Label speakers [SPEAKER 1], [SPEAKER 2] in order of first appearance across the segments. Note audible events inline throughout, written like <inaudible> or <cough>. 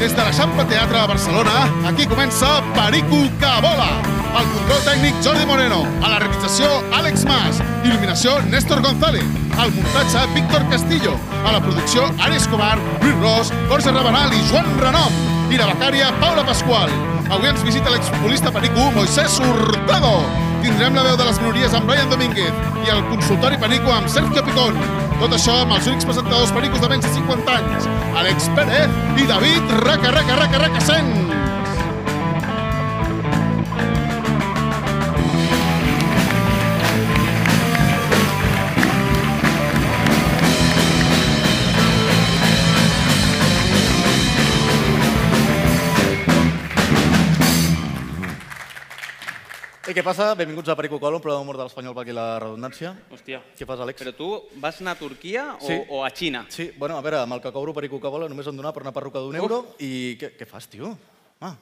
[SPEAKER 1] Des de l'Eixample Teatre de Barcelona, aquí comença Perico que vola. El control tècnic Jordi Moreno, a la realització Àlex Mas, il·luminació Néstor González, al muntatge Víctor Castillo, a la producció Ari Escobar, Lluís Ros, Borja Rabanal i Joan Renom, i la becària Paula Pasqual. Avui ens visita l'exfutbolista Perico Moisés Hurtado. Tindrem la veu de les minories amb Brian Domínguez i el consultori Perico amb Sergio Picón. Tot això amb els únics presentadors pericos de menys de 50 anys, Àlex Pérez i David Raca, Raca, Raca, Raca, Sens.
[SPEAKER 2] I què passa? Benvinguts a Perico Colom, però d'humor de l'espanyol per aquí la redundància.
[SPEAKER 3] Hòstia.
[SPEAKER 2] Què fas, Àlex?
[SPEAKER 3] Però tu vas anar a Turquia o,
[SPEAKER 2] Sí.
[SPEAKER 3] o a Xina?
[SPEAKER 2] Sí, bueno, a veure, amb el que cobro Perico que vola només em donava per una perruca d'un euro i què, què fas, tio? Ah,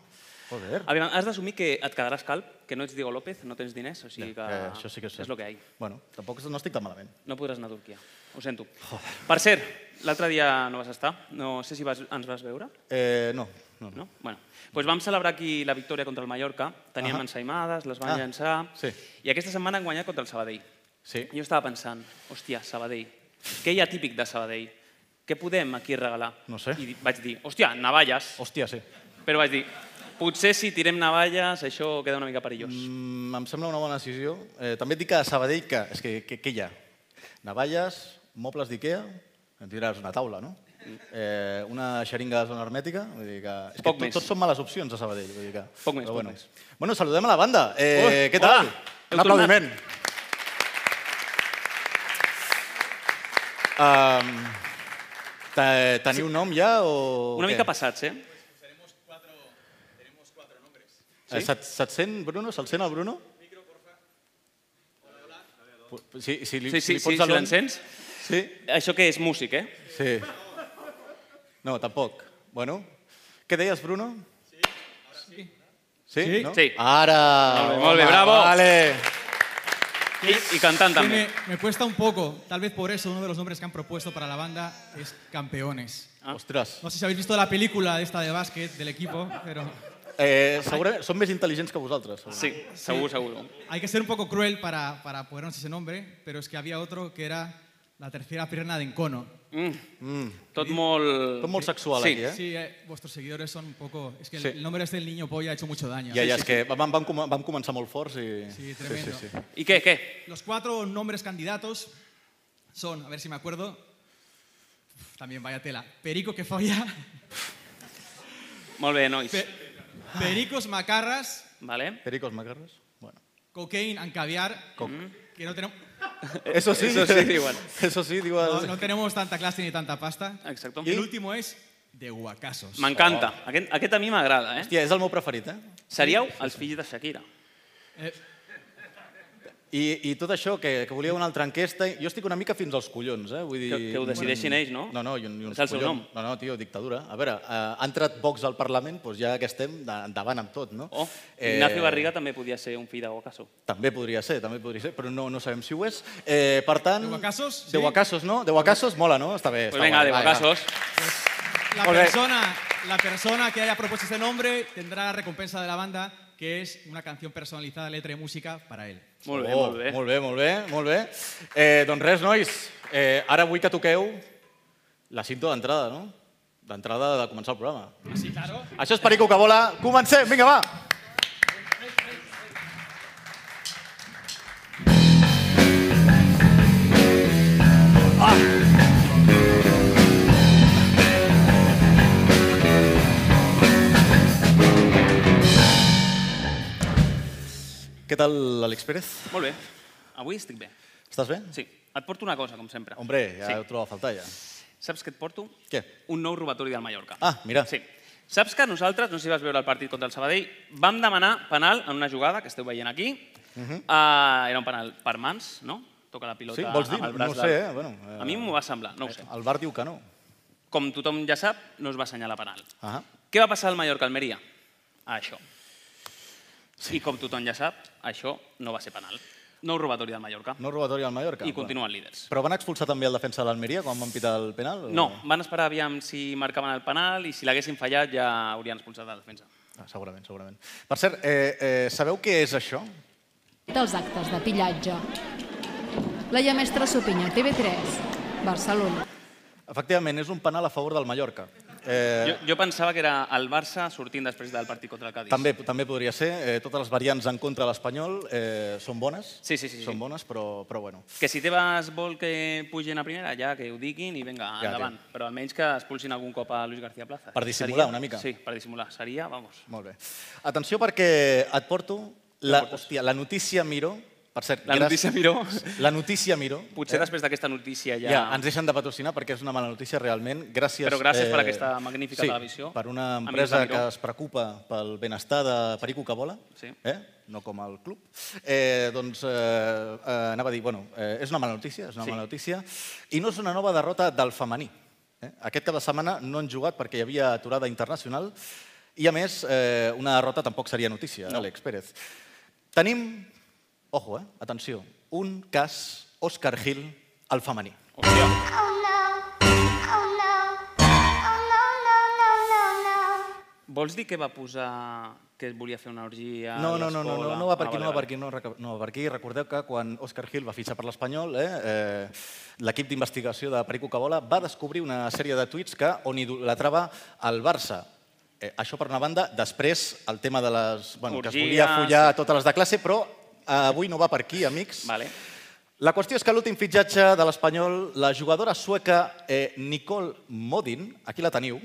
[SPEAKER 2] joder.
[SPEAKER 3] Aviam, has d'assumir que et quedaràs calp, que no ets Diego López, no tens diners, o sigui que...
[SPEAKER 2] Eh, això sí que és cert.
[SPEAKER 3] És el que hi ha.
[SPEAKER 2] Bueno, tampoc no estic tan malament.
[SPEAKER 3] No podràs anar a Turquia, ho sento. Per cert, l'altre dia no vas estar, no sé si vas, ens vas veure,
[SPEAKER 2] Eh, no, no, no.
[SPEAKER 3] no? Bueno, doncs vam celebrar aquí la victòria contra el Mallorca, teníem
[SPEAKER 2] Ahà.
[SPEAKER 3] ensaïmades, les van
[SPEAKER 2] Ah,
[SPEAKER 3] llançar,
[SPEAKER 2] sí.
[SPEAKER 3] i aquesta setmana han guanyat contra el Sabadell.
[SPEAKER 2] Sí.
[SPEAKER 3] Jo estava pensant, hòstia, Sabadell, què hi ha típic de Sabadell? Què podem aquí regalar?
[SPEAKER 2] No sé.
[SPEAKER 3] I vaig dir, hòstia, navalles.
[SPEAKER 2] Hòstia, sí.
[SPEAKER 3] Però vaig dir, potser si tirem navalles això queda una mica perillós. Mm.
[SPEAKER 2] Mm, em sembla una bona decisió. Eh, també et dic que a Sabadell, que, és que, que, que hi ha? Navalles, mobles d'Ikea, em diràs una taula, no? Eh, una xeringa de zona hermètica, vull dir que... És que
[SPEAKER 3] Poc
[SPEAKER 2] tot,
[SPEAKER 3] més.
[SPEAKER 2] tots són males opcions a Sabadell, vull dir que...
[SPEAKER 3] Poc més,
[SPEAKER 2] però
[SPEAKER 3] poc
[SPEAKER 2] bueno.
[SPEAKER 3] més.
[SPEAKER 2] Bueno, saludem a la banda. Eh,
[SPEAKER 3] Hola,
[SPEAKER 2] què
[SPEAKER 3] hola. Heu
[SPEAKER 2] tal? Un
[SPEAKER 3] tornat.
[SPEAKER 2] aplaudiment. Um, te- teniu nom ja o
[SPEAKER 3] Una
[SPEAKER 2] què?
[SPEAKER 3] mica passats, eh?
[SPEAKER 2] Eh, se't, se't sent, Bruno? Se't sent el Bruno? Pu- Si, si, li,
[SPEAKER 3] Sí,
[SPEAKER 2] si
[SPEAKER 3] sí,
[SPEAKER 2] li
[SPEAKER 3] sí,
[SPEAKER 2] pots
[SPEAKER 3] si
[SPEAKER 2] algun-
[SPEAKER 3] l'encens.
[SPEAKER 2] Sí,
[SPEAKER 3] Això que és músic, eh?
[SPEAKER 2] sí. No, tampoc. Bueno, què deies, Bruno? Sí, sí. no?
[SPEAKER 3] Sí.
[SPEAKER 2] Ara!
[SPEAKER 3] Molt bé, molt bé,
[SPEAKER 2] home,
[SPEAKER 3] bravo.
[SPEAKER 2] Vale.
[SPEAKER 3] I, i cantant
[SPEAKER 4] Sí,
[SPEAKER 3] també.
[SPEAKER 4] me, me cuesta un poco, tal vez por eso uno de los nombres que han propuesto para la banda es Campeones.
[SPEAKER 3] Ah.
[SPEAKER 2] Ostres,
[SPEAKER 4] No sé si habéis visto la película esta de básquet del equipo, pero
[SPEAKER 2] <laughs> eh, segurament són més intel·ligents que vosaltres. segurament.
[SPEAKER 3] Sí, segur, segur.
[SPEAKER 4] hay que ser un poco cruel para, para ponernos ese nombre, pero es que había otro que era la tercera pierna de Encono.
[SPEAKER 3] Mm. Tot molt...
[SPEAKER 2] Tot molt sexual,
[SPEAKER 3] sí.
[SPEAKER 2] aquí, eh?
[SPEAKER 4] Sí, eh, vuestros seguidores son un poco... Es que el,
[SPEAKER 2] Sí.
[SPEAKER 4] el nombre este del niño polla ha hecho mucho daño.
[SPEAKER 2] Ja, ja, és que vam, vam, com- vam començar molt forts i...
[SPEAKER 4] Sí, tremendo.
[SPEAKER 2] Sí, sí, sí.
[SPEAKER 3] I què, què?
[SPEAKER 4] Los cuatro nombres candidatos son, a ver si me acuerdo, Uf, también vaya tela, Perico que folla,
[SPEAKER 3] Molt bé, nois.
[SPEAKER 4] Pe-
[SPEAKER 2] Ah.
[SPEAKER 4] Pericos Macarras,
[SPEAKER 3] Vale?
[SPEAKER 2] Pericos Macarres? Bueno.
[SPEAKER 4] Cocaine and caviar. Mm. Que no tenemos,
[SPEAKER 2] <laughs> Eso sí,
[SPEAKER 3] Eh, Eso sí, diuen.
[SPEAKER 2] <laughs> Eso sí, digo.
[SPEAKER 4] no, no tenemos tanta clase ni tanta pasta.
[SPEAKER 3] Exacto.
[SPEAKER 4] Y el último es de huacasos.
[SPEAKER 3] M'encanta. Aquest, aquest a mi m'agrada, eh?
[SPEAKER 2] Hòstia, és el meu preferit, eh?
[SPEAKER 3] Seríeu els fills de Shakira.
[SPEAKER 4] Eh,
[SPEAKER 2] I, I tot això, que, que volíeu una altra enquesta, jo estic una mica fins als collons, eh? Vull dir,
[SPEAKER 3] Que- que ho decideixin ells, no?
[SPEAKER 2] No, no, i, un, i uns
[SPEAKER 3] És el seu
[SPEAKER 2] collons.
[SPEAKER 3] nom.
[SPEAKER 2] No, no, tio, dictadura. A veure, eh, ha entrat Vox al Parlament, doncs ja que estem de- endavant amb tot, no?
[SPEAKER 3] Oh,
[SPEAKER 2] Eh.
[SPEAKER 3] Ignacio Garriga també podia ser un fill de Bocaso.
[SPEAKER 2] També podria ser, també podria ser, però no, no sabem si ho és. Eh, per tant...
[SPEAKER 4] De Huacasos,
[SPEAKER 2] De
[SPEAKER 4] sí.
[SPEAKER 2] Huacasos, no? De Huacasos mola, no? Està bé.
[SPEAKER 3] Pues
[SPEAKER 2] està
[SPEAKER 3] venga,
[SPEAKER 2] guai,
[SPEAKER 3] de
[SPEAKER 2] va, va.
[SPEAKER 3] Bocasos.
[SPEAKER 4] la,
[SPEAKER 2] Molt bé.
[SPEAKER 4] persona, la persona que haya propuesto este nombre tendrá la recompensa de la banda, que es una canción personalizada, letra y música para él.
[SPEAKER 3] Molt bé,
[SPEAKER 2] Oh,
[SPEAKER 3] molt bé.
[SPEAKER 2] Molt bé, molt bé, molt bé. Eh, doncs res, nois, eh, ara vull que toqueu la cinta d'entrada, no? D'entrada de començar el programa.
[SPEAKER 4] Así, Ah, claro.
[SPEAKER 2] Això és Perico que vola. Comencem, vinga, va! Què tal, Àlex Pérez?
[SPEAKER 3] Molt bé. Avui estic bé.
[SPEAKER 2] Estàs bé?
[SPEAKER 3] Sí, et porto una cosa, com sempre.
[SPEAKER 2] Hombre, ja
[SPEAKER 3] Sí.
[SPEAKER 2] ho trobava a faltar, ja.
[SPEAKER 3] Saps què et porto?
[SPEAKER 2] Què?
[SPEAKER 3] Un nou robatori del Mallorca.
[SPEAKER 2] Ah, mira.
[SPEAKER 3] Sí. Saps que nosaltres, no sé si vas veure el partit contra el Sabadell, vam demanar penal en una jugada que esteu veient aquí. uh, era un penal per mans, no? Toca la pilota
[SPEAKER 2] Mhm. Sí, vols dir?
[SPEAKER 3] amb el
[SPEAKER 2] No
[SPEAKER 3] braç
[SPEAKER 2] ho sé,
[SPEAKER 3] del-
[SPEAKER 2] eh? Bueno, eh,
[SPEAKER 3] A mi m'ho va semblar, no ho sé.
[SPEAKER 2] El bar diu que no.
[SPEAKER 3] Com tothom ja sap, no es va assenyalar penal.
[SPEAKER 2] Ah,
[SPEAKER 3] Què va passar al Mallorca-Almeria? A això. Sí. I com tothom ja sap, això no va ser penal. Nou robatori del Mallorca.
[SPEAKER 2] No robatori al Mallorca.
[SPEAKER 3] I continuen líders.
[SPEAKER 2] Però van expulsar també el defensa de l'Almeria quan van pitar el penal? o-
[SPEAKER 3] No, van esperar aviam si marcaven el penal i si l'haguessin fallat ja haurien expulsat la defensa.
[SPEAKER 2] Ah, segurament, segurament. Per cert, eh, eh, sabeu què és això?
[SPEAKER 5] dels actes de pillatge. Laia Mestre Sopinya, TV3, Barcelona.
[SPEAKER 2] Efectivament, és un penal a favor del Mallorca. Eh,
[SPEAKER 3] Jo, jo pensava que era el Barça sortint després del partit contra el Cádiz.
[SPEAKER 2] També, també podria ser. Eh, totes les variants en contra de l'Espanyol eh, són bones.
[SPEAKER 3] Sí, sí, sí, sí.
[SPEAKER 2] Són bones, però, però bueno.
[SPEAKER 3] Que si Tebas vol que pugin a primera, ja que ho diguin i vinga,
[SPEAKER 2] Ja,
[SPEAKER 3] endavant. Però almenys que expulsin algun cop a Luis García Plaza.
[SPEAKER 2] Per dissimular una mica.
[SPEAKER 3] Sí, per dissimular. Seria, vamos.
[SPEAKER 2] Molt bé. Atenció perquè et porto la, hòstia, la notícia Miró. Per cert,
[SPEAKER 3] La notícia Miró.
[SPEAKER 2] La notícia Miró.
[SPEAKER 3] Potser després d'aquesta notícia ja...
[SPEAKER 2] Ja. Eh, ja, ens deixen de patrocinar perquè és una mala notícia realment. Gràcies, eh,
[SPEAKER 3] Però gràcies per aquesta magnífica
[SPEAKER 2] sí,
[SPEAKER 3] televisió.
[SPEAKER 2] per una
[SPEAKER 3] Amics de
[SPEAKER 2] empresa
[SPEAKER 3] Miró.
[SPEAKER 2] que es preocupa pel benestar de Perico que vola,
[SPEAKER 3] Sí.
[SPEAKER 2] eh? no com el club. Eh, doncs eh, eh, anava a dir, bueno, eh, és una mala notícia, és una
[SPEAKER 3] Sí.
[SPEAKER 2] mala notícia. I no és una nova derrota del femení. Eh? Aquest cap de setmana no han jugat perquè hi havia aturada internacional i, a més, eh, una derrota tampoc seria notícia, no. Àlex Pérez. Tenim, ojo, eh? atenció, un cas Òscar Gil al femení.
[SPEAKER 3] Hòstia. Vols dir que va posar que volia fer una orgia
[SPEAKER 2] No,
[SPEAKER 3] a
[SPEAKER 2] no, no, no, no,
[SPEAKER 3] l'escola?
[SPEAKER 2] no va per aquí,
[SPEAKER 3] Ah,
[SPEAKER 2] no va per aquí, no, reca- no va per aquí. Recordeu que quan Òscar Gil va fitxar per l'Espanyol, eh, eh, l'equip d'investigació de Perico Cabola va descobrir una sèrie de tuits que on idolatrava el Barça. Eh, això per una banda, després el tema de les... Bueno, que es
[SPEAKER 3] Orgies.
[SPEAKER 2] volia follar a totes les de classe, però eh, avui no va per aquí, amics.
[SPEAKER 3] Vale.
[SPEAKER 2] La qüestió és que a l'últim fitxatge de l'Espanyol, la jugadora sueca eh, Nicole Modin, aquí la teniu,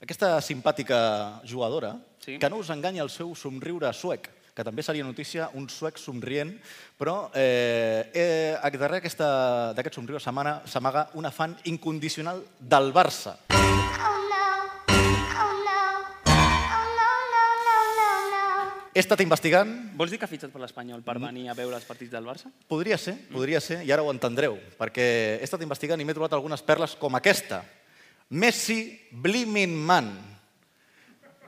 [SPEAKER 2] aquesta simpàtica jugadora,
[SPEAKER 3] Sí.
[SPEAKER 2] que no us enganya el seu somriure suec, que també seria notícia un suec somrient, però eh, eh, a darrere aquesta- d'aquest somriure s'amana- s'amaga una fan incondicional del Barça. He estat investigant,
[SPEAKER 3] Vols dir que ha fitxat per l'Espanyol
[SPEAKER 2] Mm.
[SPEAKER 3] per venir a veure els partits del Barça?
[SPEAKER 2] Podria ser,
[SPEAKER 3] Mm.
[SPEAKER 2] podria ser, i ara ho entendreu, perquè he estat investigant i m'he trobat algunes perles com aquesta. Messi Blimmin Man.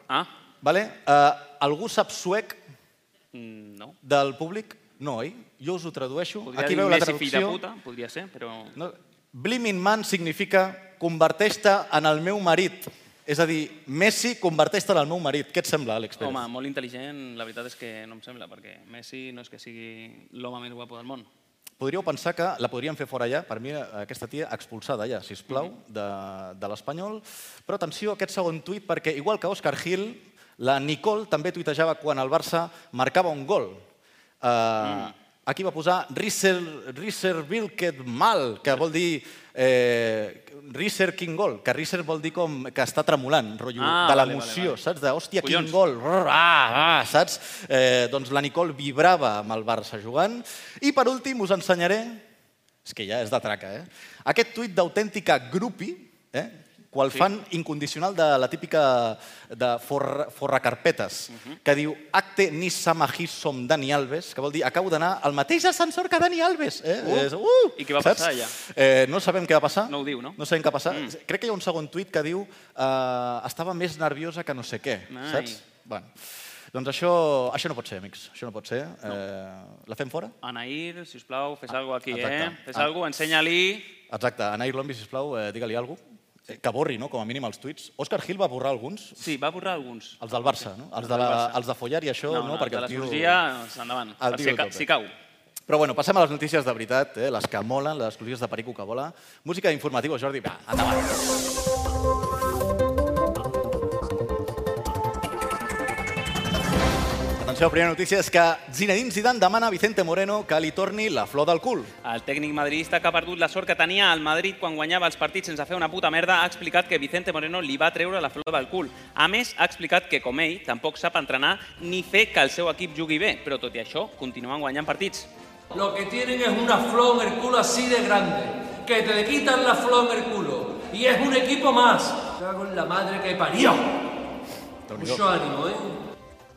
[SPEAKER 3] Ah,
[SPEAKER 2] Vale? Uh, algú sap suec
[SPEAKER 3] mm, no.
[SPEAKER 2] del públic? No, oi? Jo us ho tradueixo.
[SPEAKER 3] Podria
[SPEAKER 2] Aquí
[SPEAKER 3] dir
[SPEAKER 2] veu la
[SPEAKER 3] Messi, fill de
[SPEAKER 2] traducció.
[SPEAKER 3] puta, podria ser, però...
[SPEAKER 2] No, Blimmin Man significa converteix-te en el meu marit. És a dir, Messi converteix-te en el meu marit. Què et sembla, Àlex Pérez?
[SPEAKER 3] Home, molt intel·ligent, la veritat és que no em sembla, perquè Messi no és que sigui l'home més guapo del món.
[SPEAKER 2] Podríeu pensar que la podríem fer fora ja, per mi aquesta tia expulsada ja, si plau, de, de l'Espanyol. Però atenció a aquest segon tuit, perquè igual que Òscar Gil, la Nicole també tuitejava quan el Barça marcava un gol. Uh, Aquí va posar Risser, Risser Vilket Mal, que vol dir eh, Risser King Gol, que Risser vol dir com que està tremolant, rotllo,
[SPEAKER 3] Ah,
[SPEAKER 2] de
[SPEAKER 3] vale,
[SPEAKER 2] l'emoció,
[SPEAKER 3] vale, vale.
[SPEAKER 2] saps? De, hòstia, quin
[SPEAKER 3] Collons.
[SPEAKER 2] gol, rrr, ah, ah, saps? Eh, doncs la Nicole vibrava amb el Barça jugant. I per últim us ensenyaré, és que ja és de traca, eh? Aquest tuit d'autèntica grupi, eh? qual fan incondicional de la típica de forra, forracarpetes,
[SPEAKER 3] Mhm.
[SPEAKER 2] que diu acte ni samajis som Dani Alves, que vol dir acabo d'anar al mateix ascensor que Dani Alves. Eh?
[SPEAKER 3] Uh!
[SPEAKER 2] És, uh!
[SPEAKER 3] I què va
[SPEAKER 2] saps?
[SPEAKER 3] passar allà?
[SPEAKER 2] Eh, no sabem què va passar.
[SPEAKER 3] No ho diu, no? Mm.
[SPEAKER 2] No sabem què va passar. Crec que hi ha un segon tuit que diu eh, estava més nerviosa que no sé què,
[SPEAKER 3] Ai.
[SPEAKER 2] saps? Bueno, doncs això, això no pot ser, amics. Això no pot ser. Eh, la fem fora?
[SPEAKER 3] Anair, si us plau, fes alguna cosa aquí,
[SPEAKER 2] Ah, exacte.
[SPEAKER 3] eh? Fes
[SPEAKER 2] Ah.
[SPEAKER 3] alguna cosa, ensenya-li...
[SPEAKER 2] Exacte. Anair Lombi, sisplau, eh, digue-li alguna cosa. Que borri, no?, com a mínim, els tuits. Òscar Gil va borrar alguns,
[SPEAKER 3] Sí, va borrar alguns.
[SPEAKER 2] els del Barça, no? Els de, la, els de Follar i això, no,
[SPEAKER 3] no,
[SPEAKER 2] perquè
[SPEAKER 3] de
[SPEAKER 2] el
[SPEAKER 3] la
[SPEAKER 2] tio...
[SPEAKER 3] cirurgia, doncs, endavant.
[SPEAKER 2] el
[SPEAKER 3] Per
[SPEAKER 2] tio
[SPEAKER 3] si,
[SPEAKER 2] ho
[SPEAKER 3] ca,
[SPEAKER 2] toca.
[SPEAKER 3] si cau.
[SPEAKER 2] Però bueno, passem a les notícies de veritat, eh? les que molen, les exclusives de Perico que vola. Música informativa, Jordi, va, endavant. Atenció, la primera notícia és que Zinedine Zidane demana a Vicente Moreno que li torni la flor del cul.
[SPEAKER 3] El tècnic madridista que ha perdut la sort que tenia al Madrid quan guanyava els partits sense fer una puta merda ha explicat que Vicente Moreno li va treure la flor del cul. A més, ha explicat que, com ell, tampoc sap entrenar ni fer que el seu equip jugui bé, però tot i això, continuen guanyant partits.
[SPEAKER 6] Lo que tienen es una flor en el culo así de grande, que te quitan la flor en el culo. Y es un equipo más. Cago en la madre que parió.
[SPEAKER 2] Déu-n'hi-do.
[SPEAKER 6] Mucho ánimo, ¿eh?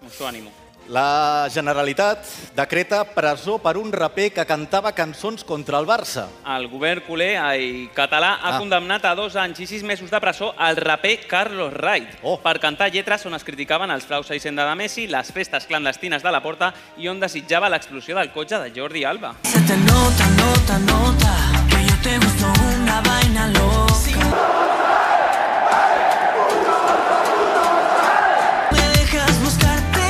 [SPEAKER 3] Mucho ánimo.
[SPEAKER 2] La Generalitat decreta presó per un raper que cantava cançons contra el Barça.
[SPEAKER 3] El govern culer ai, català ha
[SPEAKER 2] Ah.
[SPEAKER 3] condemnat a dos anys i sis mesos de presó al raper Carlos Wright
[SPEAKER 2] Oh.
[SPEAKER 3] per cantar lletres on es criticaven els fraus a Hisenda de Messi, les festes clandestines de la Porta i on desitjava l'explosió del cotxe de Jordi Alba.
[SPEAKER 7] Se te nota, nota, nota Que yo te gusto una vaina loca Me dejas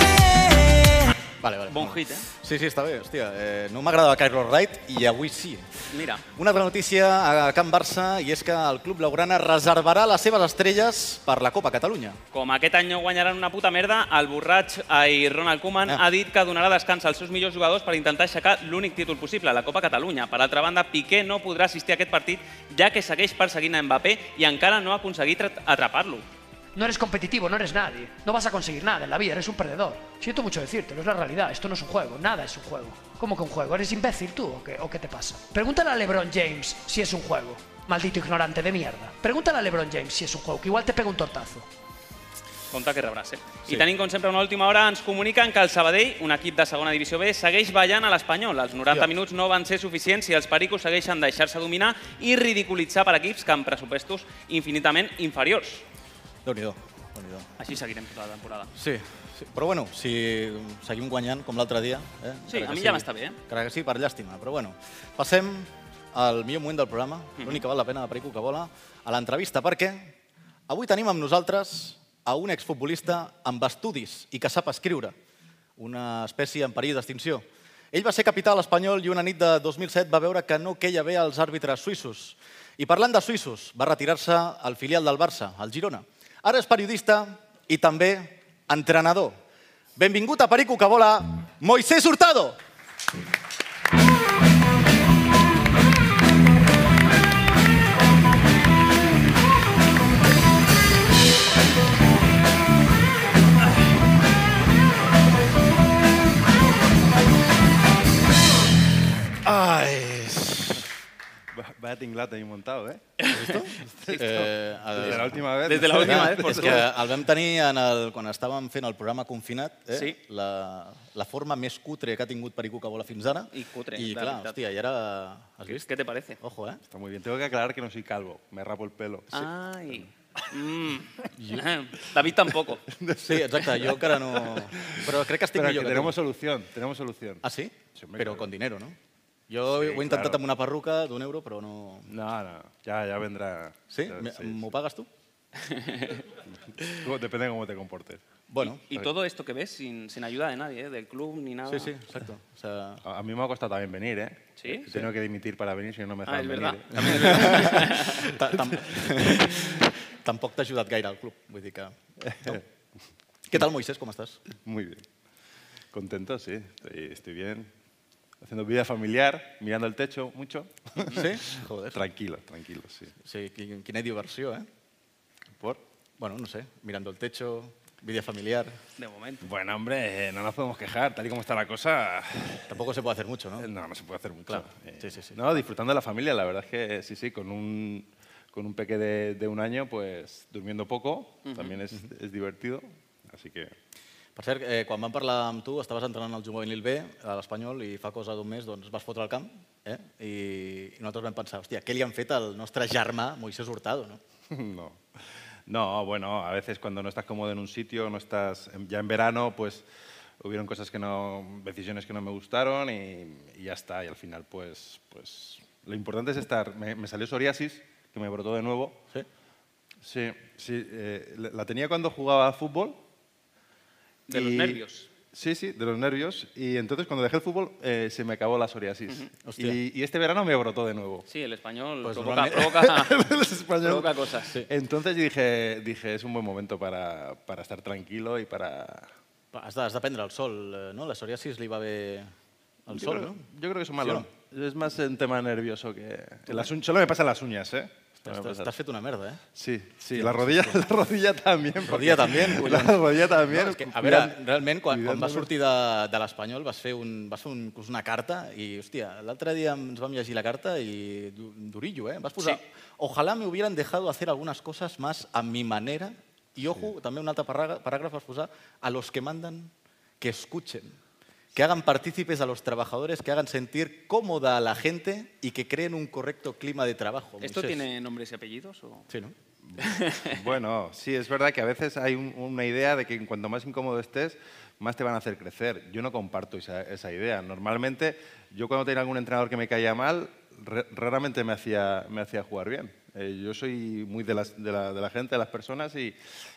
[SPEAKER 7] buscarte
[SPEAKER 2] Vale, vale.
[SPEAKER 3] Bon hit, eh?
[SPEAKER 2] Sí, sí, està bé, hòstia. Eh, no m'agradava Carlos Wright i avui sí.
[SPEAKER 3] Mira,
[SPEAKER 2] Una altra notícia a Can Barça i és que el Club Laurana reservarà les seves estrelles per la Copa Catalunya.
[SPEAKER 3] com aquest any no guanyaran una puta merda, el borratx ai, Ronald Koeman
[SPEAKER 2] Ah.
[SPEAKER 3] ha dit que donarà descans als seus millors jugadors per intentar aixecar l'únic títol possible, la Copa Catalunya. Per altra banda, Piqué no podrà assistir a aquest partit ja que segueix perseguint a Mbappé i encara no ha aconseguit at- atrapar-lo.
[SPEAKER 8] No eres competitivo, no eres nadie. No vas a conseguir nada en la vida, eres un perdedor. Siento mucho decírtelo, es la realidad. Esto no es un juego, nada es un juego. ¿Cómo que un juego? ¿Eres imbécil tú o qué, o qué te pasa? Pregúntale a LeBron James si es un juego. Maldito ignorante de mierda. Pregúntale a LeBron James si es un juego, que igual te pega un tortazo.
[SPEAKER 3] Compte que rebràs, eh?
[SPEAKER 2] Sí.
[SPEAKER 3] I tenim, com sempre, una última hora. Ens comuniquen que el Sabadell, un equip de segona divisió B, segueix ballant a l'Espanyol. Els 90
[SPEAKER 2] Hòstia.
[SPEAKER 3] minuts no van ser suficients i els pericos segueixen deixar-se dominar i ridiculitzar per equips que amb pressupostos infinitament inferiors.
[SPEAKER 2] Déu-n'hi-do. Déu
[SPEAKER 3] Així seguirem tota la temporada.
[SPEAKER 2] sí, sí, però bueno, si seguim guanyant com l'altre dia... Eh?
[SPEAKER 3] Sí,
[SPEAKER 2] encara
[SPEAKER 3] a
[SPEAKER 2] que
[SPEAKER 3] mi ja m'està bé, eh?
[SPEAKER 2] Encara que sí, per llàstima, però bueno. Passem al millor moment del programa, l'únic que val la pena de Perico que vola, a l'entrevista, perquè avui tenim amb nosaltres a un exfutbolista amb estudis i que sap escriure, una espècie en perill d'extinció. Ell va ser capital espanyol i una nit de 2007 va veure que no queia bé als àrbitres suïssos. I parlant de suïssos, va retirar-se al filial del Barça, al Girona. Ara és periodista i també entrenador. Benvingut a Perico que vola, Moisés Hurtado!
[SPEAKER 9] Ah,
[SPEAKER 10] Ay. Va- Vaya tinglado ahí montado, ¿eh?
[SPEAKER 2] Eh, el-
[SPEAKER 10] Desde la última
[SPEAKER 2] <laughs>
[SPEAKER 10] vez.
[SPEAKER 3] Desde la última vez, por
[SPEAKER 2] És Ah, que el vam tenir en el, quan estàvem fent el programa Confinat, eh?
[SPEAKER 3] Sí.
[SPEAKER 2] la, la forma més cutre que ha tingut Perico que vola fins ara.
[SPEAKER 3] I cutre,
[SPEAKER 2] I
[SPEAKER 3] de
[SPEAKER 2] clar,
[SPEAKER 3] veritat.
[SPEAKER 2] hòstia, i ara... Has vist?
[SPEAKER 3] Què te parece?
[SPEAKER 2] Ojo, eh?
[SPEAKER 10] Está muy bien. Tengo que aclarar que no soy calvo. Me rapo el pelo.
[SPEAKER 3] Ah. Ai. Mm. <laughs> David
[SPEAKER 2] <laughs>
[SPEAKER 3] tampoco.
[SPEAKER 2] Sí, exacte, jo encara no... Però crec que estic
[SPEAKER 10] Pero que
[SPEAKER 2] millor que,
[SPEAKER 10] tenemos
[SPEAKER 2] tu.
[SPEAKER 10] solución. Tenemos solución.
[SPEAKER 2] Ah, sí?
[SPEAKER 10] Sí, hombre,
[SPEAKER 2] però
[SPEAKER 10] claro.
[SPEAKER 2] con dinero, no? Jo
[SPEAKER 10] Sí,
[SPEAKER 2] ho he intentat
[SPEAKER 10] claro.
[SPEAKER 2] amb una perruca d'un euro, però no...
[SPEAKER 10] No, no. Ya, ya vendrá.
[SPEAKER 2] Sí?
[SPEAKER 10] Ya,
[SPEAKER 2] Me-
[SPEAKER 10] sí.
[SPEAKER 2] M'ho pagues tu?
[SPEAKER 10] Tú- Depende de cómo te comportes.
[SPEAKER 2] Bueno,
[SPEAKER 3] Y todo esto que ves sin, sin ayuda de nadie, eh, del club ni nada.
[SPEAKER 2] sí, sí, exacte. O sea,
[SPEAKER 10] A a mí me ha costado también venir, ¿eh?
[SPEAKER 3] Sí,
[SPEAKER 10] He
[SPEAKER 3] sí.
[SPEAKER 10] tenido que dimitir para venir si no, no me
[SPEAKER 3] Ah,
[SPEAKER 10] dejaban
[SPEAKER 3] es verdad.
[SPEAKER 10] venir. <laughs>
[SPEAKER 3] También es verdad.
[SPEAKER 10] ¿eh?
[SPEAKER 2] <laughs> Ta- <laughs> tam-
[SPEAKER 10] <laughs>
[SPEAKER 3] <laughs>
[SPEAKER 2] Tampoc t'ha ajudat gaire el club, vull dir
[SPEAKER 10] <laughs>
[SPEAKER 2] que... No. Què tal, Moisés, com estàs?
[SPEAKER 10] Muy bien. Contento, sí. Estoy, estoy bien. Haciendo vida familiar, mirando el techo mucho. <laughs>
[SPEAKER 2] Sí? Joder.
[SPEAKER 10] Tranquilo, tranquilo, sí.
[SPEAKER 2] Sí, qui- quina diversió, eh?
[SPEAKER 10] ¿Por?
[SPEAKER 2] Bueno, no sé, mirando el techo, vida familiar...
[SPEAKER 3] De momento.
[SPEAKER 10] Bueno, hombre, eh, no nos podemos quejar. Tal y como está la cosa,
[SPEAKER 2] Tampoco se puede hacer mucho,
[SPEAKER 10] Eh,
[SPEAKER 2] ¿no?
[SPEAKER 10] No, no se puede hacer mucho.
[SPEAKER 2] Claro,
[SPEAKER 10] Eh,
[SPEAKER 2] sí, sí, sí.
[SPEAKER 10] No, disfrutando de la familia, la verdad es que eh, sí, sí, con un, con un peque de, de un año, pues durmiendo poco, también es, es divertido. Así que,
[SPEAKER 2] Per cert, eh, quan vam parlar amb tu, estaves entrenant al juvenil B, a l'Espanyol, i fa cosa d'un mes doncs, vas fotre al camp, eh? I, i nosaltres vam pensar, hòstia, què li han fet al nostre germà Moisés Hurtado, no?
[SPEAKER 10] <laughs> no. No, bueno, a veces cuando no estás cómodo en un sitio, no estás, en- ya en verano, pues hubieron cosas que no, decisiones que no me gustaron y, y ya está. Y al final, pues, pues lo importante es estar. Me, me salió psoriasis, que me brotó de nuevo.
[SPEAKER 2] Sí?
[SPEAKER 10] Sí, sí, eh, la- la tenía cuando jugaba a fútbol,
[SPEAKER 3] De los
[SPEAKER 10] Y-
[SPEAKER 3] nervios.
[SPEAKER 10] Sí, sí, de los nervios. Y entonces cuando dejé el fútbol eh, se me acabó la psoriasis.
[SPEAKER 2] Hostia.
[SPEAKER 10] y, y este verano me brotó de nuevo.
[SPEAKER 3] Sí, el español
[SPEAKER 2] Pues
[SPEAKER 3] provoca,
[SPEAKER 10] <laughs> El
[SPEAKER 3] provoca,
[SPEAKER 10] español.
[SPEAKER 3] provoca cosas.
[SPEAKER 10] Entonces dije, dije, es un buen momento para, para estar tranquilo y para...
[SPEAKER 2] Has de, has de prendre el sol, eh, no? La psoriasis li va bé el
[SPEAKER 10] yo,
[SPEAKER 2] sol,
[SPEAKER 10] creo,
[SPEAKER 2] no?
[SPEAKER 10] yo creo que es un malo. Es más un tema nervioso que... el asun- Solo me pasan las uñas, ¿eh? Solo me
[SPEAKER 2] T'has
[SPEAKER 10] pasan.
[SPEAKER 2] t'has fet una merda, eh?
[SPEAKER 10] Sí, sí, la rodilla, <laughs> la rodilla también. porque-
[SPEAKER 2] Rodilla también,
[SPEAKER 10] <laughs> La
[SPEAKER 2] collons.
[SPEAKER 10] rodilla también.
[SPEAKER 2] No, és que, a veure,
[SPEAKER 10] cuidad-
[SPEAKER 2] realment, quan, quan va
[SPEAKER 10] cuidándome.
[SPEAKER 2] sortir de, de l'Espanyol vas fer, un, vas fer un, inclús una carta i, hòstia, l'altre dia ens vam llegir la carta i du- durillo, eh? Vas posar,
[SPEAKER 3] Sí.
[SPEAKER 2] ojalá me hubieran dejado hacer algunas cosas más a mi manera i, ojo, també un altre paràgraf, paràgraf vas posar, a los que mandan, que escuchen, que hagan partícipes a los trabajadores, que hagan sentir cómoda a la gente y que creen un correcto clima de trabajo.
[SPEAKER 3] ¿Esto
[SPEAKER 2] Moisés. <laughs>
[SPEAKER 3] tiene nombres y apellidos? O...
[SPEAKER 2] Sí, ¿no?
[SPEAKER 10] <laughs> Bueno, sí, es verdad que a veces hay un- una idea de que en cuanto más incómodo estés, más te van a hacer crecer. Yo no comparto esa, esa idea. Normalmente, yo cuando tenía algún entrenador que me caía mal, re- raramente me hacía, me hacía jugar bien. Eh, yo soy muy de, las- de la, de la gente, de las personas, y,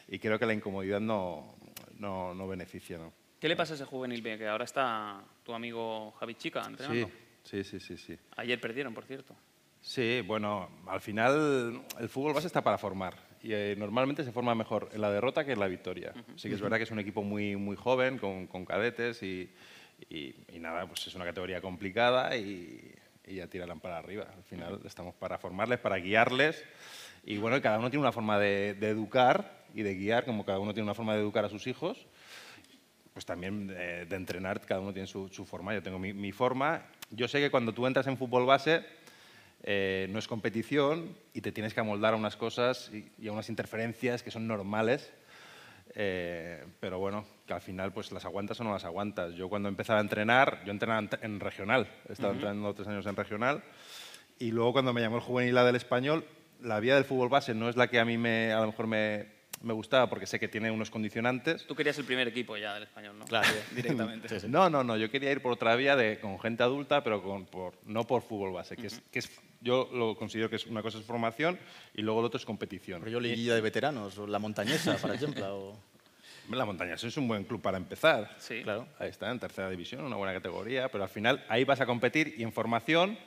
[SPEAKER 10] y creo que la incomodidad no, no, no beneficia. ¿no?
[SPEAKER 3] ¿Qué le pasa a ese juvenil B? Que ahora está tu amigo Javi Chica entrenando.
[SPEAKER 10] Sí, sí, sí, sí, sí.
[SPEAKER 3] Ayer perdieron, por cierto.
[SPEAKER 10] Sí, bueno, al final el fútbol base está para formar y eh, normalmente se forma mejor en la derrota que en la victoria. Sí que es verdad que es un equipo muy, muy joven, con, con cadetes y, y- y nada, pues es una categoría complicada y, y ya tirarán para arriba. Al final estamos para formarles, para guiarles y bueno, cada uno tiene una forma de, de educar y de guiar, como cada uno tiene una forma de educar a sus hijos pues también eh, de entrenar, cada uno tiene su, su forma, yo tengo mi, mi forma. Yo sé que cuando tú entras en fútbol base eh, no es competición y te tienes que amoldar a unas cosas y, y a unas interferencias que son normales, eh, pero bueno, que al final pues las aguantas o no las aguantas. Yo cuando empezaba a entrenar, yo entrenaba en, en regional, estaba entrenando tres años en regional y luego cuando me llamó el juvenil A del español, la vía del fútbol base no es la que a mí me, a lo mejor me, me gustaba porque sé que tiene unos condicionantes,
[SPEAKER 3] Tú querías el primer equipo ya del español, ¿no? <laughs>
[SPEAKER 2] Claro.
[SPEAKER 3] Directamente.
[SPEAKER 10] no, no, no, yo quería ir por otra vía de, con gente adulta, pero con, por, no por fútbol base, que, es, que es, yo lo considero que es una cosa es formación y luego lo otro es competición.
[SPEAKER 2] Rollo liguilla de veteranos, o la montañesa, por ejemplo.
[SPEAKER 10] <laughs>
[SPEAKER 2] o-
[SPEAKER 10] La montaña es un buen club para empezar.
[SPEAKER 3] Sí.
[SPEAKER 10] Claro, ahí está, en tercera división, una buena categoría, pero al final ahí vas a competir y en formación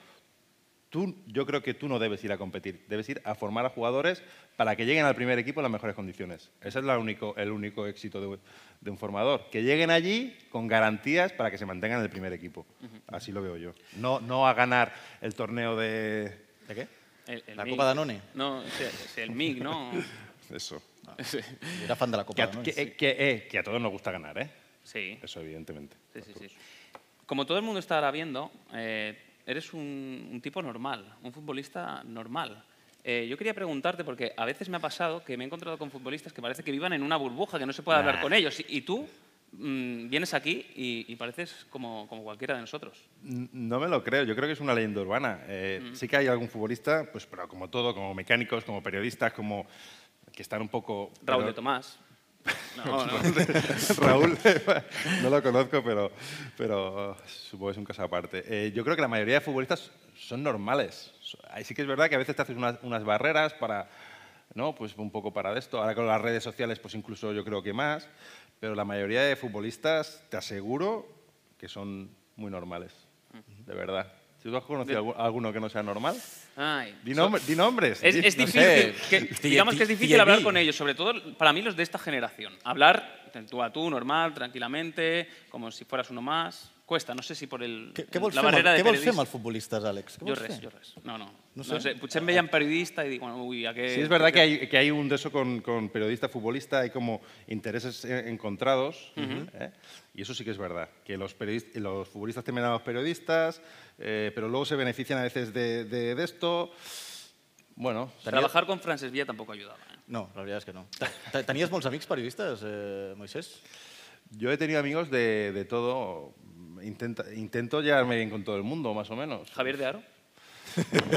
[SPEAKER 10] tú, yo creo que tú no debes ir a competir, debes ir a formar a jugadores para que lleguen al primer equipo en las mejores condiciones. Ese es la único, el único éxito de, de un formador, que lleguen allí con garantías para que se mantengan en el primer equipo. Así lo veo yo. No, no a ganar el torneo de...
[SPEAKER 2] ¿De qué?
[SPEAKER 3] El- el
[SPEAKER 2] La
[SPEAKER 3] MIG.
[SPEAKER 2] Copa Danone.
[SPEAKER 3] No, sí, sí, el MIG,
[SPEAKER 2] <laughs>
[SPEAKER 3] ¿no?
[SPEAKER 10] Eso.
[SPEAKER 2] Ah, Era fan de la
[SPEAKER 10] Que
[SPEAKER 2] Copa
[SPEAKER 10] a,
[SPEAKER 2] Danone.
[SPEAKER 10] que- eh, que, eh, que a todos nos gusta ganar, ¿eh?
[SPEAKER 3] Sí.
[SPEAKER 10] Eso, evidentemente.
[SPEAKER 3] Sí, sí, sí. Como todo el mundo está ahora viendo, eh, eres un, un tipo normal, un futbolista normal. Eh, yo quería preguntarte, porque a veces me ha pasado que me he encontrado con futbolistas que parece que vivan en una burbuja, que no se puede hablar con ellos. Y, y tú mm, vienes aquí y, y pareces como, como cualquiera de nosotros.
[SPEAKER 10] N- No me lo creo, yo creo que es una leyenda urbana. Eh,
[SPEAKER 3] Mm.
[SPEAKER 10] Sí que hay algún futbolista, pues, pero como todo, como mecánicos, como periodistas, como que están un poco...
[SPEAKER 3] Raúl
[SPEAKER 10] pero-
[SPEAKER 3] de
[SPEAKER 10] <laughs>
[SPEAKER 3] Tomás. No, no.
[SPEAKER 10] Raúl, no lo conozco, pero, pero supongo que es un caso aparte. Eh, yo creo que la mayoría de futbolistas son normales. So- ahí Sí que es verdad que a veces te haces unas, unas barreras para, ¿no? Pues un poco para de esto. Ahora con las redes sociales, pues incluso yo creo que más. Pero la mayoría de futbolistas, te aseguro, que son muy normales. De verdad. Si tú has conocido algu- alguno que no sea normal,
[SPEAKER 3] Ay.
[SPEAKER 10] di, nombre- di nombres.
[SPEAKER 3] Es,
[SPEAKER 10] di-
[SPEAKER 3] es
[SPEAKER 10] no
[SPEAKER 3] difícil,
[SPEAKER 10] sé.
[SPEAKER 3] <laughs> que- digamos que es difícil
[SPEAKER 2] TLB.
[SPEAKER 3] hablar con ellos, sobre todo para mí los de esta generación. Hablar de tú a tú, normal, tranquilamente, como si fueras uno más, cuesta. No sé si por el,
[SPEAKER 2] Què, què
[SPEAKER 3] la
[SPEAKER 2] vols fer, amb,
[SPEAKER 3] barrera
[SPEAKER 2] el-
[SPEAKER 3] de
[SPEAKER 2] què vols fer amb
[SPEAKER 3] periodista.
[SPEAKER 2] els futbolistes, Àlex? Què
[SPEAKER 3] Yo
[SPEAKER 2] vols
[SPEAKER 3] res,
[SPEAKER 2] fer?
[SPEAKER 3] yo res. No, no.
[SPEAKER 2] No
[SPEAKER 3] No
[SPEAKER 2] sé.
[SPEAKER 3] sé. Puchen veían periodista y digo, uy, ¿a qué?
[SPEAKER 10] Sí, es verdad que hay, que hay un de eso con, con periodista, futbolista, hay como intereses eh, encontrados, ¿eh? y eso sí que es verdad, que los, periodis- los futbolistas temen a los periodistas, eh, pero luego se benefician a veces de, de- de esto. Bueno,
[SPEAKER 3] Trabajar con Frances Villa tampoco ayudaba. ¿eh?
[SPEAKER 2] No, la veritat és que no. Te- Tenies molts amics periodistes, eh, Moisés?
[SPEAKER 10] yo he tenido amigos de, de todo, Intenta- intento llevarme bien con todo el mundo, más o menos.
[SPEAKER 3] Javier de Aro.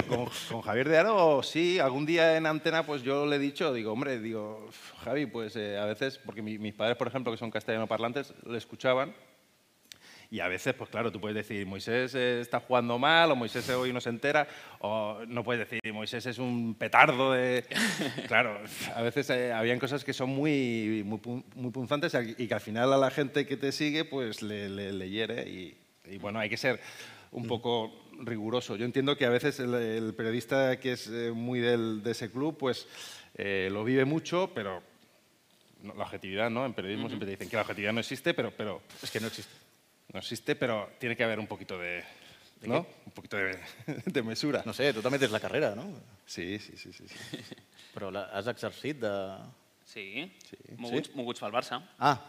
[SPEAKER 10] con, con Javier de Aro, sí, algún día en antena, pues yo le he dicho, digo, hombre, digo, "Uf, Javi, pues eh, a veces, porque mi- mis padres, por ejemplo, que son castellano parlantes, le escuchaban. Y a veces, pues claro, tú puedes decir, Moisés eh, está jugando mal, o Moisés hoy no se entera, o no puedes decir, Moisés es un petardo de... claro, a veces eh, habían cosas que son muy, muy, pun- muy punzantes y que al final a la gente que te sigue, pues le, le- le hiere. Y, y, bueno, hay que ser un poco riguroso. Yo entiendo que a veces el, el periodista que es eh, muy del- de ese club, pues eh, lo vive mucho, pero... no, la objetividad, ¿no? En periodismo siempre te dicen que la objetividad no existe, pero, pero
[SPEAKER 2] És que no existe.
[SPEAKER 10] no existe, pero tiene que haber un poquito de. ¿No? Un poquito de, <laughs> de mesura.
[SPEAKER 2] No sé, tu també tens la carrera, no?
[SPEAKER 10] Sí, sí, sí, sí. sí.
[SPEAKER 2] <laughs> Però la, has exercit de...
[SPEAKER 3] Sí. Moguts, Moguts para el Barça.
[SPEAKER 10] <laughs>
[SPEAKER 2] Ah!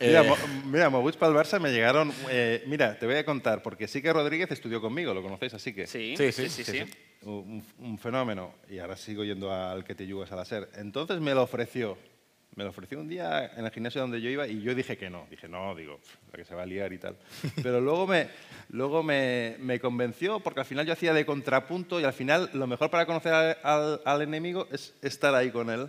[SPEAKER 10] Mira, Mo- mira, Moguts para el Barça me llegaron. eh, mira, te voy a contar, porque sí que Rodríguez estudió conmigo, lo conocéis así que.
[SPEAKER 3] Sí,
[SPEAKER 2] Sí,
[SPEAKER 3] sí,
[SPEAKER 2] sí,
[SPEAKER 3] sí. sí,
[SPEAKER 2] sí,
[SPEAKER 3] sí.
[SPEAKER 10] Un, un fenómeno. Y ahora sigo yendo al que te yugas al hacer. Entonces me lo ofreció. Me lo ofreció un día en el gimnasio donde yo iba y yo dije que no. Dije, no, digo, "Pf, la que se va a liar y tal. Pero luego, me, luego me, me convenció porque al final yo hacía de contrapunto y al final lo mejor para conocer al, al- al enemigo es estar ahí con él.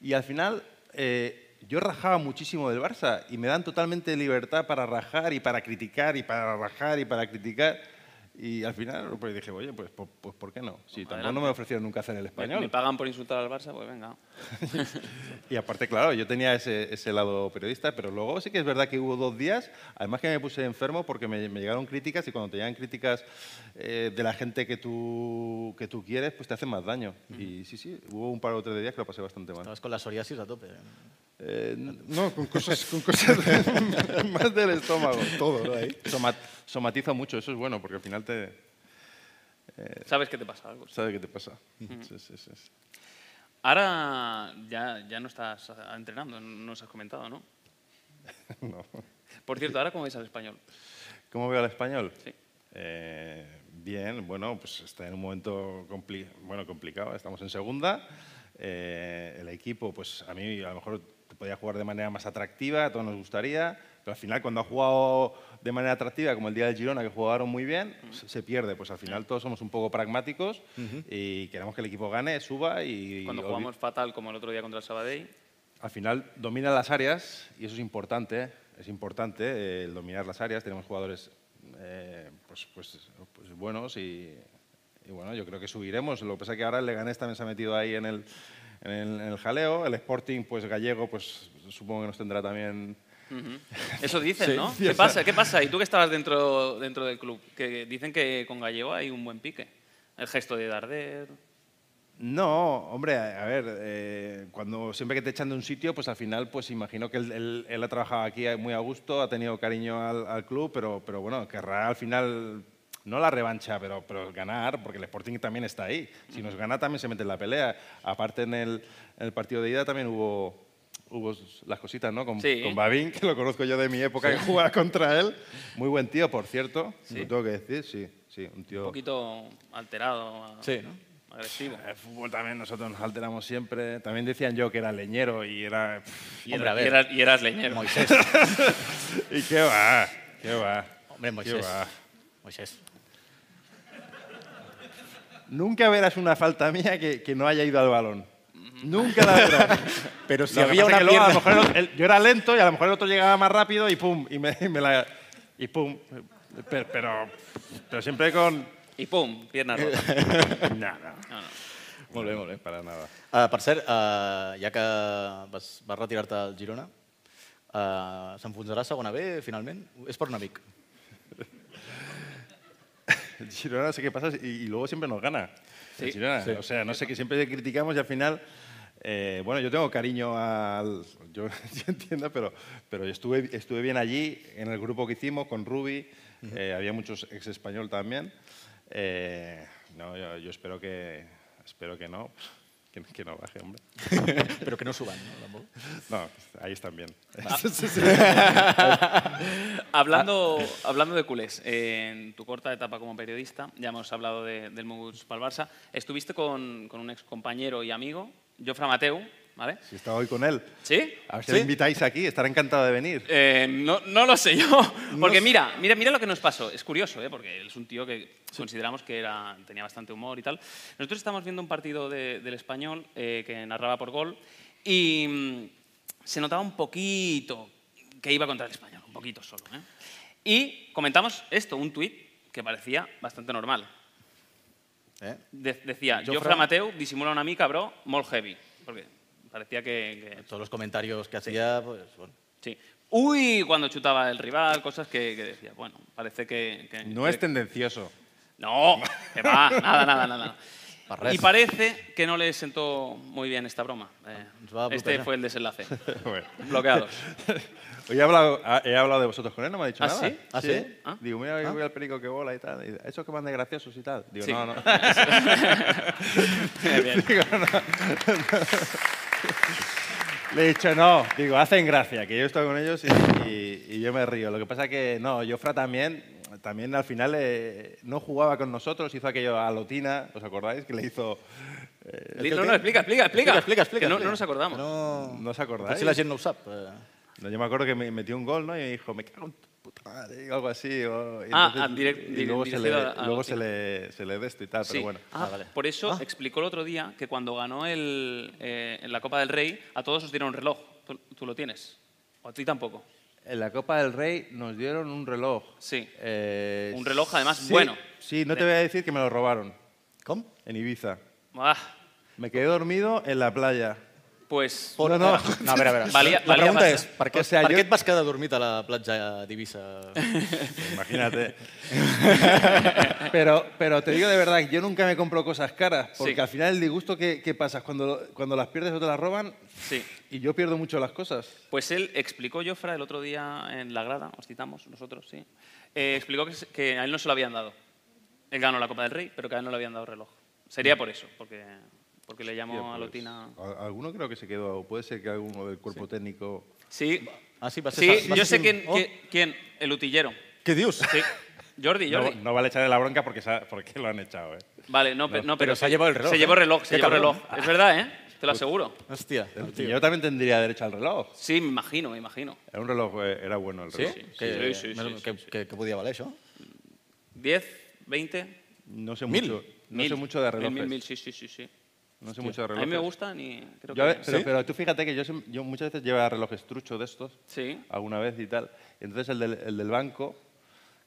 [SPEAKER 10] Y al final eh, yo rajaba muchísimo del Barça y me dan totalmente libertad para rajar y para criticar y para rajar y para criticar. Y al final pues dije, oye, pues, po- pues ¿por qué no? Si tampoco
[SPEAKER 3] adelante.
[SPEAKER 10] no me ofrecieron nunca hacer el
[SPEAKER 3] Me, me
[SPEAKER 10] español.
[SPEAKER 3] pagan por insultar al Barça, pues venga.
[SPEAKER 10] Y aparte, claro, yo tenía ese, ese lado periodista, pero luego sí que es verdad que hubo dos días, además que me puse enfermo porque me, me llegaron críticas y cuando te llegan críticas eh, de la gente que tú, que tú quieres, pues te hacen más daño. Y sí, sí, hubo un par o tres de días que lo pasé bastante mal.
[SPEAKER 2] Estabas con la psoriasis a tope.
[SPEAKER 10] Eh, no, con cosas, con cosas de- más del estómago.
[SPEAKER 1] Todo, ¿no? Ahí.
[SPEAKER 10] Somat- somatiza mucho, eso es bueno, porque al final te eh,
[SPEAKER 3] Sabes que te pasa algo.
[SPEAKER 10] sabes qué te pasa. Sí, sí, sí, <laughs> sí.
[SPEAKER 3] Ahora ya, ya no estás ah, entrenando, no nos has comentado, ¿no?
[SPEAKER 10] No.
[SPEAKER 3] Por cierto, ¿ahora cómo veis al español?
[SPEAKER 10] ¿Cómo veo al español?
[SPEAKER 3] Sí.
[SPEAKER 10] Eh, bien, bueno, pues está en un momento compli- bueno, complicado. Estamos en segunda. Eh, el equipo, pues a mí a lo mejor podía jugar de manera más atractiva, a todos nos gustaría. Pero al final, cuando ha jugado de manera atractiva, como el día del Girona, que jugaron muy bien, se, se pierde. Pues al final todos somos un poco pragmáticos y queremos que el equipo gane, suba y...
[SPEAKER 3] Cuando
[SPEAKER 10] obvi-
[SPEAKER 3] jugamos fatal, como el otro día contra el Sabadell,
[SPEAKER 10] al final domina las áreas y eso es importante, es importante eh, el dominar las áreas. Tenemos jugadores eh, pues, pues- pues buenos y, y bueno, yo creo que subiremos. Lo que pasa es que ahora el Leganés también se ha metido ahí en el, en el, en el jaleo. El Sporting, pues gallego, pues supongo que nos tendrá también...
[SPEAKER 3] <laughs> Eso dicen, ¿no? ¿Qué pasa? ¿Qué pasa? ¿Y tú que estabas dentro, dentro del club? Que dicen que con Gallego hay un buen pique. El gesto de Darder.
[SPEAKER 10] No, hombre, a a ver, eh, cuando siempre que te echan de un sitio, pues al final, pues imagino que él, él- él ha trabajado aquí muy a gusto, ha tenido cariño al, al club, pero, pero bueno, querrá al final, no la revancha, pero, pero ganar, porque el Sporting también está ahí. Si nos gana también se mete en la pelea. Aparte en el, en el partido de ida también hubo, hubo las cositas, ¿no? Con,
[SPEAKER 3] Sí.
[SPEAKER 10] con Babín, que lo conozco yo de mi época, que jugaba contra él. Muy buen tío, por cierto, lo tengo que decir, sí, sí, un tío...
[SPEAKER 3] Un poquito alterado, a-
[SPEAKER 2] Sí,
[SPEAKER 10] <laughs>
[SPEAKER 2] ¿no?
[SPEAKER 3] agresivo.
[SPEAKER 10] El Eh, fútbol también nosotros nos alteramos siempre. También decían yo que era leñero y era...
[SPEAKER 3] Y,
[SPEAKER 2] Hombre, a
[SPEAKER 3] era-
[SPEAKER 2] ver.
[SPEAKER 3] y eras, y eras leñero.
[SPEAKER 2] Moisés.
[SPEAKER 10] <laughs> ¿Y qué va? ¿Qué va?
[SPEAKER 2] Hombre,
[SPEAKER 10] ¿Qué
[SPEAKER 2] Moisés.
[SPEAKER 10] va?
[SPEAKER 2] Moisés.
[SPEAKER 10] Nunca verás una falta mía que, que no haya ido al balón. Nunca la verás.
[SPEAKER 2] <laughs> Pero
[SPEAKER 10] Lo que pasa es que luego, a lo mejor el- el- yo era lento y a lo mejor el otro llegaba más rápido y pum, y me, y me la... Y pum. Pero, pero, pero siempre con...
[SPEAKER 3] Y pum, pierna rota.
[SPEAKER 10] <laughs> Nada.
[SPEAKER 2] Molt bé, molt bé.
[SPEAKER 10] Para nada.
[SPEAKER 2] Uh, per cert, uh, ja que vas, vas retirar-te al Girona, uh, s'enfonsarà a segona B, finalment? És per un amic.
[SPEAKER 10] El <laughs> Girona no sé qué pasa y, y luego siempre nos gana.
[SPEAKER 3] Sí,
[SPEAKER 10] El Girona. O sea, no sé, que siempre le criticamos y al final... eh, bueno, yo tengo cariño al... Yo, <laughs> yo entiendo, pero, pero yo estuve, estuve bien allí en el grupo que hicimos con Rubi. eh, había muchos ex español también. Eh, no, yo, yo espero que... Espero que no. <laughs> Que, que no baje, hombre.
[SPEAKER 2] Però que no s'ho van, no? Tampoc.
[SPEAKER 10] No, ahí están bien.
[SPEAKER 3] Ah. <laughs>
[SPEAKER 10] <laughs>
[SPEAKER 3] hablando, hablando de culés, eh, en tu corta etapa como periodista, ya hemos hablado de- del Moguls para Barça, estuviste con, con un ex compañero y amigo, Jofra Mateu, ¿vale?
[SPEAKER 10] Si está hoy con él.
[SPEAKER 3] ¿Sí?
[SPEAKER 10] A ver si
[SPEAKER 2] ¿Sí?
[SPEAKER 10] le invitáis aquí, estará encantado de venir.
[SPEAKER 3] Eh, no, no lo sé yo. <laughs> Porque mira, mira, mira lo que nos pasó. Es curioso, ¿eh? porque él es un tío que consideramos que era, tenía bastante humor y tal. Nosotros estábamos viendo un partido de- del español eh, que narraba por gol y mm, se notaba un poquito que iba contra el español, un poquito solo. ¿eh? Y comentamos esto, un tuit que parecía bastante normal.
[SPEAKER 2] Eh?
[SPEAKER 3] De- decía,
[SPEAKER 2] Jofra-
[SPEAKER 3] Jofra Mateu disimula una mica, bro, molt heavy. Porque parecía que- que
[SPEAKER 2] Tots els comentaris que hacía, pues, bueno.
[SPEAKER 3] Sí. Uy, cuando chutaba el rival, cosas que, que decía. Bueno, parece que. que-
[SPEAKER 10] No
[SPEAKER 3] que-
[SPEAKER 10] es tendencioso.
[SPEAKER 3] No, que
[SPEAKER 10] <laughs>
[SPEAKER 3] va, nada, nada, nada.
[SPEAKER 2] Per res.
[SPEAKER 3] Y parece que no le sentó muy bien esta broma. Eh,
[SPEAKER 2] Nos va a
[SPEAKER 3] este
[SPEAKER 2] bloquear.
[SPEAKER 3] fue el desenlace.
[SPEAKER 10] <laughs> Bueno.
[SPEAKER 3] Bloqueados.
[SPEAKER 10] <laughs> Hoy he hablado, ha- he hablado de vosotros con él, no me ha dicho
[SPEAKER 3] ¿Ah,
[SPEAKER 10] nada.
[SPEAKER 3] sí?
[SPEAKER 2] ¿Ah, sí?
[SPEAKER 3] ¿Ah?
[SPEAKER 10] Digo, mira, que voy al perico que bola y tal. Y, Esos que van de graciosos y tal. Digo,
[SPEAKER 3] Sí.
[SPEAKER 10] no,
[SPEAKER 3] <laughs>
[SPEAKER 10] no.
[SPEAKER 3] Bien,
[SPEAKER 10] <laughs>
[SPEAKER 3] bien.
[SPEAKER 10] Le he dicho, no. Digo, hacen gracia, que yo estoy con ellos y, y- y yo me río. Lo que pasa que, no, Jofra también, también al final eh, no jugaba con nosotros, hizo aquello a Lotina, ¿os acordáis? Que le hizo,
[SPEAKER 3] Di- No, no, explica, explica, explica.
[SPEAKER 2] Explica, explica.
[SPEAKER 3] Que no,
[SPEAKER 2] explica.
[SPEAKER 3] no nos acordamos.
[SPEAKER 2] No,
[SPEAKER 10] No os acordáis.
[SPEAKER 2] Potser la gent no ho sap. eh.
[SPEAKER 10] No, yo me acuerdo que me metió un gol, ¿no? Y me dijo, me cago en tu puta madre, o algo así. o- y
[SPEAKER 3] Ah, ah, direct-
[SPEAKER 10] y luego se le,
[SPEAKER 3] dirigido a- a
[SPEAKER 10] luego
[SPEAKER 3] los
[SPEAKER 10] se le, se le de esto y tal,
[SPEAKER 3] Sí.
[SPEAKER 10] pero bueno.
[SPEAKER 3] Ah, Por eso explicó el otro día que cuando ganó el, eh, en la Copa del Rey, a todos os dieron un reloj. Tú, tú lo tienes. O a ti tampoco.
[SPEAKER 10] En la Copa del Rey nos dieron un reloj.
[SPEAKER 3] Sí.
[SPEAKER 10] Eh,
[SPEAKER 3] Un reloj, además,
[SPEAKER 10] sí,
[SPEAKER 3] bueno.
[SPEAKER 10] Sí, no te voy a decir que me lo robaron
[SPEAKER 2] Com?
[SPEAKER 10] en Ibiza.
[SPEAKER 3] Ah,
[SPEAKER 10] Me quedé dormido en la playa.
[SPEAKER 3] pues
[SPEAKER 10] No, no.
[SPEAKER 2] No, a veure,
[SPEAKER 3] <laughs>
[SPEAKER 2] a veure.
[SPEAKER 3] Valia-
[SPEAKER 2] la
[SPEAKER 3] valia
[SPEAKER 2] pregunta
[SPEAKER 3] massa.
[SPEAKER 2] és, per què,
[SPEAKER 10] O sea,
[SPEAKER 2] per
[SPEAKER 10] jo-
[SPEAKER 2] què et vas quedar dormit a la platja d'Ibissa?
[SPEAKER 3] <laughs>
[SPEAKER 2] eh?
[SPEAKER 10] <laughs> Imagínate. pero, pero te digo de verdad, yo nunca me compro cosas caras, porque
[SPEAKER 3] Sí.
[SPEAKER 10] al final el disgusto que, que pasas cuando, cuando las pierdes o te las roban,
[SPEAKER 3] sí.
[SPEAKER 10] y yo pierdo mucho las cosas.
[SPEAKER 3] Pues él explicó, Jofra, el otro día en la grada, os citamos nosotros, sí, eh, explicó que, se- que a él no se lo habían dado. Él ganó la Copa del Rey, pero que a él no le habían dado reloj. Sería por eso, porque, porque le llamó a Lotina.
[SPEAKER 10] A- Alguno creo que se quedó, o puede ser que alguno del cuerpo técnico.
[SPEAKER 3] Sí,
[SPEAKER 2] Ah, sí, va ser...
[SPEAKER 3] sí
[SPEAKER 2] sa- va
[SPEAKER 3] yo
[SPEAKER 2] ser
[SPEAKER 3] sé
[SPEAKER 2] un-
[SPEAKER 3] quién,
[SPEAKER 2] Oh,
[SPEAKER 3] qui- quién, el utillero.
[SPEAKER 2] Què dius?
[SPEAKER 3] Sí. Jordi,
[SPEAKER 10] No,
[SPEAKER 3] Jordi.
[SPEAKER 10] no vale echarle la bronca porque, sa- porque lo han echado. ¿eh?
[SPEAKER 3] Vale, no, pe- no, pero,
[SPEAKER 2] pero se ha llevado el reloj,
[SPEAKER 3] Se
[SPEAKER 2] ¿eh?
[SPEAKER 3] llevó reloj, se
[SPEAKER 2] Qué
[SPEAKER 3] llevó
[SPEAKER 2] cabrón.
[SPEAKER 3] reloj. Es verdad, ¿eh? Te lo aseguro.
[SPEAKER 2] Hòstia.
[SPEAKER 10] Yo también tendría derecho al reloj.
[SPEAKER 3] Sí, me imagino, me imagino.
[SPEAKER 10] Era un reloj, eh, era bueno el
[SPEAKER 2] Sí?
[SPEAKER 10] reloj.
[SPEAKER 2] que,
[SPEAKER 3] sí, sí,
[SPEAKER 2] més-
[SPEAKER 3] sí,
[SPEAKER 2] que, que, que podia valer, això?
[SPEAKER 3] 10, 20,
[SPEAKER 10] No sé
[SPEAKER 2] Mil.
[SPEAKER 10] mucho. No
[SPEAKER 3] mil.
[SPEAKER 10] sé mucho de
[SPEAKER 3] Mil,
[SPEAKER 10] relojes.
[SPEAKER 3] Mil, mil, sí, sí, sí. sí.
[SPEAKER 10] No sé mucho de
[SPEAKER 3] A
[SPEAKER 10] relojes.
[SPEAKER 3] mí me gustan y creo
[SPEAKER 10] Yo a ve-
[SPEAKER 3] que...
[SPEAKER 10] pero, pero tú fíjate que yo, sem- yo muchas veces llevo relojes truchos de estos,
[SPEAKER 3] Sí.
[SPEAKER 10] alguna vez y tal. Entonces el del, el del banco,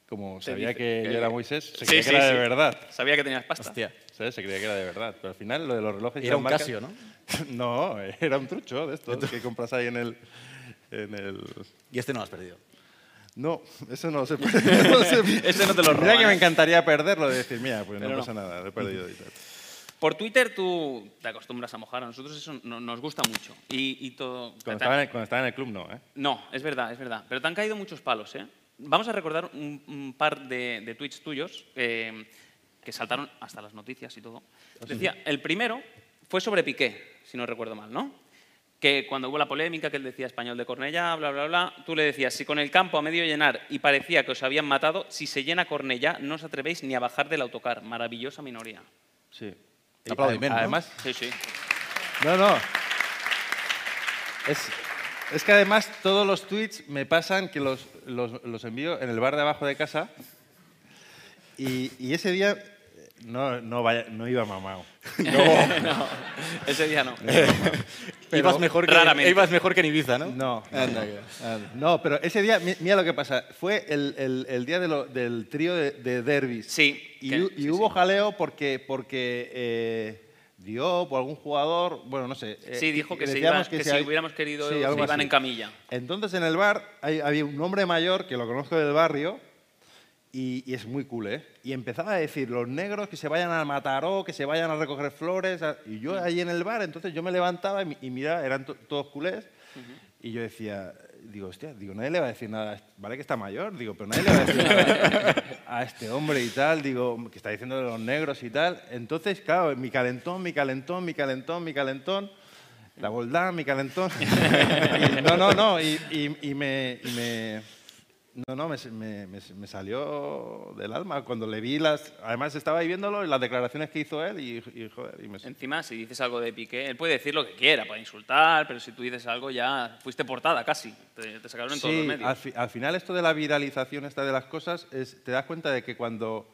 [SPEAKER 10] como sabía
[SPEAKER 3] dice
[SPEAKER 10] que,
[SPEAKER 3] que-
[SPEAKER 10] yo era Moisés, se
[SPEAKER 3] Sí,
[SPEAKER 10] creía
[SPEAKER 3] sí,
[SPEAKER 10] que era
[SPEAKER 3] sí.
[SPEAKER 10] de verdad.
[SPEAKER 3] Sabía que tenías pasta.
[SPEAKER 2] Hòstia.
[SPEAKER 10] ¿Sabes? Se creía que era de verdad. Pero al final lo de los relojes... y
[SPEAKER 2] Era
[SPEAKER 10] las
[SPEAKER 2] un
[SPEAKER 10] marcas-
[SPEAKER 2] Casio, ¿no?
[SPEAKER 10] <laughs> no, era un trucho de estos que compras ahí en el... En el...
[SPEAKER 2] I este no l'has perdido.
[SPEAKER 10] No, eso no
[SPEAKER 3] <laughs>
[SPEAKER 10] se puede. No se-
[SPEAKER 3] Ese no te lo
[SPEAKER 10] Mira que
[SPEAKER 3] roban,
[SPEAKER 10] me
[SPEAKER 3] ¿eh?
[SPEAKER 10] encantaría perderlo, de decir, mira, pues no,
[SPEAKER 3] Pero no.
[SPEAKER 10] pasa nada, lo he perdido
[SPEAKER 3] <laughs>
[SPEAKER 10] y tal.
[SPEAKER 3] Por Twitter tú te acostumbras a mojar. A nosotros eso no- nos gusta mucho. Y, y todo...
[SPEAKER 10] Cuando estaba, en el, cuando estaba en el club, no, ¿eh?
[SPEAKER 3] No, es verdad, es verdad. Pero te han caído muchos palos, ¿eh? Vamos a recordar un, un par de, de tweets tuyos eh, que saltaron hasta las noticias y todo. Decía, el primero fue sobre Piqué, si no recuerdo mal, ¿no? Que cuando hubo la polémica que él decía español de Cornellá, bla, bla, bla, tú le decías, si con el campo a medio llenar y parecía que os habían matado, si se llena Cornellá no os atrevéis ni a bajar del autocar. Maravillosa minoría.
[SPEAKER 10] Sí.
[SPEAKER 2] Aplaudiment, no?
[SPEAKER 10] Además,
[SPEAKER 3] Sí, sí.
[SPEAKER 10] No, no. Es, es que además todos los tweets me pasan que los, los- los envío en el bar de abajo de casa y, y ese día eh, no, no, vaya- no iba mamado.
[SPEAKER 3] <laughs> No, ese día
[SPEAKER 10] <laughs>
[SPEAKER 3] no.
[SPEAKER 2] Però, Ibas mejor que,
[SPEAKER 3] raramente.
[SPEAKER 2] Ibas mejor que en Ibiza, no?
[SPEAKER 10] No.
[SPEAKER 2] Anda, que- anda.
[SPEAKER 10] No, pero ese día, mi- mira lo que pasa, fue el, el- el día de lo- del trío de, de derbis.
[SPEAKER 3] Sí,
[SPEAKER 10] Y,
[SPEAKER 3] que-
[SPEAKER 10] hu- y
[SPEAKER 3] sí,
[SPEAKER 10] hubo
[SPEAKER 3] sí.
[SPEAKER 10] jaleo porque, porque eh, Diop o algún jugador, bueno, no sé. eh,
[SPEAKER 3] Sí, dijo que se
[SPEAKER 10] decíamos
[SPEAKER 3] iba- que si hubiéramos querido, se
[SPEAKER 10] algo
[SPEAKER 3] iban en camilla.
[SPEAKER 10] Entonces en el bar hay- había un hombre mayor que lo conozco del barrio y, y es muy cool, ¿eh? Y empezaba a decir, los negros que se vayan a Mataró, que se vayan a recoger flores. a- Y
[SPEAKER 3] Mm.
[SPEAKER 10] yo ahí en el bar, entonces yo me levantaba y, mi- y miraba, eran to- todos culés. Y yo decía, digo, hostia, digo, nadie le va a decir nada. Vale que está mayor, digo, pero nadie le va a decir nada a este hombre y tal, digo, que está diciendo de los negros y tal. Entonces, claro, mi calentón, mi calentón, mi calentón, mi calentón. La boldad, mi calentón. <laughs> Y no, no, no. Y, y- y me, y me- No, no, me, me- me- me salió del alma cuando le vi las. Además, estaba ahí viéndolo y las declaraciones que hizo él y, y, joder, y me-
[SPEAKER 3] Encima, si dices algo de Piqué, él puede decir lo que quiera para insultar, pero si tú dices algo ya fuiste portada casi. Te, te sacaron en todos los
[SPEAKER 10] Sí,
[SPEAKER 3] medios.
[SPEAKER 10] al, fi- al final esto de la viralización esta de las cosas, es, te das cuenta de que cuando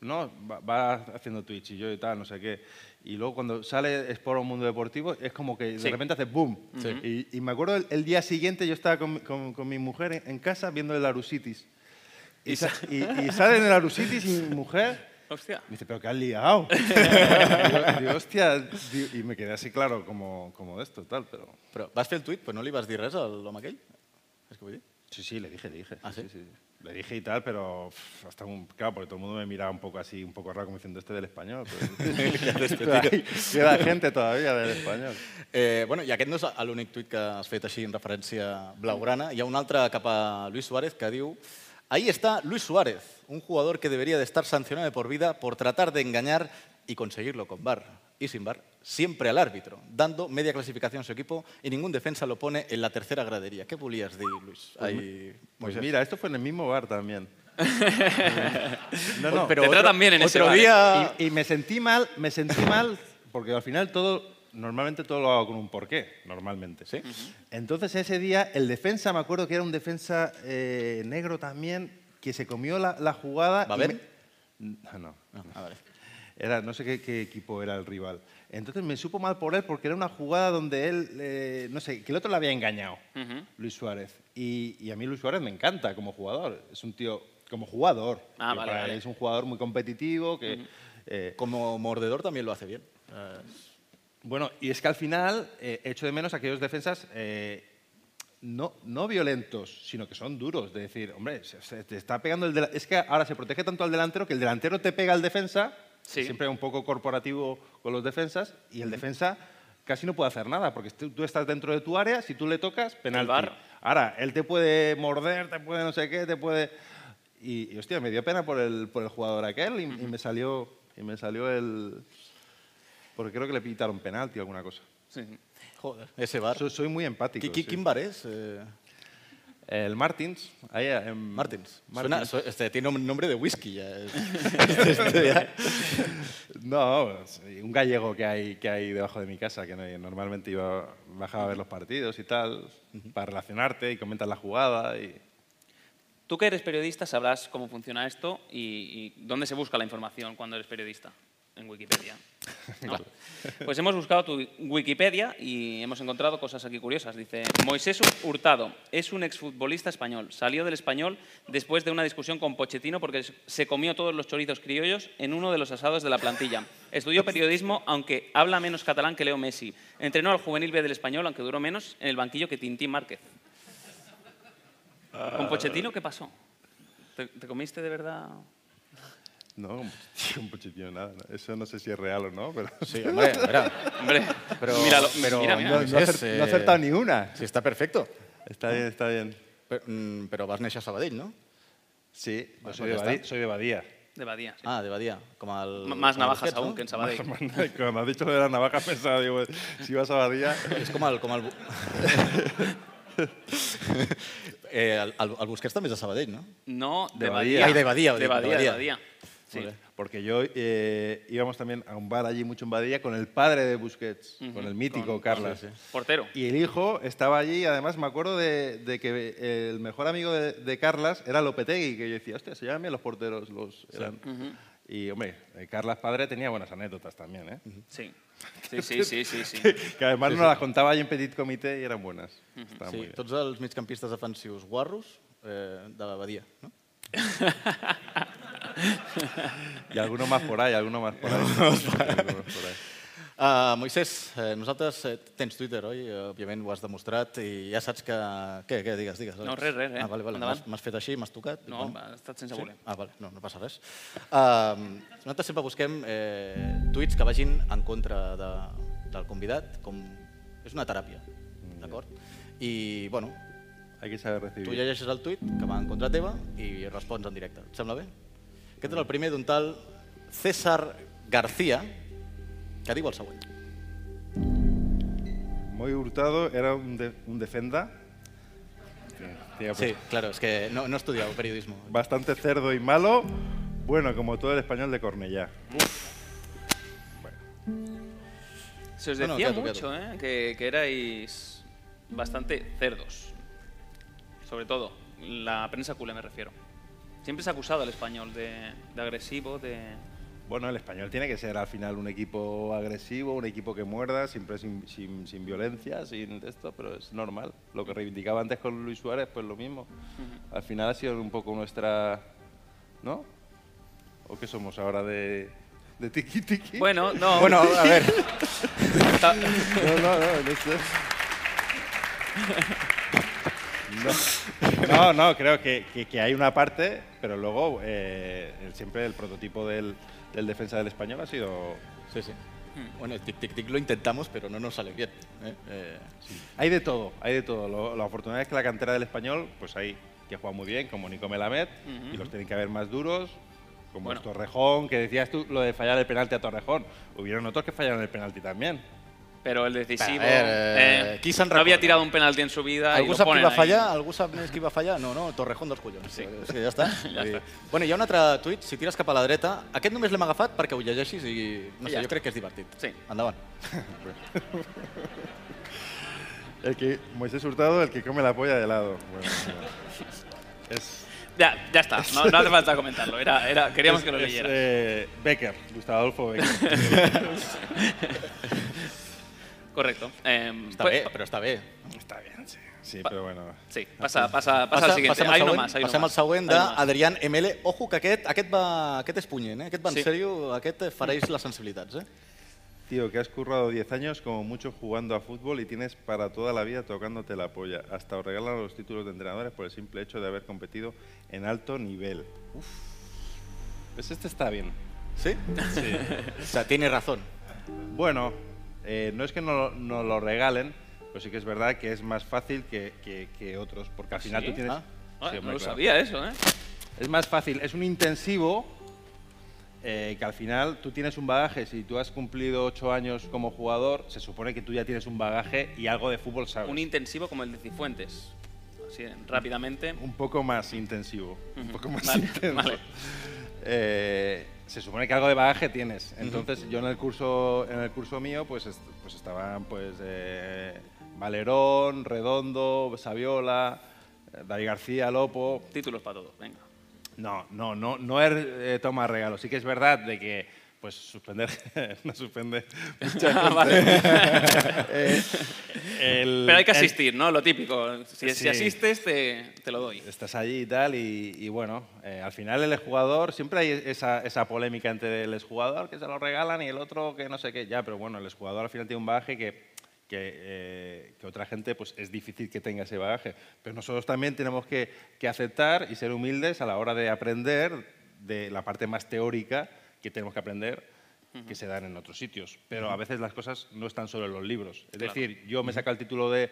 [SPEAKER 10] no va, va haciendo Twitch y yo y tal, no sé qué, y luego cuando sale Sport o Mundo Deportivo, es como que de
[SPEAKER 3] Sí.
[SPEAKER 10] repente hace boom. Y, y me acuerdo el, el día siguiente yo estaba con, mi- con- con mi mujer en, en casa viendo el Arusitis. Y, sa- y, y sale en el Arusitis y mi mujer...
[SPEAKER 3] Hostia.
[SPEAKER 10] Me dice, pero ¿qué has liado? <laughs> digo, digo, hostia, digo, y me quedé así claro como, como de esto, tal, pero...
[SPEAKER 2] Però vas fer el tuit, però no li vas dir res a l'home aquell? És que vull dir?
[SPEAKER 10] Sí, sí, le dije, le dije.
[SPEAKER 2] ¿Ah, sí?
[SPEAKER 10] Le dije y tal, pero pff, hasta un... Claro, porque todo el mundo me miraba un poco así, un poco raro, como diciendo este del español.
[SPEAKER 2] <laughs>
[SPEAKER 10] Pero... <laughs> pero ahí queda gente todavía del español.
[SPEAKER 2] Eh, bueno, I aquest no és l'únic tuit que has fet així en referència blaugrana. Hi ha un altre cap a Luis Suárez que diu Ahí está Luis Suárez, un jugador que debería de estar sancionado de por vida por tratar de engañar y conseguirlo con VAR y sin VAR, siempre al árbitro, dando media clasificación a su equipo y ningún defensa lo pone en la tercera gradería. ¿Qué pulías de Luis? Ahí,
[SPEAKER 10] Pues
[SPEAKER 2] Moisés.
[SPEAKER 10] mira, esto fue en el mismo bar también. no,
[SPEAKER 2] Pero
[SPEAKER 3] te
[SPEAKER 2] otro-
[SPEAKER 3] tratan bien en ese
[SPEAKER 2] otro
[SPEAKER 3] bar, ¿eh?
[SPEAKER 2] día...
[SPEAKER 10] Y, y me sentí mal, me sentí mal porque al final todo, normalmente todo lo hago con un porqué, normalmente. ¿sí? Entonces ese día el defensa, me acuerdo que era un defensa eh, negro también, que se comió la, la jugada. y
[SPEAKER 2] ¿Babel?
[SPEAKER 10] me- No, no.
[SPEAKER 3] Ah,
[SPEAKER 10] Era, no sé qué, qué equipo era el rival. Entonces me supo mal por él porque era una jugada donde él, eh, no sé, que el otro le había engañado, Luis Suárez. Y, y a mí Luis Suárez me encanta como jugador. Es un tío, como jugador.
[SPEAKER 3] Ah,
[SPEAKER 10] que
[SPEAKER 3] vale,
[SPEAKER 10] para
[SPEAKER 3] vale.
[SPEAKER 10] él Es un jugador muy competitivo, que... eh,
[SPEAKER 2] Como mordedor también lo hace bien.
[SPEAKER 3] Ah.
[SPEAKER 10] bueno, y es que al final eh, echo de menos aquellos defensas eh, no, no violentos, sino que son duros. De decir, hombre, se- se te está pegando el dela- Es que ahora se protege tanto al delantero que el delantero te pega al defensa,
[SPEAKER 3] Sí.
[SPEAKER 10] siempre un poco corporativo con los defensas, y el defensa casi no puede hacer nada, porque tú, tú estás dentro de tu área, si tú le tocas, penalti.
[SPEAKER 3] VAR.
[SPEAKER 10] Ahora, él te puede morder, te puede no sé qué, te puede... Y, y, hostia, me dio pena por el, por el jugador aquel y, y me salió, y me salió el... Porque creo que le pitaron penalti o alguna cosa.
[SPEAKER 2] Joder, ese bar.
[SPEAKER 10] Soy, soy muy empático.
[SPEAKER 2] Qui- qui-
[SPEAKER 10] sí.
[SPEAKER 2] ¿Quin bar es? Eh,
[SPEAKER 10] El Martins. ahí, em,
[SPEAKER 2] Martins. Suena-
[SPEAKER 10] Martins.
[SPEAKER 2] su- este, tiene un nombre de whisky ya. es- este, ya.
[SPEAKER 10] <laughs> No, sí, un gallego que hay, que hay debajo de mi casa, que no- normalmente iba, bajaba a ver los partidos y tal, para relacionarte y comentas la jugada. Y...
[SPEAKER 3] Tú que eres periodista sabrás cómo funciona esto y, y dónde se busca la información cuando eres periodista. En Wikipedia. ¿no? Pues hemos buscado tu Wikipedia y hemos encontrado cosas aquí curiosas. Dice, Moisés Hurtado es un exfutbolista español. Salió del español después de una discusión con Pochettino porque se comió todos los chorizos criollos en uno de los asados de la plantilla. Estudió periodismo, aunque habla menos catalán que Leo Messi. Entrenó al juvenil B del español, aunque duró menos, en el banquillo que Tintín Márquez. ¿Con Pochettino qué pasó? ¿Te, te comiste de verdad?
[SPEAKER 10] No, <laughs> un pochetín, un pochetín, nada. ¿no? Eso no sé si es real o no, pero... <laughs>
[SPEAKER 2] Sí, hombre, mira,
[SPEAKER 3] Hombre,
[SPEAKER 2] Pero-
[SPEAKER 3] míralo,
[SPEAKER 2] pero
[SPEAKER 3] mira, mira.
[SPEAKER 10] No, no
[SPEAKER 2] es,
[SPEAKER 10] acer- no he
[SPEAKER 2] eh,
[SPEAKER 10] acertado ni una.
[SPEAKER 2] sí, està perfecto.
[SPEAKER 10] Está bien, está bien.
[SPEAKER 2] Però, mm, però vas néixer a Sabadell, no?
[SPEAKER 10] Sí, yo
[SPEAKER 2] Bueno,
[SPEAKER 10] soy,
[SPEAKER 2] pues ya
[SPEAKER 10] de Badí-
[SPEAKER 2] está.
[SPEAKER 10] soy de Badía.
[SPEAKER 3] De Badía. sí.
[SPEAKER 2] Ah, de Badia, com el...
[SPEAKER 3] M- Más
[SPEAKER 2] com el
[SPEAKER 3] navajas
[SPEAKER 2] Busquets,
[SPEAKER 3] aún
[SPEAKER 2] no?
[SPEAKER 3] que en
[SPEAKER 10] <laughs>
[SPEAKER 3] Sabadell.
[SPEAKER 10] Cuando has dicho lo de las navajas pensaba, digo, si vas a Badía...
[SPEAKER 2] És com el... Com el... Bu-
[SPEAKER 10] <laughs>
[SPEAKER 2] <laughs> eh, el, el, el Busquets també és de Sabadell, no?
[SPEAKER 3] No, de,
[SPEAKER 10] De
[SPEAKER 3] Badía.
[SPEAKER 10] Badía.
[SPEAKER 2] Ai, de Badía, ho
[SPEAKER 3] De
[SPEAKER 2] dic, de
[SPEAKER 3] Badía, de
[SPEAKER 2] Badía.
[SPEAKER 3] Badía. Sí.
[SPEAKER 2] Molt bé.
[SPEAKER 10] Porque yo eh, íbamos también a un bar allí mucho en Badía con el padre de Busquets, con el mítico Carlos.
[SPEAKER 3] Portero.
[SPEAKER 10] Y el hijo estaba allí, además me acuerdo de, de que el mejor amigo de, de Carlas era Lopetegui, que yo decía, hostia, se llaman bien los porteros. Los eran". Y hombre, eh, Carlas padre tenía buenas anécdotas también, ¿eh? <laughs>
[SPEAKER 3] Sí. Sí, sí, sí, sí, sí.
[SPEAKER 10] que además nos las contaba allí en Petit Comité y eran buenas. Estaba
[SPEAKER 2] Sí,
[SPEAKER 10] muy bien.
[SPEAKER 2] tots els migcampistes defensius guarros eh, de la Badia, no?
[SPEAKER 10] <laughs> Y alguno más por ahí, alguno más por ahí. Alguno más por ahí.
[SPEAKER 2] Uh, Moisés, eh, nosaltres eh, tens Twitter, oi? Eh, Òbviament ho has demostrat i ja saps que... Què, què, digues, digues. Àlex.
[SPEAKER 3] No, res, res, eh?
[SPEAKER 2] Ah, vale, vale.
[SPEAKER 3] Endavant.
[SPEAKER 2] M'has- M'has fet així, m'has tocat.
[SPEAKER 3] No, va, ha estat sense voler.
[SPEAKER 2] Ah, vale, no, no passa res. Uh, nosaltres sempre busquem eh, tuits que vagin en contra de, del convidat, com... És una teràpia, d'acord? I, bueno,
[SPEAKER 10] Hay que saber recibir.
[SPEAKER 2] tu llegeixes el tuit que va en contra teva i respons en directe. Et sembla bé? Aquest era el primer d'un tal César García, que diu el següent.
[SPEAKER 10] Moy Hurtado era un, de- un defenda. Tía, pues,
[SPEAKER 2] Sí, claro, es que no, no he estudiado periodismo.
[SPEAKER 10] Bastante cerdo y malo. Bueno, como todo el español de Cornellá.
[SPEAKER 3] Se os
[SPEAKER 2] No, no,
[SPEAKER 3] decía
[SPEAKER 2] quieto,
[SPEAKER 3] mucho, ¿eh? Que, que erais bastante cerdos. Sobre todo, la prensa culé me refiero. Siempre se ha acusado al español de, de agresivo, de...
[SPEAKER 10] Bueno, el español tiene que ser al final un equipo agresivo, un equipo que muerda, siempre sin, sin- sin violencia, sin de esto, pero es normal. Lo que reivindicaba antes con Luis Suárez, pues lo mismo. Al final ha sido un poco nuestra. ¿No? ¿O qué somos ahora de, de tiki tiki?
[SPEAKER 3] Bueno, no.
[SPEAKER 2] Bueno, a ver,
[SPEAKER 3] ta-
[SPEAKER 10] No, no, no, no sé. No, no, no, creo que, que- que hay una parte, pero luego eh, el- siempre el prototipo del, del defensa del español ha sido...
[SPEAKER 2] sí, sí. Bueno, el tic-tic-tic lo intentamos, pero no nos sale bien. ¿eh? Eh,
[SPEAKER 10] Hay de todo, hay de todo. Lo, la oportunidad es que la cantera del español, pues hay que juega muy bien, como Nico Melamed,
[SPEAKER 9] Mm-hmm.
[SPEAKER 10] y los tienen que haber más duros, como
[SPEAKER 3] Bueno.
[SPEAKER 10] es Torrejón, que decías tú lo de fallar el penalti a Torrejón. Hubieron otros que fallaron el penalti también.
[SPEAKER 3] Pero el decisivo...
[SPEAKER 2] A ver, eh, qui se'n
[SPEAKER 3] no había
[SPEAKER 2] recorda?
[SPEAKER 3] tirado un penalti en su vida y
[SPEAKER 2] Algú
[SPEAKER 3] lo
[SPEAKER 2] sap qui
[SPEAKER 3] ponen
[SPEAKER 2] va
[SPEAKER 3] ahí.
[SPEAKER 2] fallar? Algú sap més qui va fallar? No, no, Torrejón dels collons. Sí. És que ja
[SPEAKER 3] <laughs>
[SPEAKER 2] està. ja està. Bueno, hi ha un altre tuit, si tires cap a la dreta. Aquest només l'hem agafat perquè ho llegeixis i...
[SPEAKER 3] I
[SPEAKER 2] No sé,
[SPEAKER 3] ja
[SPEAKER 2] jo
[SPEAKER 3] està.
[SPEAKER 2] crec que és divertit.
[SPEAKER 3] Sí.
[SPEAKER 2] Endavant.
[SPEAKER 10] <laughs> El que, Moisés Hurtado, el que come la polla de helado. <laughs> Bueno, es,
[SPEAKER 3] Ya, ya está, no, no hace falta comentarlo. Era, era, queríamos
[SPEAKER 10] es-
[SPEAKER 3] que lo
[SPEAKER 10] es,
[SPEAKER 3] leyera.
[SPEAKER 10] eh, Becker, Gustavo Adolfo
[SPEAKER 3] <laughs>
[SPEAKER 10] Becker.
[SPEAKER 3] Correcto. Em,
[SPEAKER 2] Està
[SPEAKER 3] pues-
[SPEAKER 2] bé, però està bé.
[SPEAKER 10] Está bien, sí. Sí, pero bueno. Ah, pues,
[SPEAKER 3] Sí, pasa, pasa, pasa, Ah, al siguiente.
[SPEAKER 2] Passem al
[SPEAKER 3] hay uno
[SPEAKER 2] següent,
[SPEAKER 3] más, hay uno
[SPEAKER 2] passem
[SPEAKER 3] más.
[SPEAKER 2] al següent
[SPEAKER 3] Hay uno más.
[SPEAKER 2] d'Adrián ML. Ojo, que aquest, aquest, va, aquest és punyent, eh? aquest va en
[SPEAKER 3] Sí.
[SPEAKER 2] sèrio, aquest fareix les sensibilitats. Eh?
[SPEAKER 10] Tío, que has currado 10 años como mucho jugando a fútbol y tienes para toda la vida tocándote la polla. Hasta os regalan los títulos de entrenadores por el simple hecho de haber competido en alto nivel. Uf. Pues este está bien.
[SPEAKER 2] Sí?
[SPEAKER 10] <laughs>
[SPEAKER 2] Sí. o sea, tiene razón.
[SPEAKER 10] Bueno, eh, no es que no, no lo regalen, pero sí que es verdad que es más fácil que, que- que otros, porque al final
[SPEAKER 3] sí?
[SPEAKER 10] tú tienes...
[SPEAKER 2] Ah.
[SPEAKER 3] Ah,
[SPEAKER 10] Sí, hombre,
[SPEAKER 3] no lo
[SPEAKER 10] claro.
[SPEAKER 3] sabía eso, ¿eh?
[SPEAKER 10] Es más fácil, es un intensivo eh, que al final tú tienes un bagaje, si tú has cumplido ocho años como jugador, se supone que tú ya tienes un bagaje y algo de fútbol sabes.
[SPEAKER 3] Un intensivo como el de Cifuentes. Así, rápidamente.
[SPEAKER 10] Un poco más intensivo. Un poco más
[SPEAKER 3] Vale,
[SPEAKER 10] intenso.
[SPEAKER 3] vale.
[SPEAKER 10] Eh, se supone que algo de bagaje tienes. Entonces, yo en el curso, en el curso mío, pues, est- pues estaban pues eh, Valerón, Redondo, Saviola, eh, David García, Lopo.
[SPEAKER 3] Títulos para todos, venga.
[SPEAKER 10] No, no, no, no es eh, toma regalo. Sí que es verdad de que pues suspender <laughs> no suspende
[SPEAKER 3] <laughs> Ah,
[SPEAKER 10] mucha gente. <laughs> Eh, <laughs> el-
[SPEAKER 3] Pero hay que
[SPEAKER 10] el-
[SPEAKER 3] asistir, ¿no? Lo típico. Si, si
[SPEAKER 10] Sí.
[SPEAKER 3] asistes, te, te lo doy.
[SPEAKER 10] estás allí y tal, y, y bueno, eh, al final el jugador, siempre hay esa, esa polémica entre el jugador que se lo regalan y el otro que no sé qué, ya, pero bueno, el jugador al final tiene un bagaje que, que, eh, que otra gente pues es difícil que tenga ese bagaje, pero nosotros también tenemos que, que aceptar y ser humildes a la hora de aprender de la parte más teórica que tenemos que aprender que se dan en otros sitios. Pero a veces las cosas no están solo en los libros. Es decir, yo me saco el título de,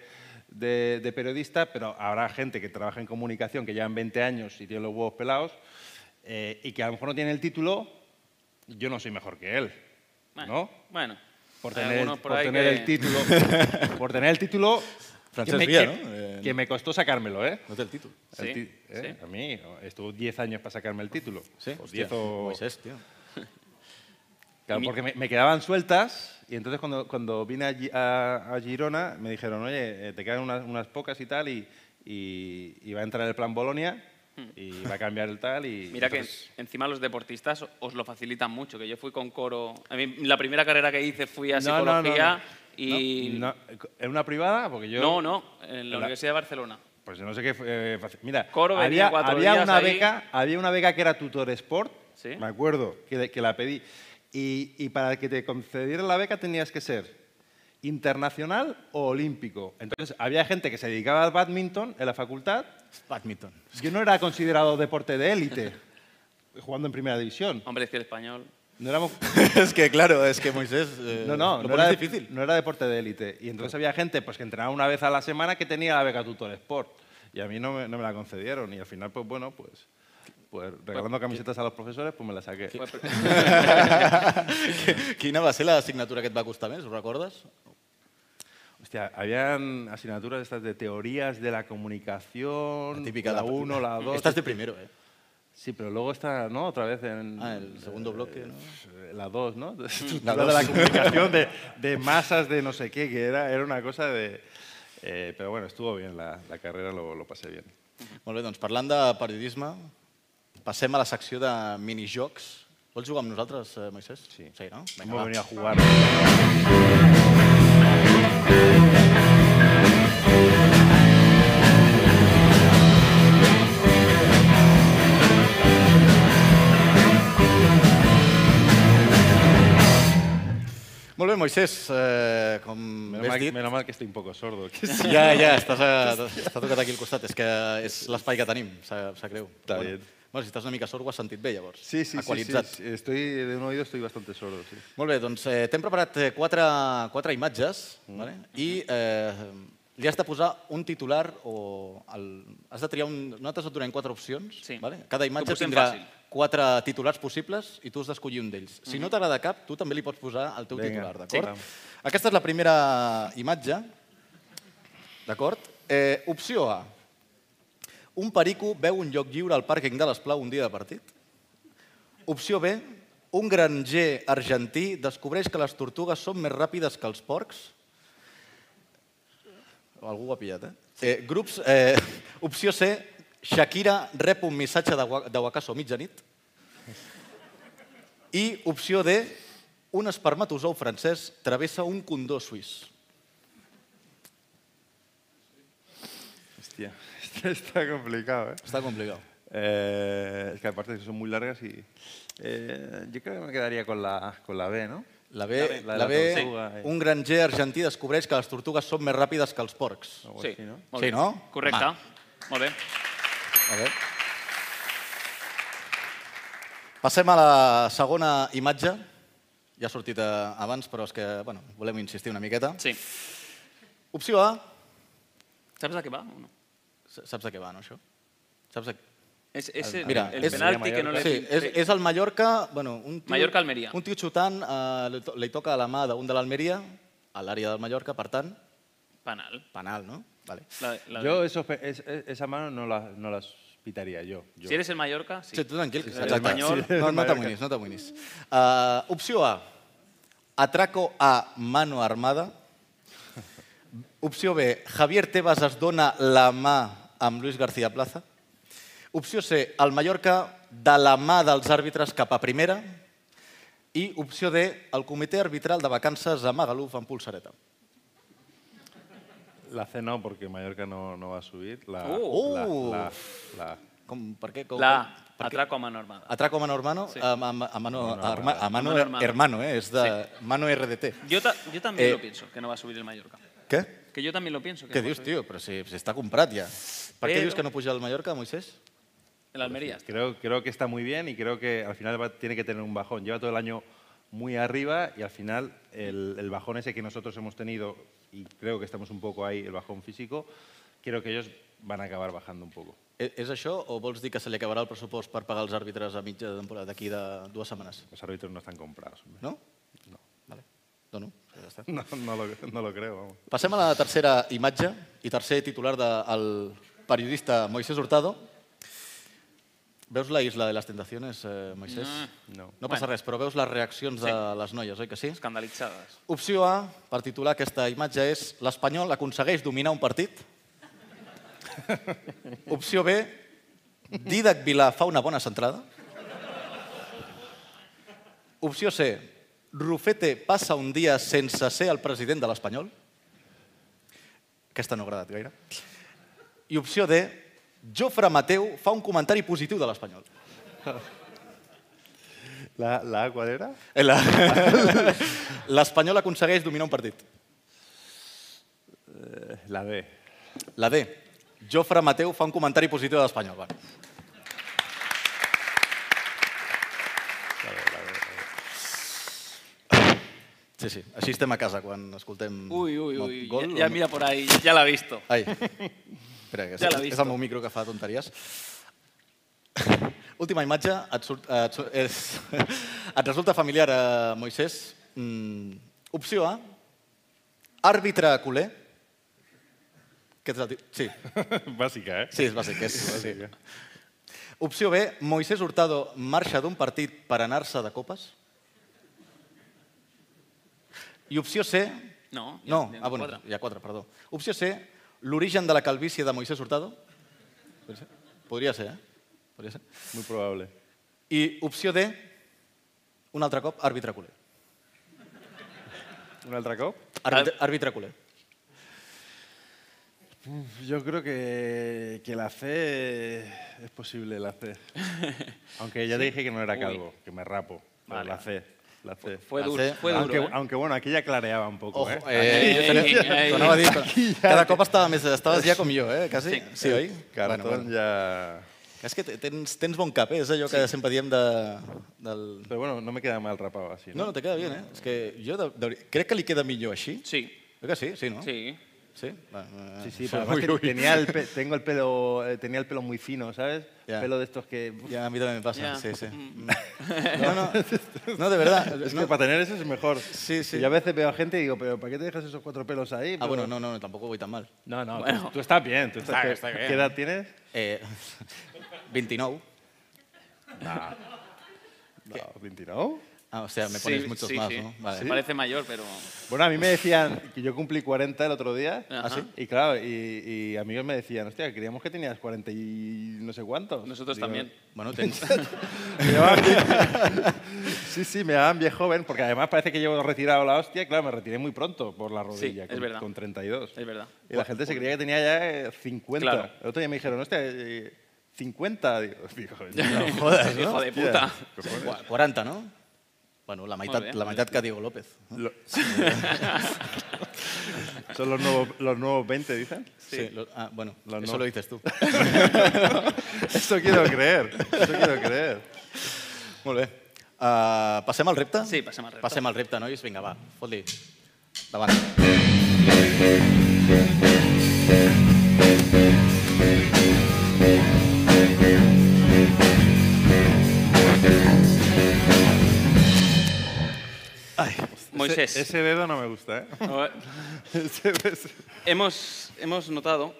[SPEAKER 10] de- de periodista, pero habrá gente que trabaja en comunicación, que llevan 20 años y tiene los huevos pelados, eh, y que a lo mejor no tiene el título, yo no soy mejor que él.
[SPEAKER 3] Bueno,
[SPEAKER 10] ¿No?
[SPEAKER 3] Bueno.
[SPEAKER 10] Por
[SPEAKER 3] Hay
[SPEAKER 10] tener, el-
[SPEAKER 3] algunos por
[SPEAKER 10] por
[SPEAKER 3] ahí
[SPEAKER 10] tener
[SPEAKER 3] que-
[SPEAKER 10] el título.
[SPEAKER 3] <laughs>
[SPEAKER 10] por tener el título.
[SPEAKER 2] Francesc
[SPEAKER 10] que me-
[SPEAKER 2] Villa,
[SPEAKER 10] que-
[SPEAKER 2] ¿no? Eh,
[SPEAKER 10] que me costó sacármelo, ¿eh?
[SPEAKER 2] No té el títol.
[SPEAKER 10] El
[SPEAKER 3] Sí,
[SPEAKER 10] ti- ¿eh? A mí, estuvo 10 años para sacarme el título.
[SPEAKER 2] Sí?
[SPEAKER 10] O
[SPEAKER 2] Hòstia,
[SPEAKER 10] 10 o-
[SPEAKER 2] Moisés, tio.
[SPEAKER 10] Claro, porque me, me quedaban sueltas y entonces cuando, cuando vine a, Gi- a- a Girona me dijeron, oye, eh, te quedan unas, unas pocas y tal y, y- y va a entrar el plan Bolonia y va a cambiar el tal y...
[SPEAKER 3] Hmm. Mira que
[SPEAKER 10] entonces-
[SPEAKER 3] encima los deportistas os lo facilitan mucho, que yo fui con coro. A mí, la primera carrera que hice fui a
[SPEAKER 10] No, no, no, no.
[SPEAKER 3] psicología
[SPEAKER 10] No,
[SPEAKER 3] y
[SPEAKER 10] no, ¿En una privada? Porque yo...
[SPEAKER 3] no, no, en la
[SPEAKER 10] La-
[SPEAKER 3] Universidad de Barcelona.
[SPEAKER 10] Pues yo no sé qué... fue, eh, faci- mira,
[SPEAKER 3] Coro venía
[SPEAKER 10] había,
[SPEAKER 3] cuatro
[SPEAKER 10] había
[SPEAKER 3] días
[SPEAKER 10] una
[SPEAKER 3] ahí.
[SPEAKER 10] beca, había una beca que era Tutor Sport,
[SPEAKER 3] Sí.
[SPEAKER 10] me acuerdo, que, le- que la pedí. Y, y para que te concedieran la beca tenías que ser internacional o olímpico. Entonces, había gente que se dedicaba al badminton en la facultad.
[SPEAKER 2] Badminton.
[SPEAKER 10] Yo no era considerado deporte de élite, jugando en primera división.
[SPEAKER 3] Hombre, es que el español.
[SPEAKER 10] No éramos...
[SPEAKER 2] <laughs> és que, claro, és que Moisés... Eh,
[SPEAKER 10] No, no,
[SPEAKER 2] lo
[SPEAKER 10] no
[SPEAKER 2] pones
[SPEAKER 10] era, de-
[SPEAKER 2] difícil.
[SPEAKER 10] no era deporte de élite. Y entonces había gente pues, que entrenaba una vez a la semana que tenía la beca Tutor Sport. Y a mí no me, no me la concedieron. Y al final, pues bueno, pues, pues regalando camisetas a los profesores, pues me la saqué.
[SPEAKER 3] Fue
[SPEAKER 2] <laughs>
[SPEAKER 3] pr-
[SPEAKER 2] Quina va ser l'assignatura que et va costar més, ho recordes?
[SPEAKER 10] Hostia, habían asignaturas estas de teorías de la comunicación,
[SPEAKER 2] La
[SPEAKER 10] la,
[SPEAKER 2] típica...
[SPEAKER 10] 1, la 2.
[SPEAKER 2] Estàs de primero, eh?
[SPEAKER 10] Sí, pero luego está, ¿no? Otra vez en... Eh,
[SPEAKER 2] Ah, el segundo bloque, ¿no? Mm.
[SPEAKER 10] La 2, ¿no? <laughs>
[SPEAKER 2] La
[SPEAKER 10] La,
[SPEAKER 2] dos.
[SPEAKER 10] de la comunicación de, de masas de no sé qué, que era, era una cosa de... eh, pero bueno, estuvo bien la, la carrera, lo- lo pasé bien.
[SPEAKER 2] Molt bé, doncs parlant de periodisme, passem a la secció de minijocs. Vols jugar amb nosaltres, eh, Moisés?
[SPEAKER 10] Sí.
[SPEAKER 2] Sí, no?
[SPEAKER 10] Hemos
[SPEAKER 2] va.
[SPEAKER 10] venido a jugar.
[SPEAKER 2] Molt bé, Moisés, eh, com
[SPEAKER 10] Menos
[SPEAKER 2] bé has
[SPEAKER 10] mal,
[SPEAKER 2] dit...
[SPEAKER 10] menos mal que estoy un poco sordo. que es-
[SPEAKER 2] Ja, ja, estàs, a, està tocat aquí al costat. És que és l'espai que tenim, sap sap greu.
[SPEAKER 10] Està
[SPEAKER 2] Però
[SPEAKER 10] bé.
[SPEAKER 2] Bueno, si estàs una mica sord, ho has sentit bé, llavors.
[SPEAKER 10] Sí, sí, sí, sí,
[SPEAKER 2] Equalitzat.
[SPEAKER 10] sí, Estoy de un oído, estoy bastante sordo. sí.
[SPEAKER 2] Molt bé, doncs eh, t'hem preparat eh, quatre, quatre imatges mm. vale? i eh, li has de posar un titular o... El, has de triar un... Nosaltres et donem quatre opcions.
[SPEAKER 3] Sí.
[SPEAKER 2] Vale? Cada
[SPEAKER 3] Que ho
[SPEAKER 2] imatge
[SPEAKER 3] posem
[SPEAKER 2] tindrà
[SPEAKER 3] fàcil.
[SPEAKER 2] quatre titulars possibles i tu has d'escollir un d'ells. Si no
[SPEAKER 3] Mhm.
[SPEAKER 2] t'agrada cap, tu també li pots posar el teu
[SPEAKER 10] Vinga,
[SPEAKER 2] titular,
[SPEAKER 10] sí.
[SPEAKER 2] d'acord? Aquesta és la primera imatge, d'acord? Eh, opció A. Un perico veu un lloc lliure al pàrquing de l'Esplau un dia de partit. Opció B. Un granger argentí descobreix que les tortugues són més ràpides que els porcs. Algú ho ha pillat, eh? eh grups, eh, opció C. Shakira rep un missatge de Wa- de Wakaso a mitjanit. I opció D. Un espermatozou francès travessa un condó suís.
[SPEAKER 10] Hostia, <laughs> esto está complicado, ¿eh?
[SPEAKER 2] Està complicat.
[SPEAKER 10] Eh, es que aparte son muy largas y... eh, yo creo que me quedaría con la, con la B, ¿no?
[SPEAKER 2] La B,
[SPEAKER 10] La de
[SPEAKER 2] la B,
[SPEAKER 10] la tortuga, eh.
[SPEAKER 2] un granger argentí descobreix que les tortugues són més ràpides que els porcs.
[SPEAKER 10] Algo
[SPEAKER 3] Sí,
[SPEAKER 10] así, ¿no?
[SPEAKER 3] molt
[SPEAKER 2] Sí,
[SPEAKER 3] bé.
[SPEAKER 2] no?
[SPEAKER 3] Correcte.
[SPEAKER 2] Home.
[SPEAKER 3] Molt bé.
[SPEAKER 2] A veure. Passem a la segona imatge. Ja ha sortit eh, abans, però és que bueno, volem insistir una miqueta.
[SPEAKER 3] Sí.
[SPEAKER 2] Opció A.
[SPEAKER 3] Saps de què va? o No?
[SPEAKER 2] S- Saps de què va, no, això? Saps de...
[SPEAKER 3] És, és el,
[SPEAKER 2] Mira,
[SPEAKER 3] el
[SPEAKER 2] és-
[SPEAKER 3] penalti que no l'he
[SPEAKER 2] sí, és, és el Mallorca... Bueno, un tio,
[SPEAKER 3] Mallorca-Almeria.
[SPEAKER 2] Un tio xutant eh, li to- li toca a la mà d'un de l'Almeria, a l'àrea del Mallorca, per tant,
[SPEAKER 3] Penal.
[SPEAKER 2] penal, no? Vale.
[SPEAKER 3] La, la,
[SPEAKER 10] Yo esos pe- es- es- esa mano no la, no las pitaría yo. yo.
[SPEAKER 3] Si eres el Mallorca, sí.
[SPEAKER 2] Sí, tu tranquil.
[SPEAKER 10] sí,
[SPEAKER 2] exacte.
[SPEAKER 10] espanyol.
[SPEAKER 2] No, no t'amoïnis, no t'amoïnis. Uh, opció A, atraco a mano armada. Opció B, Javier Tebas es dona la mà amb Luis García Plaza. Opció C, el Mallorca de la mà dels àrbitres cap a primera. I opció D, el comitè arbitral de vacances a Magaluf amb pulsareta.
[SPEAKER 10] La C no, porque Mallorca no, no va a subir. La,
[SPEAKER 3] Uh.
[SPEAKER 10] la,
[SPEAKER 2] Uh.
[SPEAKER 10] la- la-
[SPEAKER 2] Com, per què? Com,
[SPEAKER 3] La
[SPEAKER 2] per
[SPEAKER 3] A,
[SPEAKER 2] què?
[SPEAKER 3] atraco a mano armada.
[SPEAKER 2] Atraco a mano hermano,
[SPEAKER 3] Sí.
[SPEAKER 2] a, a, a mano, a, herma- a mano,
[SPEAKER 3] A mano hermano.
[SPEAKER 2] hermano, eh? és de mano RDT.
[SPEAKER 3] Yo, ta- yo también
[SPEAKER 2] Eh,
[SPEAKER 3] lo pienso, que no va a subir el Mallorca.
[SPEAKER 2] Què?
[SPEAKER 3] Que yo también lo pienso. Que
[SPEAKER 2] Què
[SPEAKER 3] no va a
[SPEAKER 2] dius,
[SPEAKER 3] subir.
[SPEAKER 2] tio? Però si, si està comprat ja. Per què
[SPEAKER 3] Però-
[SPEAKER 2] dius que no puja el Mallorca, Moisés?
[SPEAKER 3] El Almería.
[SPEAKER 10] creo, creo que está muy bien y creo que al final va- tiene que tener un bajón. Lleva todo el año muy arriba y al final el, el bajón ese que nosotros hemos tenido, y creo que estamos un poco ahí, el bajón físico, creo que ellos van a acabar bajando un poco.
[SPEAKER 2] E- És això o vols dir que se li acabarà el pressupost per pagar els àrbitres a mitja temporada d'aquí de dues setmanes?
[SPEAKER 10] Los árbitros no están comprados. hombre.
[SPEAKER 2] No? No. Vale. No, no. Ja està.
[SPEAKER 10] <laughs> No, no lo, no lo creo. vamos.
[SPEAKER 2] Passem a la tercera imatge i tercer titular del periodista Moisés Hurtado. Veus la isla de les tentaciones, eh, Moisés?
[SPEAKER 3] Mm.
[SPEAKER 10] No.
[SPEAKER 2] No passa res, però veus les reaccions de les noies, oi que sí?
[SPEAKER 3] Escandalizadas.
[SPEAKER 2] Opció A, per titular aquesta imatge, és l'Espanyol aconsegueix dominar un partit. <laughs> Opció B, Didac Vilà fa una bona centrada. Opció C, Rufete passa un dia sense ser el president de l'Espanyol. Aquesta no ha agradat gaire. I opció D, Jofre Mateu fa un comentari positiu de l'Espanyol.
[SPEAKER 10] ¿La, ¿La A cuál era?
[SPEAKER 2] Eh, <laughs> la- L'Espanyol aconsegueix dominar un partit.
[SPEAKER 10] Eh, La B.
[SPEAKER 2] La D. Jofre Mateu fa un comentari positiu de l'Espanyol. Bueno. Sí, sí, així estem a casa quan escoltem
[SPEAKER 3] Uy, uy,
[SPEAKER 2] mo-
[SPEAKER 3] uy.
[SPEAKER 2] gol.
[SPEAKER 3] ya-
[SPEAKER 2] o
[SPEAKER 3] ya
[SPEAKER 2] no?
[SPEAKER 3] mira por ahí, ya la ha visto.
[SPEAKER 2] Ai, espera, que és,
[SPEAKER 3] Ja l'ha
[SPEAKER 2] és
[SPEAKER 3] visto.
[SPEAKER 2] el meu micro que fa tonteries. <laughs> Última imatge, et, surt, eh, et, surt, és, <laughs> et resulta familiar, eh, Moisés. Mm, opció A, àrbitre culer. Què ets el tio? Sí,
[SPEAKER 10] Básica, ¿eh?
[SPEAKER 2] Sí, és bàsic. És, sí. Opció B, Moisés Hurtado marxa d'un partit per anar-se de copes. I opció C...
[SPEAKER 3] No, ya-
[SPEAKER 2] No,
[SPEAKER 3] ya
[SPEAKER 2] ah, bueno,
[SPEAKER 3] cuadra.
[SPEAKER 2] hi ha quatre, perdó. Opció C, l'origen de la calvície de Moisés Hurtado. Podria ser, eh? Podria ser.
[SPEAKER 10] Muy probable.
[SPEAKER 2] I opció D, un altre cop, àrbitre culer.
[SPEAKER 10] ¿Un altracop?
[SPEAKER 2] Àrbitre, àrbitre culer.
[SPEAKER 10] Yo creo que, que la C es posible, la
[SPEAKER 2] <laughs>
[SPEAKER 10] C. Aunque ya te dije que no era calvo, que me rapo. Pero
[SPEAKER 3] Vale.
[SPEAKER 10] La C. La C.
[SPEAKER 3] Fue
[SPEAKER 2] La
[SPEAKER 3] duro,
[SPEAKER 2] C,
[SPEAKER 3] fue
[SPEAKER 10] aunque,
[SPEAKER 3] duro. ¿eh?
[SPEAKER 10] aunque bueno, aquí ya clareaba un poco,
[SPEAKER 2] Ojo,
[SPEAKER 10] ¿eh?
[SPEAKER 2] eh, jo tenia-
[SPEAKER 3] Ei,
[SPEAKER 2] t'ho anava a dir,
[SPEAKER 10] Aquí ja-
[SPEAKER 2] cada cop estava més, estaves ja com jo, eh? Quasi.
[SPEAKER 3] Sí.
[SPEAKER 2] Sí, oi?
[SPEAKER 10] Cartón ya...
[SPEAKER 2] És que te- tens, tens bon cap, eh? és allò que sempre diem de, del...
[SPEAKER 10] Pero bueno, no me queda mal rapado así,
[SPEAKER 2] No,
[SPEAKER 10] ¿no?
[SPEAKER 2] no, te queda bien, eh? És que jo de, de, veri- crec que li queda millor així.
[SPEAKER 3] Sí,
[SPEAKER 2] Crec que sí, sí, no?
[SPEAKER 3] sí.
[SPEAKER 2] ¿Sí? Va, va.
[SPEAKER 10] Sí, sí, pero
[SPEAKER 2] <laughs> Uy,
[SPEAKER 10] además te-
[SPEAKER 2] uy.
[SPEAKER 10] tenía el, pe- tengo el pelo, eh, tenía el pelo muy fino, ¿sabes?
[SPEAKER 2] Ya.
[SPEAKER 10] Pelo de estos que... uf,
[SPEAKER 2] Ya, a mí también me pasa,
[SPEAKER 3] Ya.
[SPEAKER 2] sí, sí.
[SPEAKER 10] <laughs>
[SPEAKER 3] Mm.
[SPEAKER 2] No, no, no, de verdad.
[SPEAKER 10] Es
[SPEAKER 2] no.
[SPEAKER 10] que para tener eso es mejor.
[SPEAKER 2] Sí, sí.
[SPEAKER 10] Y a veces veo a gente y digo, pero ¿para qué te dejas esos cuatro pelos ahí?
[SPEAKER 2] Ah,
[SPEAKER 10] Pero-
[SPEAKER 2] bueno, no, no, tampoco voy tan mal.
[SPEAKER 10] No, no, tú, tú estás bien. Tú estás
[SPEAKER 2] Está-
[SPEAKER 10] que-
[SPEAKER 2] está
[SPEAKER 10] ¿Qué
[SPEAKER 2] bien.
[SPEAKER 10] edad tienes?
[SPEAKER 2] Eh, <laughs> 29.
[SPEAKER 10] Ah, No, 29.
[SPEAKER 2] Ah, o sea, me
[SPEAKER 3] Sí,
[SPEAKER 2] pones muchos
[SPEAKER 3] sí,
[SPEAKER 2] más,
[SPEAKER 3] sí.
[SPEAKER 2] ¿no? Vale.
[SPEAKER 3] Se parece mayor, pero...
[SPEAKER 10] Bueno, a mí me decían que yo cumplí 40 el otro día.
[SPEAKER 3] Ajá. ¿Ah, sí?
[SPEAKER 10] Y claro, y, y amigos me decían, hostia, creíamos que tenías 40 y no sé cuántos.
[SPEAKER 3] Nosotros
[SPEAKER 10] Digo,
[SPEAKER 3] también.
[SPEAKER 2] Bueno, tens...
[SPEAKER 10] <laughs> Me llamaban vie- <laughs> sí, sí, me llamaban viejo joven, porque además parece que llevo retirado la hostia. Claro, me retiré muy pronto por la rodilla,
[SPEAKER 3] es
[SPEAKER 10] con,
[SPEAKER 3] verdad.
[SPEAKER 10] con 32.
[SPEAKER 3] Es verdad.
[SPEAKER 10] Y la gente se creía que tenía ya eh, 50.
[SPEAKER 3] Claro.
[SPEAKER 10] El otro día me dijeron, hostia, eh, 50. Digo, digo,
[SPEAKER 3] <laughs>
[SPEAKER 10] no,
[SPEAKER 2] Joder,
[SPEAKER 3] Hijo
[SPEAKER 10] <laughs>
[SPEAKER 2] no?
[SPEAKER 3] de puta.
[SPEAKER 2] Cua- 40, no? Bueno, la meitat,
[SPEAKER 3] bé,
[SPEAKER 2] la meitat que Diego López. <laughs>
[SPEAKER 10] Lo- <laughs> Son los nuevos, los nuevos 20, dicen.
[SPEAKER 2] Sí. lo- ah, bueno,
[SPEAKER 10] Lo
[SPEAKER 2] eso
[SPEAKER 10] no.
[SPEAKER 2] lo dices tú.
[SPEAKER 10] <laughs> Eso quiero creer, eso quiero creer. Ah,
[SPEAKER 2] Molt bé. Uh, passem al repte?
[SPEAKER 3] Sí, passem al repte.
[SPEAKER 2] Passem al repte, nois? Vinga, va, fot-li. Davant.
[SPEAKER 3] Moisés.
[SPEAKER 10] Ese, ese dedo no me gusta, ¿eh? Ese- ese-
[SPEAKER 3] <laughs> Hemos, hemos notado,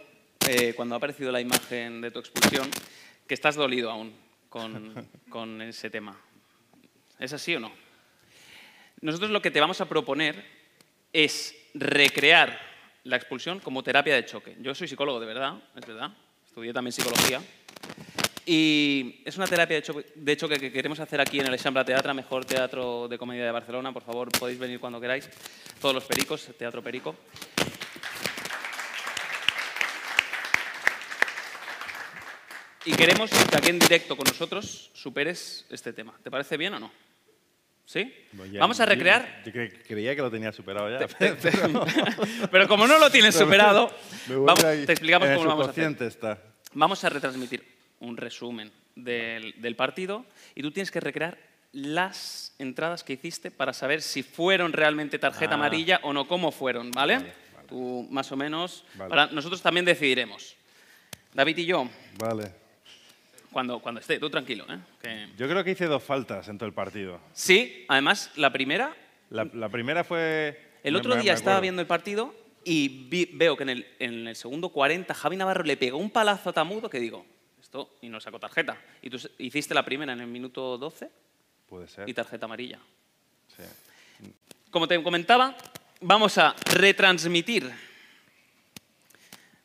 [SPEAKER 3] eh, cuando ha aparecido la imagen de tu expulsión, que estás dolido aún
[SPEAKER 2] <laughs>
[SPEAKER 3] con, con ese tema. ¿Es así o no? Nosotros lo que te vamos a proponer es recrear la expulsión como terapia de choque. Yo soy psicólogo de verdad, es verdad. Estudié también psicología. Y es una terapia de choque, de choque que queremos hacer aquí en el Eixample Teatre, mejor teatro de comedia de Barcelona. Por favor, podéis venir cuando queráis. Todos los pericos, Teatro Perico. Y queremos que aquí en directo con nosotros superes este tema. ¿Te parece bien o no? ¿Sí? <laughs> Vamos a recrear.
[SPEAKER 10] Yo, cre- creía que lo tenía superado ya. <laughs>
[SPEAKER 3] <laughs> Pero como no lo tienes superado,
[SPEAKER 10] Me vuelve
[SPEAKER 3] vamos-
[SPEAKER 10] ahí.
[SPEAKER 3] te explicamos
[SPEAKER 10] En el
[SPEAKER 3] cómo lo vamos a hacer.
[SPEAKER 10] subconsciente está.
[SPEAKER 3] Vamos a retransmitir un resumen del, del partido y tú tienes que recrear las entradas que hiciste para saber si fueron realmente tarjeta amarilla o no, cómo fueron, ¿vale? Tú más o menos.
[SPEAKER 10] Vale.
[SPEAKER 3] para- nosotros también decidiremos. David y yo,
[SPEAKER 10] Vale.
[SPEAKER 3] cuando, cuando esté, tú tranquilo, ¿eh? Que-
[SPEAKER 10] Yo creo que hice dos faltas en todo el partido.
[SPEAKER 3] Sí, además, la primera
[SPEAKER 10] La, la primera fue...
[SPEAKER 3] El
[SPEAKER 10] me-
[SPEAKER 3] otro
[SPEAKER 10] me-
[SPEAKER 3] día
[SPEAKER 10] me
[SPEAKER 3] estaba
[SPEAKER 10] acuerdo.
[SPEAKER 3] viendo el partido y vi- veo que en el, en el segundo 40 Javi Navarro le pegó un palazo a Tamudo que digo, esto, y no sacó tarjeta. Y tú s- hiciste la primera en el minuto 12
[SPEAKER 10] Puede ser.
[SPEAKER 3] y tarjeta amarilla.
[SPEAKER 10] sí.
[SPEAKER 3] Como te comentaba, vamos a retransmitir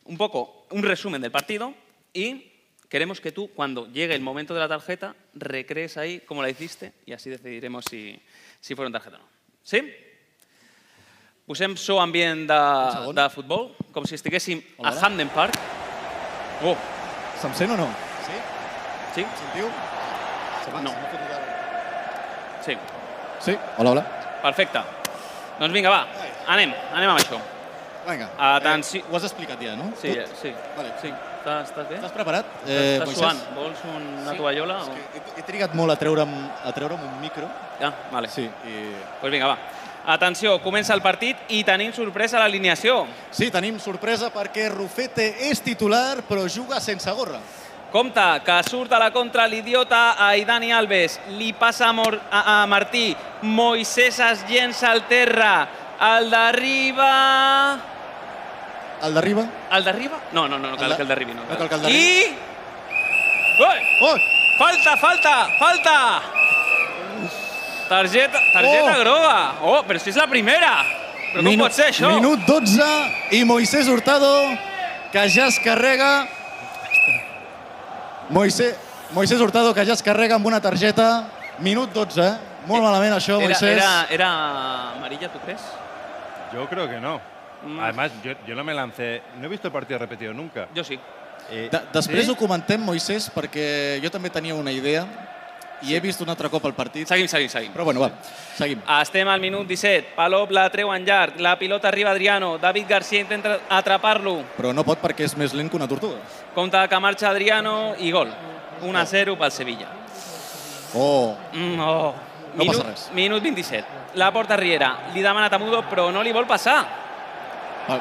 [SPEAKER 3] un poco un resumen del partido y queremos que tú, cuando llegue el momento de la tarjeta, recrees ahí cómo la hiciste y así decidiremos si, si fueron tarjeta o no. Sí? Posem so ambient de,
[SPEAKER 2] segon.
[SPEAKER 3] de futbol, com si estiguéssim a
[SPEAKER 2] Hola.
[SPEAKER 3] Hamden Park. Oh,
[SPEAKER 2] Se'm sent o no?
[SPEAKER 3] sí?
[SPEAKER 1] Sí? Sentiu? Se va,
[SPEAKER 3] No.
[SPEAKER 1] se m'ha fotut ara.
[SPEAKER 3] Sí.
[SPEAKER 2] Sí. Hola, hola.
[SPEAKER 3] Perfecte. Doncs vinga, va, anem, anem amb això.
[SPEAKER 1] Vinga.
[SPEAKER 3] Atenció.
[SPEAKER 1] Eh, ho has explicat ja, no?
[SPEAKER 3] Sí, eh,
[SPEAKER 1] Tot?
[SPEAKER 3] sí.
[SPEAKER 1] Vale.
[SPEAKER 3] sí. Estàs, estàs bé?
[SPEAKER 1] Estàs preparat?
[SPEAKER 3] Eh, Estàs
[SPEAKER 1] Moisés?
[SPEAKER 3] suant? Vols una
[SPEAKER 1] Sí.
[SPEAKER 3] tovallola?
[SPEAKER 1] És
[SPEAKER 3] O...
[SPEAKER 1] que he, he trigat molt a treure'm, a treure'm un micro.
[SPEAKER 3] Ah, vale.
[SPEAKER 1] Sí. I...
[SPEAKER 3] Pues vinga, va. Atenció, comença el partit i tenim sorpresa a l'alineació.
[SPEAKER 1] Sí, tenim sorpresa perquè Rufete és titular però juga sense gorra.
[SPEAKER 3] Compte, que surt a la contra l'idiota a Idani Alves. Li passa a, Mor a, a Martí. Moisés es llença al terra. El d'arriba...
[SPEAKER 1] El d'arriba...
[SPEAKER 3] El d'arriba? No, no, no, no
[SPEAKER 1] El
[SPEAKER 3] cal
[SPEAKER 1] de-
[SPEAKER 3] que el d'arribi. No,
[SPEAKER 1] no cal que el d'arribi.
[SPEAKER 3] I... Ui!
[SPEAKER 1] Oh!
[SPEAKER 3] Falta, falta, falta! Targeta, targeta
[SPEAKER 1] Oh!
[SPEAKER 3] groga. Oh, però si és la primera. Però com pot ser això?
[SPEAKER 1] Minut 12 i Moisés Hurtado que ja es carrega... Moisés, Moisés Hurtado que ja es carrega amb una targeta. Minut 12, eh? Molt malament això,
[SPEAKER 3] Era,
[SPEAKER 1] Moisés.
[SPEAKER 3] era, era amarilla, tu crees?
[SPEAKER 10] Yo creo que no.
[SPEAKER 3] Mm.
[SPEAKER 10] Además, yo, yo no me lancé... No he visto el partido repetido nunca.
[SPEAKER 3] Jo sí.
[SPEAKER 10] Eh,
[SPEAKER 1] De després
[SPEAKER 10] ¿sí?
[SPEAKER 1] ho comentem, Moisés, perquè jo també tenia una idea i he vist un altre cop el partit.
[SPEAKER 3] Seguim, seguim, seguim.
[SPEAKER 1] Però bueno, va, seguim.
[SPEAKER 3] Estem al minut 17. Palop la treuen llarg. La pilota arriba a Adriano. David Garcia intenta atrapar-lo.
[SPEAKER 1] Però no pot perquè és més lent que una tortuga.
[SPEAKER 3] Compte que marxa Adriano i gol. 1 a 0 pel Sevilla.
[SPEAKER 1] Oh,
[SPEAKER 3] Mm, oh.
[SPEAKER 1] No
[SPEAKER 3] minut,
[SPEAKER 1] passa res.
[SPEAKER 3] Minut 27. La porta Riera. Li demana Tamudo, però no li vol passar.
[SPEAKER 1] va,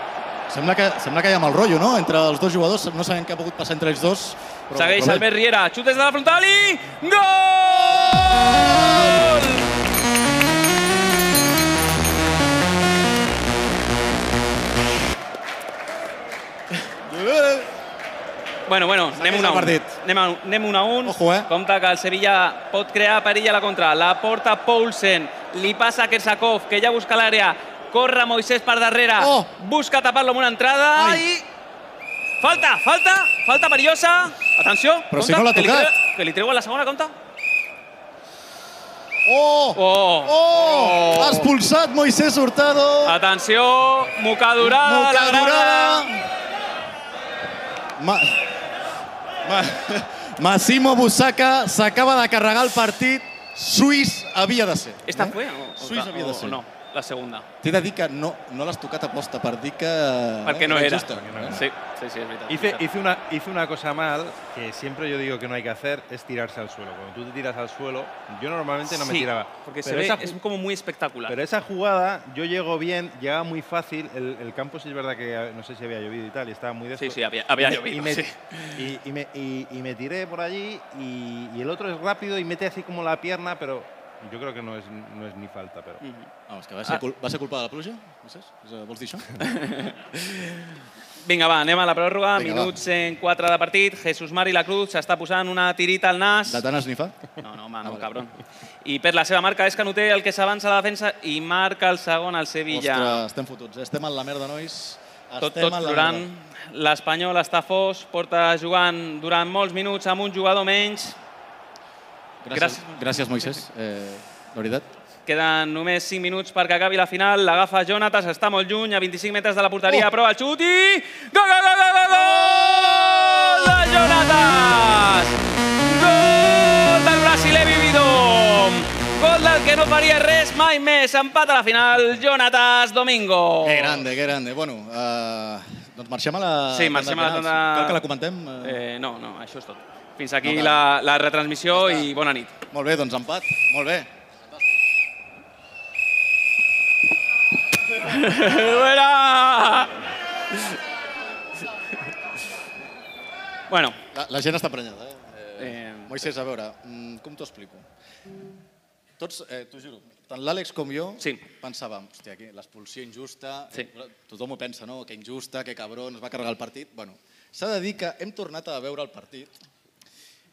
[SPEAKER 2] Sembla que, sembla que hi ha mal rotllo, no? Entre els dos jugadors, no sabem què ha pogut passar entre ells dos. Però,
[SPEAKER 3] Segueix
[SPEAKER 2] però bé.
[SPEAKER 3] Albert Riera, xut des de la frontal i... Gol! Bueno, bueno, anem
[SPEAKER 2] Segueix
[SPEAKER 3] una a
[SPEAKER 2] el
[SPEAKER 3] un.
[SPEAKER 2] partit.
[SPEAKER 3] Anem, a, un- anem una a un.
[SPEAKER 2] Ojo, eh?
[SPEAKER 3] Compte que el Sevilla pot crear perill a la contra. La porta Poulsen, li passa a Kersakov, que ja busca l'àrea. Corre Moisés per darrere,
[SPEAKER 2] Oh!
[SPEAKER 3] busca tapar-lo amb una entrada
[SPEAKER 2] Ai.
[SPEAKER 3] i... Falta, falta, falta perillosa. Atenció,
[SPEAKER 2] Però si
[SPEAKER 3] compte,
[SPEAKER 2] no l'ha
[SPEAKER 3] que li
[SPEAKER 2] tocat.
[SPEAKER 3] treu- Que li treuen la segona, compte.
[SPEAKER 2] Oh! Oh!
[SPEAKER 3] Oh!
[SPEAKER 2] Ha expulsat Moisés Hurtado.
[SPEAKER 3] Atenció, mocadurada,
[SPEAKER 2] Moca
[SPEAKER 3] la grada.
[SPEAKER 2] Ma... Ma... Massimo Busaka s'acaba de carregar el partit. Suís havia de ser.
[SPEAKER 3] Esta
[SPEAKER 2] eh?
[SPEAKER 3] fue o,
[SPEAKER 2] Suís
[SPEAKER 3] o-
[SPEAKER 2] havia de
[SPEAKER 3] o-
[SPEAKER 2] ser.
[SPEAKER 3] o no, la segunda.
[SPEAKER 2] T'he de dir que no, no l'has tocat aposta per dir que... eh,
[SPEAKER 3] Perquè no era.
[SPEAKER 2] Justa, Eh?
[SPEAKER 3] Sí, sí, sí, es verdad.
[SPEAKER 10] Hice, hice una, hice una cosa mal que siempre yo digo que no hay que hacer, es tirarse al suelo. Cuando tú te tiras al suelo, yo normalmente no me
[SPEAKER 3] Sí,
[SPEAKER 10] tiraba.
[SPEAKER 3] Porque se
[SPEAKER 10] pero,
[SPEAKER 3] ve,
[SPEAKER 10] esa,
[SPEAKER 3] es
[SPEAKER 10] ju-
[SPEAKER 3] como muy espectacular.
[SPEAKER 10] pero esa jugada, yo llego bien, llegaba muy fácil. El, el campo sí es verdad que eh, no sé si había llovido y tal, y estaba muy
[SPEAKER 3] Sí,
[SPEAKER 10] desco-
[SPEAKER 3] sí, había, había
[SPEAKER 10] y me-
[SPEAKER 3] llovido,
[SPEAKER 10] y me,
[SPEAKER 3] sí.
[SPEAKER 10] y, y me, y- y me tiré por allí y, y el otro es rápido y mete así como la pierna, pero yo creo que no es, no es ni falta. Pero Ah.
[SPEAKER 2] Vamos, que va ser, cul va ser culpa de la pluja? Moisés? És, eh, Vols dir això?
[SPEAKER 10] <laughs>
[SPEAKER 3] Vinga, va, anem a la pròrroga.
[SPEAKER 2] Vinga,
[SPEAKER 3] Minuts en 4 de partit. Jesús Mari la Cruz s'està posant una tirita al nas.
[SPEAKER 2] De tant esnifar?
[SPEAKER 3] No, no, home,
[SPEAKER 2] Ah,
[SPEAKER 3] no, cabron. I per la seva marca és Canuté el que s'avança a la defensa i marca el segon al Sevilla.
[SPEAKER 2] Ostres, estem fotuts. eh? Estem en la merda, nois.
[SPEAKER 3] Tot,
[SPEAKER 2] Estem
[SPEAKER 3] tot
[SPEAKER 2] en la
[SPEAKER 3] plorant.
[SPEAKER 2] merda.
[SPEAKER 3] L'Espanyol està fos, porta jugant durant molts minuts amb un jugador menys.
[SPEAKER 2] Gràcies, gràcies
[SPEAKER 3] <laughs>
[SPEAKER 2] Moisés. Eh, la veritat.
[SPEAKER 3] Queden només 5 minuts perquè acabi la final. L'agafa Jonatas, està molt lluny, a 25 metres de la porteria,
[SPEAKER 2] Oh.
[SPEAKER 3] prova el xut i... Gol, gol, gol, gol, gol, gol! De Jonatas! Gol del brasiler vivido! Gol del que no faria res mai més. Empat a la final, Jonatas Domingo.
[SPEAKER 2] Que grande, que grande. Bueno, eh, doncs marxem a la...
[SPEAKER 3] Sí, marxem a la
[SPEAKER 2] tanda de
[SPEAKER 3] tanda-
[SPEAKER 2] penals. Cal que la comentem? Eh,
[SPEAKER 3] Eh, no, no, això és tot. Fins aquí
[SPEAKER 2] No cal.
[SPEAKER 3] la, la retransmissió
[SPEAKER 2] Ja està.
[SPEAKER 3] i bona nit.
[SPEAKER 2] Molt bé, doncs empat. Molt bé.
[SPEAKER 3] <laughs> Buena! Bueno,
[SPEAKER 2] La, la gent està prenyada, eh?
[SPEAKER 3] eh,
[SPEAKER 2] Moisés, a veure, mm, com t'ho explico? Tots, eh, t'ho juro, tant l'Àlex com jo
[SPEAKER 3] Sí.
[SPEAKER 2] pensàvem, hòstia, que l'expulsió injusta,
[SPEAKER 3] Sí.
[SPEAKER 2] eh, tothom ho pensa, no? Que injusta, que cabrón, es va carregar el partit. Bueno, s'ha de dir que hem tornat a veure el partit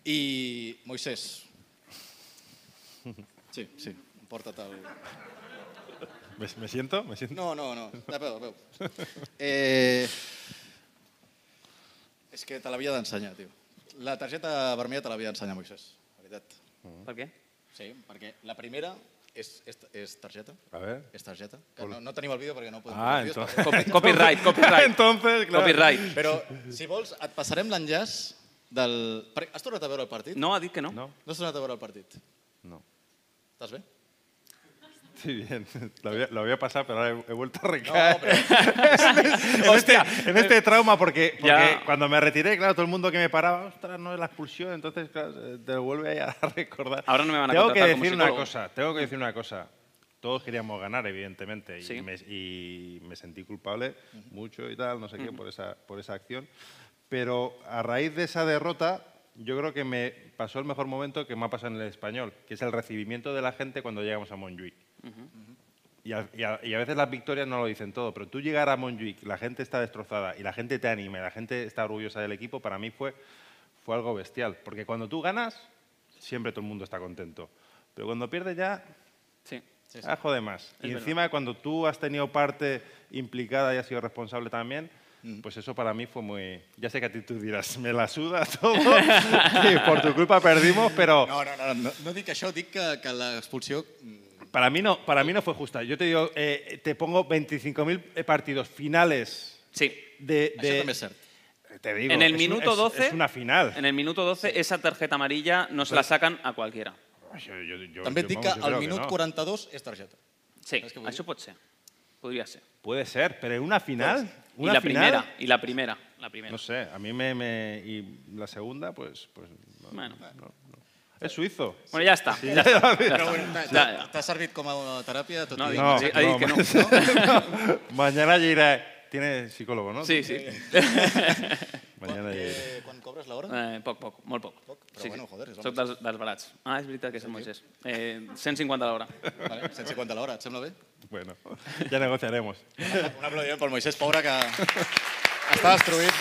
[SPEAKER 2] i, Moisés, sí, sí, porta't el...
[SPEAKER 10] ¿Me, me siento? ¿Me siento?
[SPEAKER 2] No, no, no, de peu, de
[SPEAKER 10] <laughs>
[SPEAKER 2] peu. Eh... És que te l'havia d'ensenyar, tio. La targeta vermella te l'havia d'ensenyar, Moisés, la veritat.
[SPEAKER 3] Mm. per què?
[SPEAKER 2] Sí, perquè la primera és, és, és targeta.
[SPEAKER 10] A ver.
[SPEAKER 2] És targeta. Que no, no tenim el vídeo perquè no podem
[SPEAKER 10] Ah,
[SPEAKER 2] posar vídeos,
[SPEAKER 10] entonces.
[SPEAKER 2] perquè-
[SPEAKER 3] Copy- <laughs> Copyright, copyright.
[SPEAKER 10] entonces, claro.
[SPEAKER 3] Copyright.
[SPEAKER 2] Però, si vols, et passarem l'enllaç del... per- Has tornat a veure el partit?
[SPEAKER 3] No, ha dit que no.
[SPEAKER 10] No.
[SPEAKER 2] No has tornat a veure el partit?
[SPEAKER 10] No.
[SPEAKER 2] Estàs bé?
[SPEAKER 10] Sí, bien. <laughs> Lo había, lo había pasado, pero ahora he, he vuelto a
[SPEAKER 2] No,
[SPEAKER 10] recaer.
[SPEAKER 2] però...
[SPEAKER 10] <laughs> en, este, en este trauma, porque, porque
[SPEAKER 3] Ya.
[SPEAKER 10] cuando me retiré, claro, todo el mundo que me paraba, ostras, no es la expulsión, entonces claro, se- te lo vuelve ahí a <laughs> recordar.
[SPEAKER 3] Ahora no me van a
[SPEAKER 10] Tengo que
[SPEAKER 3] contratar
[SPEAKER 10] decir
[SPEAKER 3] como
[SPEAKER 10] una
[SPEAKER 3] psicólogo.
[SPEAKER 10] cosa, tengo que decir una cosa. Todos queríamos ganar, evidentemente, y,
[SPEAKER 3] Sí.
[SPEAKER 10] me, y me sentí culpable mucho y tal, no sé qué, por esa, por esa acción. Pero a raíz de esa derrota, yo creo que me pasó el mejor momento que me ha pasado en el español, que es el recibimiento de la gente cuando llegamos a Montjuic. Y a, y a- y a veces las victorias no lo dicen todo, pero tú llegar a Montjuic, la gente está destrozada y la gente te anima, y la gente está orgullosa del equipo, para mí fue, fue algo bestial. Porque cuando tú ganas, siempre todo el mundo está contento. Pero cuando pierdes ya,
[SPEAKER 3] Sí.
[SPEAKER 10] ah, jode más. y encima, cuando tú has tenido parte implicada y has sido responsable también,
[SPEAKER 2] Mm.
[SPEAKER 10] pues eso para mí fue muy... Ya sé que a ti tú dirás, me la suda todo, <laughs> que por tu culpa perdimos, pero...
[SPEAKER 2] no, no, no, no, no dic això, dic que, que l'expulsió... mm,
[SPEAKER 10] Para mí no, para mí no fue justa. Yo te digo, eh, te pongo 25.000 partidos finales
[SPEAKER 3] Sí.
[SPEAKER 10] de...
[SPEAKER 2] Això
[SPEAKER 10] de-
[SPEAKER 2] també és cert.
[SPEAKER 10] Te digo,
[SPEAKER 3] En el
[SPEAKER 10] es un-
[SPEAKER 3] minuto
[SPEAKER 10] es-
[SPEAKER 3] 12...
[SPEAKER 10] Es, una final.
[SPEAKER 3] En el minuto 12, esa tarjeta amarilla nos la sacan a cualquiera.
[SPEAKER 10] Yo- yo- yo-
[SPEAKER 2] També
[SPEAKER 10] yo,
[SPEAKER 2] et dic que
[SPEAKER 10] vamos, yo creo
[SPEAKER 2] al minut
[SPEAKER 10] no.
[SPEAKER 2] 42 és targeta.
[SPEAKER 3] Sí,
[SPEAKER 2] ¿Sabes qué voy a
[SPEAKER 3] eso
[SPEAKER 2] decir?
[SPEAKER 3] puede ser. Podría ser.
[SPEAKER 10] Puede ser, pero en una final...
[SPEAKER 3] Pues, Y
[SPEAKER 10] una
[SPEAKER 3] la
[SPEAKER 10] final,
[SPEAKER 3] primera, y la primera, la primera.
[SPEAKER 10] No sé, a mí me... me- y la segunda, pues... pues no,
[SPEAKER 3] Bueno.
[SPEAKER 10] no, no. Es suizo.
[SPEAKER 3] Bueno, ya está. Ya está, ya
[SPEAKER 10] <laughs>
[SPEAKER 3] está. Ya, ya.
[SPEAKER 2] T'ha servit com a teràpia? Tot
[SPEAKER 3] No,
[SPEAKER 2] i-
[SPEAKER 3] <laughs> dic- ha dit que no.
[SPEAKER 10] Mañana ya iré... Tiene psicólogo, no? Eh,
[SPEAKER 3] Sí, sí. <laughs>
[SPEAKER 10] Mañana llegaré.
[SPEAKER 11] Eh, quan cobres l'hora?
[SPEAKER 3] Eh, poc, poc, molt poc. poc
[SPEAKER 11] Però bueno, joder, és
[SPEAKER 3] Soc
[SPEAKER 11] l'home.
[SPEAKER 3] dels, dels barats. Ah, és veritat que és el Moisés. Eh, 150 l'hora.
[SPEAKER 11] Vale, 150 l'hora, et sembla bé?
[SPEAKER 10] Bueno, ya negociaremos.
[SPEAKER 11] Un aplaudiment pel Moisés, pobre, que està destruït.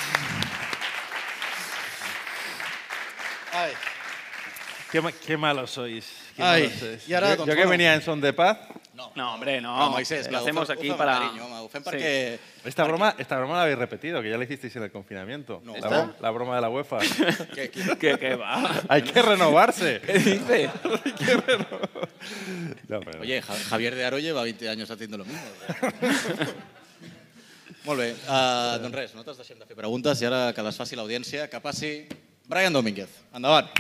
[SPEAKER 11] Ai,
[SPEAKER 10] Qué, ma- qué malos sois. qué
[SPEAKER 11] Ay,
[SPEAKER 10] malos sois.
[SPEAKER 11] y ahora,
[SPEAKER 10] yo,
[SPEAKER 11] don
[SPEAKER 10] yo que
[SPEAKER 11] Juan.
[SPEAKER 10] venía en son de paz.
[SPEAKER 3] No, hombre, no.
[SPEAKER 11] No, Moisés,
[SPEAKER 3] Lo
[SPEAKER 11] clar, ho
[SPEAKER 3] hacemos
[SPEAKER 11] fa- ho
[SPEAKER 3] aquí
[SPEAKER 11] fa amb
[SPEAKER 3] para...
[SPEAKER 11] carinyo, home, ho fem perquè-
[SPEAKER 10] Esta broma, esta broma la habéis repetido, que ya la hicisteis en el confinamiento.
[SPEAKER 11] No.
[SPEAKER 10] La,
[SPEAKER 11] ¿Esta?
[SPEAKER 10] bro- la broma de
[SPEAKER 11] <laughs>
[SPEAKER 10] la UEFA.
[SPEAKER 11] que, que,
[SPEAKER 3] ¿Qué, qué va?
[SPEAKER 10] Hay
[SPEAKER 11] <laughs>
[SPEAKER 10] que renovarse.
[SPEAKER 3] ¿Qué
[SPEAKER 10] <laughs>
[SPEAKER 3] dice?
[SPEAKER 10] No, pero-
[SPEAKER 11] Oye, Ja- Javier de Aroye va 20 años haciendo lo
[SPEAKER 10] <laughs>
[SPEAKER 11] mismo. Molt bé, uh, doncs res, nosaltres deixem de fer preguntes i ara que les faci l'audiència, que passi Brian Domínguez. Endavant.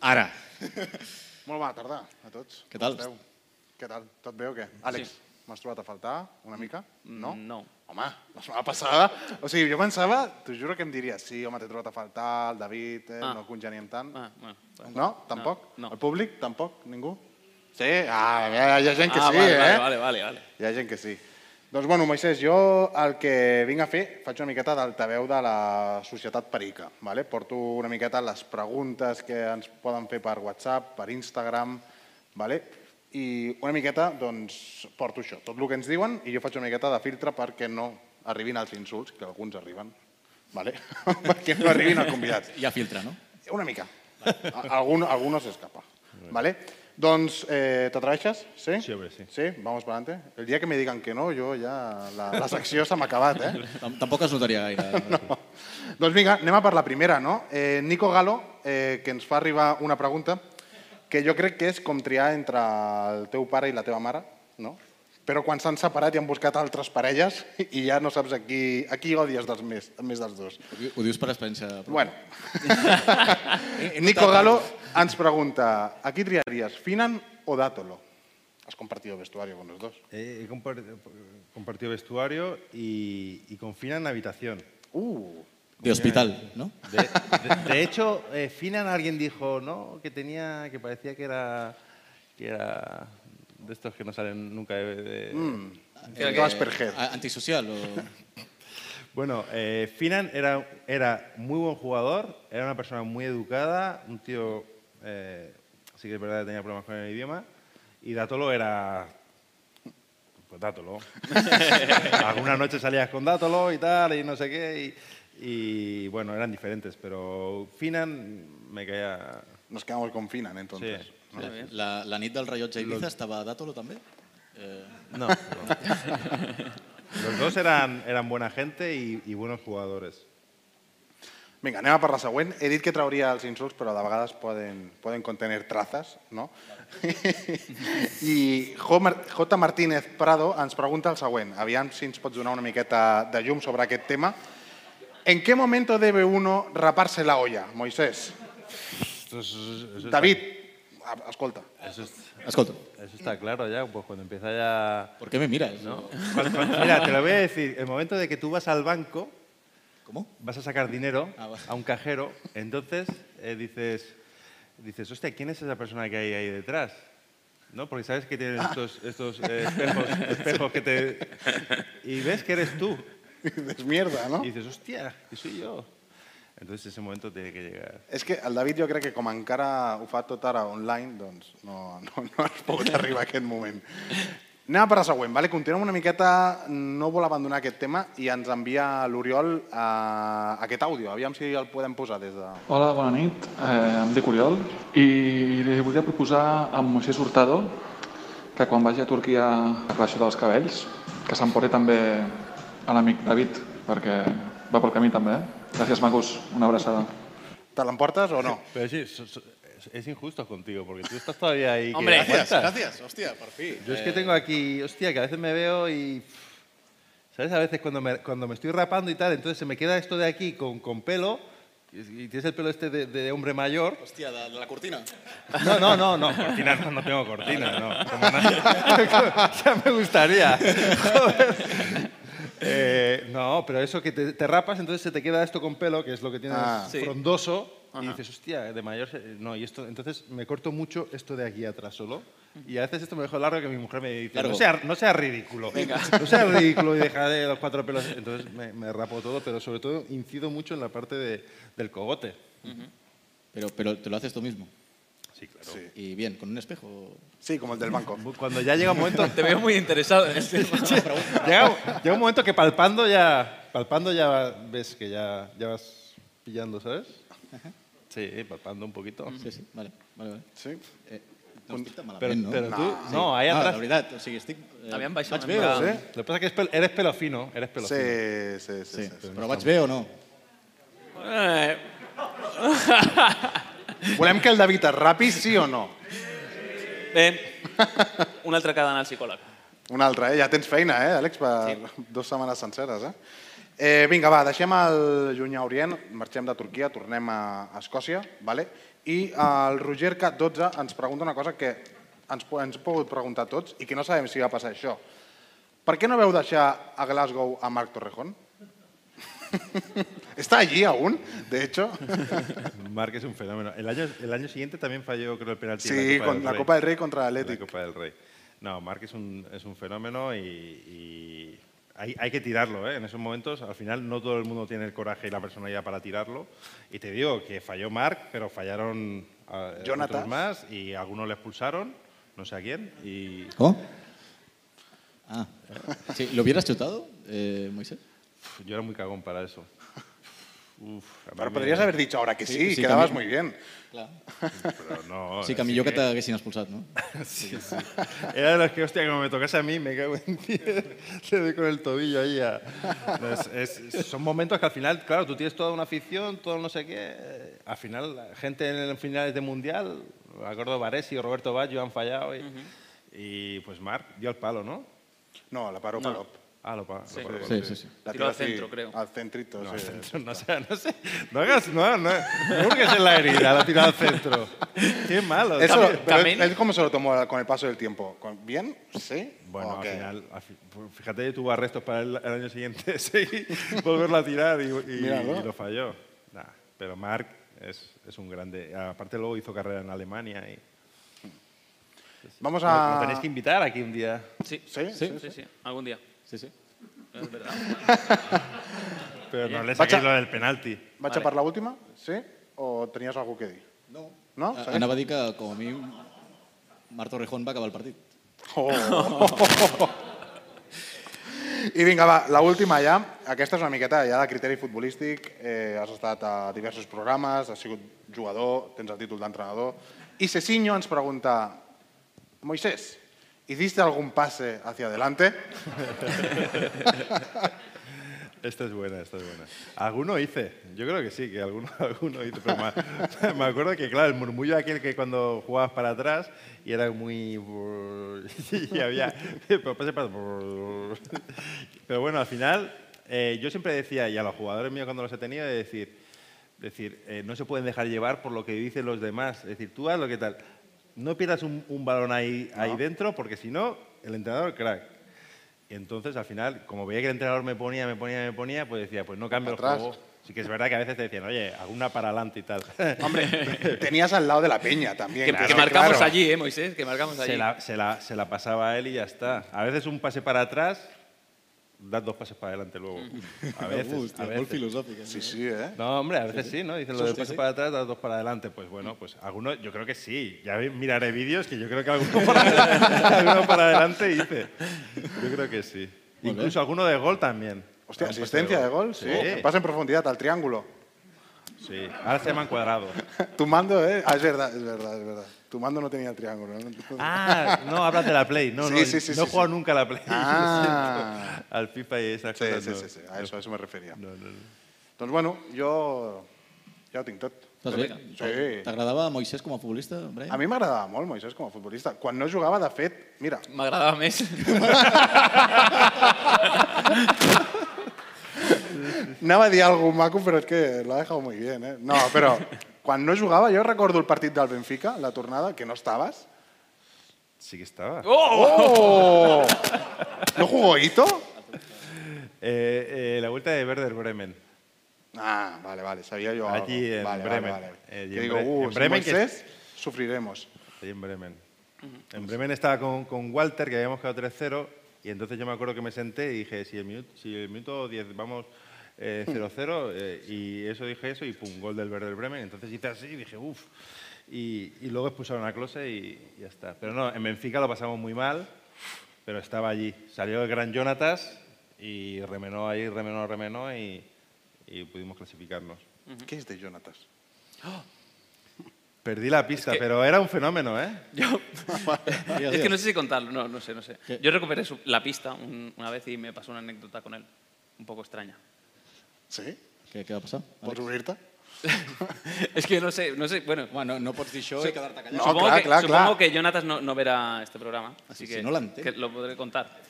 [SPEAKER 11] Ara.
[SPEAKER 12] Molt bona tarda a tots.
[SPEAKER 11] Què tal?
[SPEAKER 12] Com esteu? Què tal? Tot bé o què? Àlex, m'has trobat a faltar una mica? No?
[SPEAKER 3] No.
[SPEAKER 12] Home, la setmana passada... O sigui, jo pensava, t'ho juro que em diries, sí, home, t'he trobat a faltar, el David, eh,
[SPEAKER 3] Ah.
[SPEAKER 12] no congeniem tant.
[SPEAKER 3] Ah, bueno.
[SPEAKER 12] No? Tampoc?
[SPEAKER 3] No.
[SPEAKER 12] El públic? Tampoc? Ningú? Sí? Ah, hi ha, hi ha gent que
[SPEAKER 3] ah,
[SPEAKER 12] sí,
[SPEAKER 3] vale,
[SPEAKER 12] eh?
[SPEAKER 3] vale, vale, vale, vale.
[SPEAKER 12] Hi ha gent que sí. Doncs, bueno, Moisés, jo el que vinc a fer, faig una miqueta d'altaveu de la societat perica. Vale? Porto una miqueta les preguntes que ens poden fer per WhatsApp, per Instagram, vale? i una miqueta doncs, porto això, tot el que ens diuen, i jo faig una miqueta de filtre perquè no arribin als insults, que alguns arriben, vale? <laughs> perquè no arribin al convidat.
[SPEAKER 11] Hi ha filtre, no?
[SPEAKER 12] Una mica. A- Algun, alguno se escapa. ¿Vale? Entonces, eh, ¿te atravesas? ¿Sí?
[SPEAKER 10] Sí, hombre, sí.
[SPEAKER 12] Sí, vamos para adelante. El día que me digan que no, yo ya... La, la secció se m'ha acabat,
[SPEAKER 2] <laughs>
[SPEAKER 12] eh?
[SPEAKER 11] Tam- Tampoc es notaria gaire.
[SPEAKER 12] No. Doncs vinga, anem a per la primera, no? Eh, Nico Galo, eh, que ens fa arribar una pregunta que jo crec que és com triar entre el teu pare i la teva mare, no? Però quan s'han separat i han buscat altres parelles i ja no saps a qui, a qui odies dels més, més dels dos.
[SPEAKER 11] Ho di- Ho dius per experiència pròpia.
[SPEAKER 12] Bueno.
[SPEAKER 11] <laughs>
[SPEAKER 12] Nico Galo ens pregunta, ¿a qui triaries, Finan o Dátolo? Has compartido vestuario con los dos.
[SPEAKER 10] He he compar- compartido vestuario y, y con Finan habitación.
[SPEAKER 12] Uh,
[SPEAKER 11] De hospital, ¿no?
[SPEAKER 10] De, de- de hecho, eh, Finan alguien dijo, ¿no? Que tenía, que parecía que era, que era de estos que no salen nunca de... de-
[SPEAKER 11] Ah, eh,
[SPEAKER 12] el de Asperger.
[SPEAKER 11] A- Antisocial o...
[SPEAKER 10] Bueno, eh, Finan era, era muy buen jugador, era una persona muy educada, un tío, eh, sí que es verdad que tenía problemas con el idioma, y Dátolo era...
[SPEAKER 11] <laughs>
[SPEAKER 10] Pues Dátolo. Algunas noches salías con Dátolo y tal, y no sé qué, y, y, bueno, eran diferentes, pero Finan me caía...
[SPEAKER 12] Nos quedamos con Finan, entonces.
[SPEAKER 10] Sí.
[SPEAKER 12] ¿no?
[SPEAKER 11] La, la nit del rellotge a Ibiza estava a Dátolo, també? Eh, <laughs>
[SPEAKER 10] No. Los dos eran, eran buena gente y, y buenos jugadores.
[SPEAKER 12] Vinga, anem a per la següent. He dit que trauria els insults, però de vegades poden, poden contenir traces, no? <laughs> I Jo Mar- J. Martínez Prado ens pregunta el següent. Aviam si ens pots donar una miqueta de llum sobre aquest tema. ¿En qué momento debe uno raparse la olla, Moisés? David, a- escolta.
[SPEAKER 10] Eso, es-
[SPEAKER 11] escolta,
[SPEAKER 10] eso está claro ya, pues cuando empieza ya...
[SPEAKER 11] ¿por qué me miras? No.
[SPEAKER 10] Cuando- cuando- Mira, te lo voy a decir. El momento de que tú vas al banco,
[SPEAKER 11] ¿Cómo?
[SPEAKER 10] vas a sacar dinero
[SPEAKER 11] Ah, va.
[SPEAKER 10] a un cajero, entonces eh, dices, dices, hostia, ¿quién es esa persona que hay ahí detrás? ¿No? Porque sabes que
[SPEAKER 11] Ah.
[SPEAKER 10] tienen estos, estos eh,
[SPEAKER 11] <laughs>
[SPEAKER 10] espejos, espejos que te... Y ves que eres tú.
[SPEAKER 12] <laughs> Es mierda, no?
[SPEAKER 10] Y dices, hostia, que soy yo. Entonces ese momento tiene que llegar.
[SPEAKER 12] És que el David jo crec que com encara ho fa tot ara online, doncs no, <laughs> no, no has pogut arribar a aquest moment. Anem a per la següent, vale? continuem una miqueta, no vol abandonar aquest tema i ens envia l'Oriol a aquest àudio, aviam si el podem posar des de...
[SPEAKER 13] Hola, bona nit. Eh, em dic Oriol i li volia proposar a Moisés Hurtado que quan vagi a Turquia a Baixó dels Cabells, que s'emporti també a l'amic David, perquè va pel camí també. Eh? Gràcies, macos. Una abraçada.
[SPEAKER 12] Te l'emportes o no?
[SPEAKER 10] <laughs> Pero sí, so- so- es- es injusto contigo, porque tú estás todavía ahí. que
[SPEAKER 3] Hombre.
[SPEAKER 10] aguantas.
[SPEAKER 11] Gracias, gracias, hòstia, per fi.
[SPEAKER 10] Yo es que tengo aquí, hostia, que a veces me veo y... ¿Sabes? A veces cuando me, cuando me estoy rapando y tal, entonces se me queda esto de aquí con, con pelo y y tienes el pelo este de, de hombre mayor.
[SPEAKER 11] Hòstia, de, de la cortina.
[SPEAKER 10] No, no, no, no, cortina no, no tengo <laughs> cortina, no. Como nadie- ya me gustaría. Joder. Eh, no, pero eso que te, te rapas, entonces se te queda esto con pelo, que es lo que tienes
[SPEAKER 12] Ah. Sí.
[SPEAKER 10] frondoso, y dices, hostia, eh, de mayor... se- No, y esto, entonces me corto mucho esto de aquí atrás solo. Y a veces esto me dejo largo que mi mujer me dice,
[SPEAKER 12] Largo.
[SPEAKER 10] no sea, no sea ridículo.
[SPEAKER 12] Venga.
[SPEAKER 10] No sea ridículo y deja de los cuatro pelos. Entonces me, me rapo todo, pero sobre todo incido mucho en la parte de- del cogote.
[SPEAKER 11] Pero, pero te lo haces tú mismo.
[SPEAKER 10] Sí, claro.
[SPEAKER 11] Y bien, con un espejo.
[SPEAKER 12] Sí, como el del banco.
[SPEAKER 10] <laughs> Cuando ya llega un momento...
[SPEAKER 11] Te veo muy
[SPEAKER 10] interesado
[SPEAKER 11] en este
[SPEAKER 10] <laughs>
[SPEAKER 11] tema.
[SPEAKER 10] llega, llega un momento que palpando ya, palpando ya ves que ya, ya vas pillando, ¿sabes? Sí, palpando un poquito.
[SPEAKER 11] Sí, sí, vale. vale, vale.
[SPEAKER 12] Sí.
[SPEAKER 11] Eh, no
[SPEAKER 10] Con-
[SPEAKER 11] estic tan
[SPEAKER 10] Però,
[SPEAKER 11] malament, no?
[SPEAKER 10] però tu,
[SPEAKER 11] sí.
[SPEAKER 10] no, ahí atrás.
[SPEAKER 11] No, la veritat, o sigui, estic... Eh,
[SPEAKER 12] Aviam, baixa
[SPEAKER 11] vaig
[SPEAKER 12] una
[SPEAKER 11] bé,
[SPEAKER 12] mica.
[SPEAKER 11] o...
[SPEAKER 12] Sí.
[SPEAKER 11] Sí.
[SPEAKER 10] Lo que pasa es que es pel- eres pelo fino, eres pelo
[SPEAKER 12] Sí,
[SPEAKER 10] fino.
[SPEAKER 12] sí, sí, sí, sí.
[SPEAKER 11] Però vaig bé o no?
[SPEAKER 3] Eh...
[SPEAKER 12] Volem que el David es rapi, sí o no?
[SPEAKER 3] Bé, <laughs> un altre que ha d'anar al psicòleg.
[SPEAKER 12] Una altra, eh? Ja tens feina, eh, Àlex, per sí. dues setmanes senceres, eh? eh? Vinga, va, deixem el Llunyà Orient, marxem de Turquia, tornem a Escòcia, vale? i eh, el Roger K12 ens pregunta una cosa que ens, po- ens hem pogut preguntar tots i que no sabem si va passar això. Per què no veu deixar a Glasgow a Marc Torrejón? <laughs> Està allí aún, de
[SPEAKER 10] <laughs>
[SPEAKER 12] hecho.
[SPEAKER 10] Marc es un fenómeno. El año, el año siguiente también falló, creo, el penalti. en
[SPEAKER 12] Sí, con la Copa del Rey contra el
[SPEAKER 10] La Copa del Rey. No, Marc es un, es un fenómeno y, y hay, hay que tirarlo, ¿eh? En esos momentos, al final, no todo el mundo tiene el coraje y la personalidad para tirarlo. Y te digo que falló Marc, pero fallaron eh,
[SPEAKER 12] Jonatas.
[SPEAKER 10] otros más y algunos le expulsaron, no sé a quién. Y
[SPEAKER 11] ¿Cómo? Ah. Sí, ¿Lo hubieras chutado, eh, Moisés?
[SPEAKER 10] pf, yo era muy cagón para eso. Uf, a mí
[SPEAKER 12] Pero
[SPEAKER 10] me-
[SPEAKER 12] podrías haber dicho ahora que sí, quedabas
[SPEAKER 11] Camillo.
[SPEAKER 12] muy bien.
[SPEAKER 11] Claro.
[SPEAKER 10] Pero no,
[SPEAKER 11] Sí,
[SPEAKER 10] es
[SPEAKER 11] que millor que
[SPEAKER 10] que-
[SPEAKER 11] t'haguessin expulsat, no?
[SPEAKER 10] Sí, sí. <laughs> Era de los que, hostia, como me tocase a mí, me cago en diez. <laughs> Le doy con el tobillo ahí a... No, es- es- son momentos que al final, claro, tú tienes toda una afición, todo no sé qué. Al final, la gente en el- finales de Mundial, me acuerdo Varese y Roberto Baggio han fallado. Y, y, pues Marc dio el palo, ¿no?
[SPEAKER 12] No, la paró
[SPEAKER 10] No.
[SPEAKER 12] Palop.
[SPEAKER 10] Ah, lo paró.
[SPEAKER 12] Sí.
[SPEAKER 10] lo paró,
[SPEAKER 12] Sí, sí, sí. La
[SPEAKER 10] Tiró
[SPEAKER 12] tiró así, Al centrito,
[SPEAKER 10] No,
[SPEAKER 12] sí.
[SPEAKER 10] al centro, no, sé, no sé. No hagas, no, no, no hurgues en la herida, la tiró
[SPEAKER 12] <laughs>
[SPEAKER 10] al centro. Qué malo.
[SPEAKER 12] Eso,
[SPEAKER 10] También-
[SPEAKER 12] pero
[SPEAKER 10] también-
[SPEAKER 12] él, él cómo se lo tomó con el paso del tiempo? ¿Con- ¿Bien? ¿Sí?
[SPEAKER 10] Bueno,
[SPEAKER 12] Ok.
[SPEAKER 10] al final, al fi- pues, fíjate, tuvo arrestos para el, el año siguiente, <laughs> sí, volverlo a tirar y, y-
[SPEAKER 12] Míralo.
[SPEAKER 10] y lo falló. Nah, pero Marc es, es un grande. Aparte luego hizo carrera en Alemania. Y...
[SPEAKER 12] Vamos
[SPEAKER 10] Lo-
[SPEAKER 12] a-
[SPEAKER 10] lo tenéis que invitar aquí un día.
[SPEAKER 3] Sí,
[SPEAKER 12] sí,
[SPEAKER 3] sí, sí, algún día.
[SPEAKER 11] Sí, sí.
[SPEAKER 3] Es verdad.
[SPEAKER 10] <laughs>
[SPEAKER 12] <laughs>
[SPEAKER 10] Pero no
[SPEAKER 3] Oye,
[SPEAKER 10] le
[SPEAKER 12] vaig
[SPEAKER 10] saquéis
[SPEAKER 12] a-
[SPEAKER 10] lo del penalti.
[SPEAKER 12] ¿Vaig a per la última? Sí? ¿O tenías algo que dir?
[SPEAKER 11] No.
[SPEAKER 12] No?
[SPEAKER 2] Ah,
[SPEAKER 11] A- Anava a dir que, com a mi, Marc Torrejón va acabar el partit.
[SPEAKER 12] Oh. <laughs> I vinga, va, l'última ja. Aquesta és una miqueta ja de criteri futbolístic. Eh, has estat a diversos programes, has sigut jugador, tens el títol d'entrenador. I Cecinho ens pregunta, Moisés, ¿hiciste algún pase hacia adelante?
[SPEAKER 10] <laughs> Esta es buena, esta es buena. Alguno hice, yo creo que sí, que alguno, <laughs> alguno hice, pero me, me acuerdo que, claro, el murmullo aquel que cuando jugabas para atrás y era muy... <laughs> y había... pero pase para- <laughs> Pero bueno, al final, eh, yo siempre decía, y a los jugadores míos cuando los he tenido, de decir, decir eh, no se pueden dejar llevar por lo que dicen los demás. Es decir, tú haz lo que tal. No pierdas un, un balón ahí, ahí dentro, porque si no, el entrenador, crack. Y entonces, al final, como veía que el entrenador me ponía, me ponía, me ponía, pues decía, pues no cambio
[SPEAKER 12] Atrás.
[SPEAKER 10] el juego. Sí que es verdad que a veces te decían, oye, alguna para adelante y tal.
[SPEAKER 12] <laughs>
[SPEAKER 10] <laughs>
[SPEAKER 12] Hombre, tenías al lado de la peña también.
[SPEAKER 10] Que-
[SPEAKER 12] claro,
[SPEAKER 10] que marcamos
[SPEAKER 12] claro.
[SPEAKER 3] Allí, eh, Moisés, que marcamos allí.
[SPEAKER 10] Se la, se la- se la pasaba a él y ya está. A veces un pase para atrás, das dos pases para adelante luego. <laughs>
[SPEAKER 3] Mm.
[SPEAKER 10] A veces.
[SPEAKER 11] Hòstia,
[SPEAKER 10] a
[SPEAKER 11] molt
[SPEAKER 10] veces.
[SPEAKER 11] filosòfica.
[SPEAKER 12] Sí, sí, eh?
[SPEAKER 10] No, hombre, a veces sí, ¿no? Dicen lo de
[SPEAKER 11] Sí, sí,
[SPEAKER 10] pases
[SPEAKER 11] sí.
[SPEAKER 10] para atrás, das dos para adelante. Pues bueno, pues algunos, yo creo que sí. Ya ve- miraré vídeos que yo creo que alguno <laughs> para, alguno para adelante hice. Yo creo que sí.
[SPEAKER 12] Molt bé.
[SPEAKER 10] Incluso alguno de gol también.
[SPEAKER 12] Hostia,
[SPEAKER 10] Algún pase
[SPEAKER 12] asistencia de gol, sí. Que Pasa en profundidad al triángulo.
[SPEAKER 10] Sí, ahora se llaman cuadrados.
[SPEAKER 12] Tu mando, ¿eh? Ah, es verdad, es verdad, es verdad. Tu mando no tenía el triángulo. ¿no?
[SPEAKER 10] Ah, no, hablas de la Play. No,
[SPEAKER 12] Sí,
[SPEAKER 10] no,
[SPEAKER 12] sí, sí,
[SPEAKER 10] no he
[SPEAKER 12] sí,
[SPEAKER 10] jugado
[SPEAKER 12] sí.
[SPEAKER 10] nunca a la Play. <laughs> lo
[SPEAKER 12] Ah.
[SPEAKER 10] siento. Al FIFA y esas
[SPEAKER 12] Sí,
[SPEAKER 10] cosas.
[SPEAKER 12] sí,
[SPEAKER 10] no.
[SPEAKER 12] sí, sí, a eso, a eso me refería.
[SPEAKER 10] No, no, no.
[SPEAKER 12] Doncs bueno, jo ja ho tinc tot.
[SPEAKER 11] Estàs Doncs bé?
[SPEAKER 12] Sí.
[SPEAKER 11] T'agradava Moisés com a futbolista, Brian?
[SPEAKER 12] A mi m'agradava molt Moisés com a futbolista. Quan no jugava, de fet, mira...
[SPEAKER 3] M'agradava més.
[SPEAKER 12] <laughs> Anava a dir alguna cosa maco, però és que l'ha dejado muy bien, eh? No, però quan no jugava, jo recordo el partit del Benfica, la tornada, que no estaves.
[SPEAKER 10] Sí que estaba.
[SPEAKER 12] ¡Oh! ¿No jugó Ito?
[SPEAKER 10] <laughs> Eh, eh, la vuelta de Werder Bremen.
[SPEAKER 12] Ah, vale, vale, sabía yo. algo.
[SPEAKER 10] Allí en
[SPEAKER 12] Vale, vale,
[SPEAKER 10] Bremen.
[SPEAKER 12] vale.
[SPEAKER 10] Eh, y
[SPEAKER 12] Que
[SPEAKER 10] en
[SPEAKER 12] digo,
[SPEAKER 10] Bre-
[SPEAKER 12] uh,
[SPEAKER 10] en
[SPEAKER 12] si
[SPEAKER 10] Bremen que-
[SPEAKER 12] Moisés, sufriremos.
[SPEAKER 10] Allí en Bremen. En Bremen estaba con, con Walter, que habíamos quedado 3-0, y entonces yo me acuerdo que me senté y dije, si el minuto, si el minuto 10 vamos eh, 0-0, eh, y eso dije eso, y pum, gol del Werder Bremen. Entonces hice así y dije, uff. Y, y luego expulsaron a Klose y ya está. Pero no, en Benfica lo pasamos muy mal, pero estaba allí. Salió el gran Jonatas y remenó ahí, remenó, remenó, y, y pudimos clasificarnos.
[SPEAKER 12] ¿Qué es de Jonatas?
[SPEAKER 10] <gasps> Perdí la pista, pero era un fenómeno,
[SPEAKER 3] <laughs>
[SPEAKER 10] ¿eh? <laughs>
[SPEAKER 2] <laughs>
[SPEAKER 3] es que no sé si contarlo, no, no sé, no sé. Yo recuperé su- la pista un- una vez y me pasó una anécdota con él, un poco extraña.
[SPEAKER 12] ¿Sí? ¿Qué, va a pasar? ¿Pots obrir-te?
[SPEAKER 3] <laughs> Es que no sé, no sé, bueno...
[SPEAKER 2] Bueno, no pots dir això
[SPEAKER 3] Su-
[SPEAKER 2] i quedar-te callat.
[SPEAKER 3] Supongo,
[SPEAKER 2] clar,
[SPEAKER 3] que,
[SPEAKER 2] clar,
[SPEAKER 3] supongo
[SPEAKER 2] clar.
[SPEAKER 3] que Jonatas no, no verá este programa, así
[SPEAKER 2] Ah, si
[SPEAKER 3] que,
[SPEAKER 2] no la entén.
[SPEAKER 3] que lo podré contar.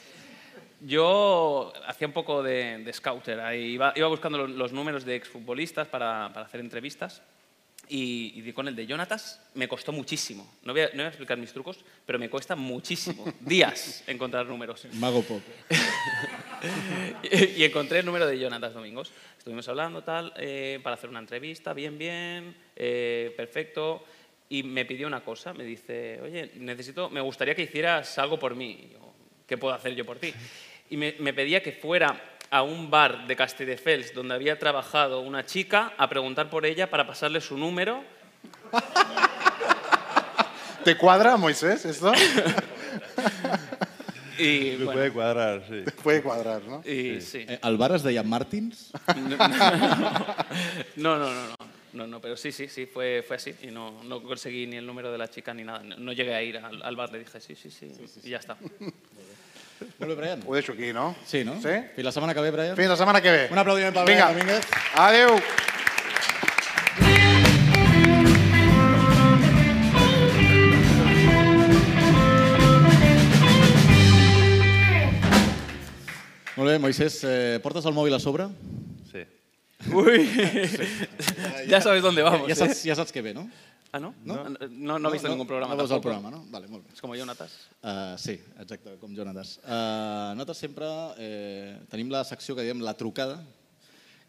[SPEAKER 3] Yo hacía un poco de, de scouter, ahí iba, iba buscando los, los números de exfutbolistas para, para hacer entrevistas y, y di con el de Jonatas me costó muchísimo. No voy, a, no voy a explicar mis trucos, pero me cuesta
[SPEAKER 2] <laughs>
[SPEAKER 3] muchísimo, días, encontrar números.
[SPEAKER 2] Mago Pop.
[SPEAKER 3] <laughs> y encontré el número de Jonatas Domingos. Estuvimos hablando, tal, eh, para hacer una entrevista, bien, bien, eh, perfecto. Y me pidió una cosa, me dice, oye, necesito, me gustaría que hicieras algo por mí. Y yo, ¿Qué puedo hacer yo por ti? Y me, me pedía que fuera a un bar de Castelldefels donde había trabajado una chica a preguntar por ella para pasarle su número
[SPEAKER 12] ¿Te cuadra, Moisés, esto?
[SPEAKER 3] y... bueno,
[SPEAKER 10] Puede <laughs> cuadrar, sí.
[SPEAKER 12] Puede cuadrar, ¿no?
[SPEAKER 3] y sí.
[SPEAKER 2] Eh, el bar es deia Martins?
[SPEAKER 3] No, no, no, no. No, no, pero sí, sí, sí, fue, fue así. Y no, no conseguí ni el número de la chica ni nada. No, no llegué a ir al, al bar, le dije sí, sí, sí, y ya está.
[SPEAKER 2] Molt bé, Brian.
[SPEAKER 12] Ho deixo aquí, no?
[SPEAKER 2] Sí, no?
[SPEAKER 12] Sí?
[SPEAKER 2] Fins la setmana que ve, Brian.
[SPEAKER 12] Fins la setmana que ve.
[SPEAKER 2] Un aplaudiment pel
[SPEAKER 12] Vinga.
[SPEAKER 2] Brian Domínguez.
[SPEAKER 12] Adéu.
[SPEAKER 2] Molt bé, Moisés, eh, portes el mòbil a
[SPEAKER 3] <laughs>
[SPEAKER 2] sobre?
[SPEAKER 10] Sí.
[SPEAKER 3] Ui! Ya sabes dónde vamos,
[SPEAKER 2] Ja, ja, saps,
[SPEAKER 3] eh?
[SPEAKER 2] ja saps què ve, no?
[SPEAKER 3] <laughs> Ah, ¿no?
[SPEAKER 2] No.
[SPEAKER 3] No, no, no, he visto ningún programa.
[SPEAKER 2] No veus el
[SPEAKER 3] tampoco.
[SPEAKER 2] programa, no? Vale, molt bé.
[SPEAKER 3] Es como Jonatas.
[SPEAKER 2] Uh, sí, exacte, com Jonatas. Uh, nosaltres sempre eh, tenim la secció que diem la trucada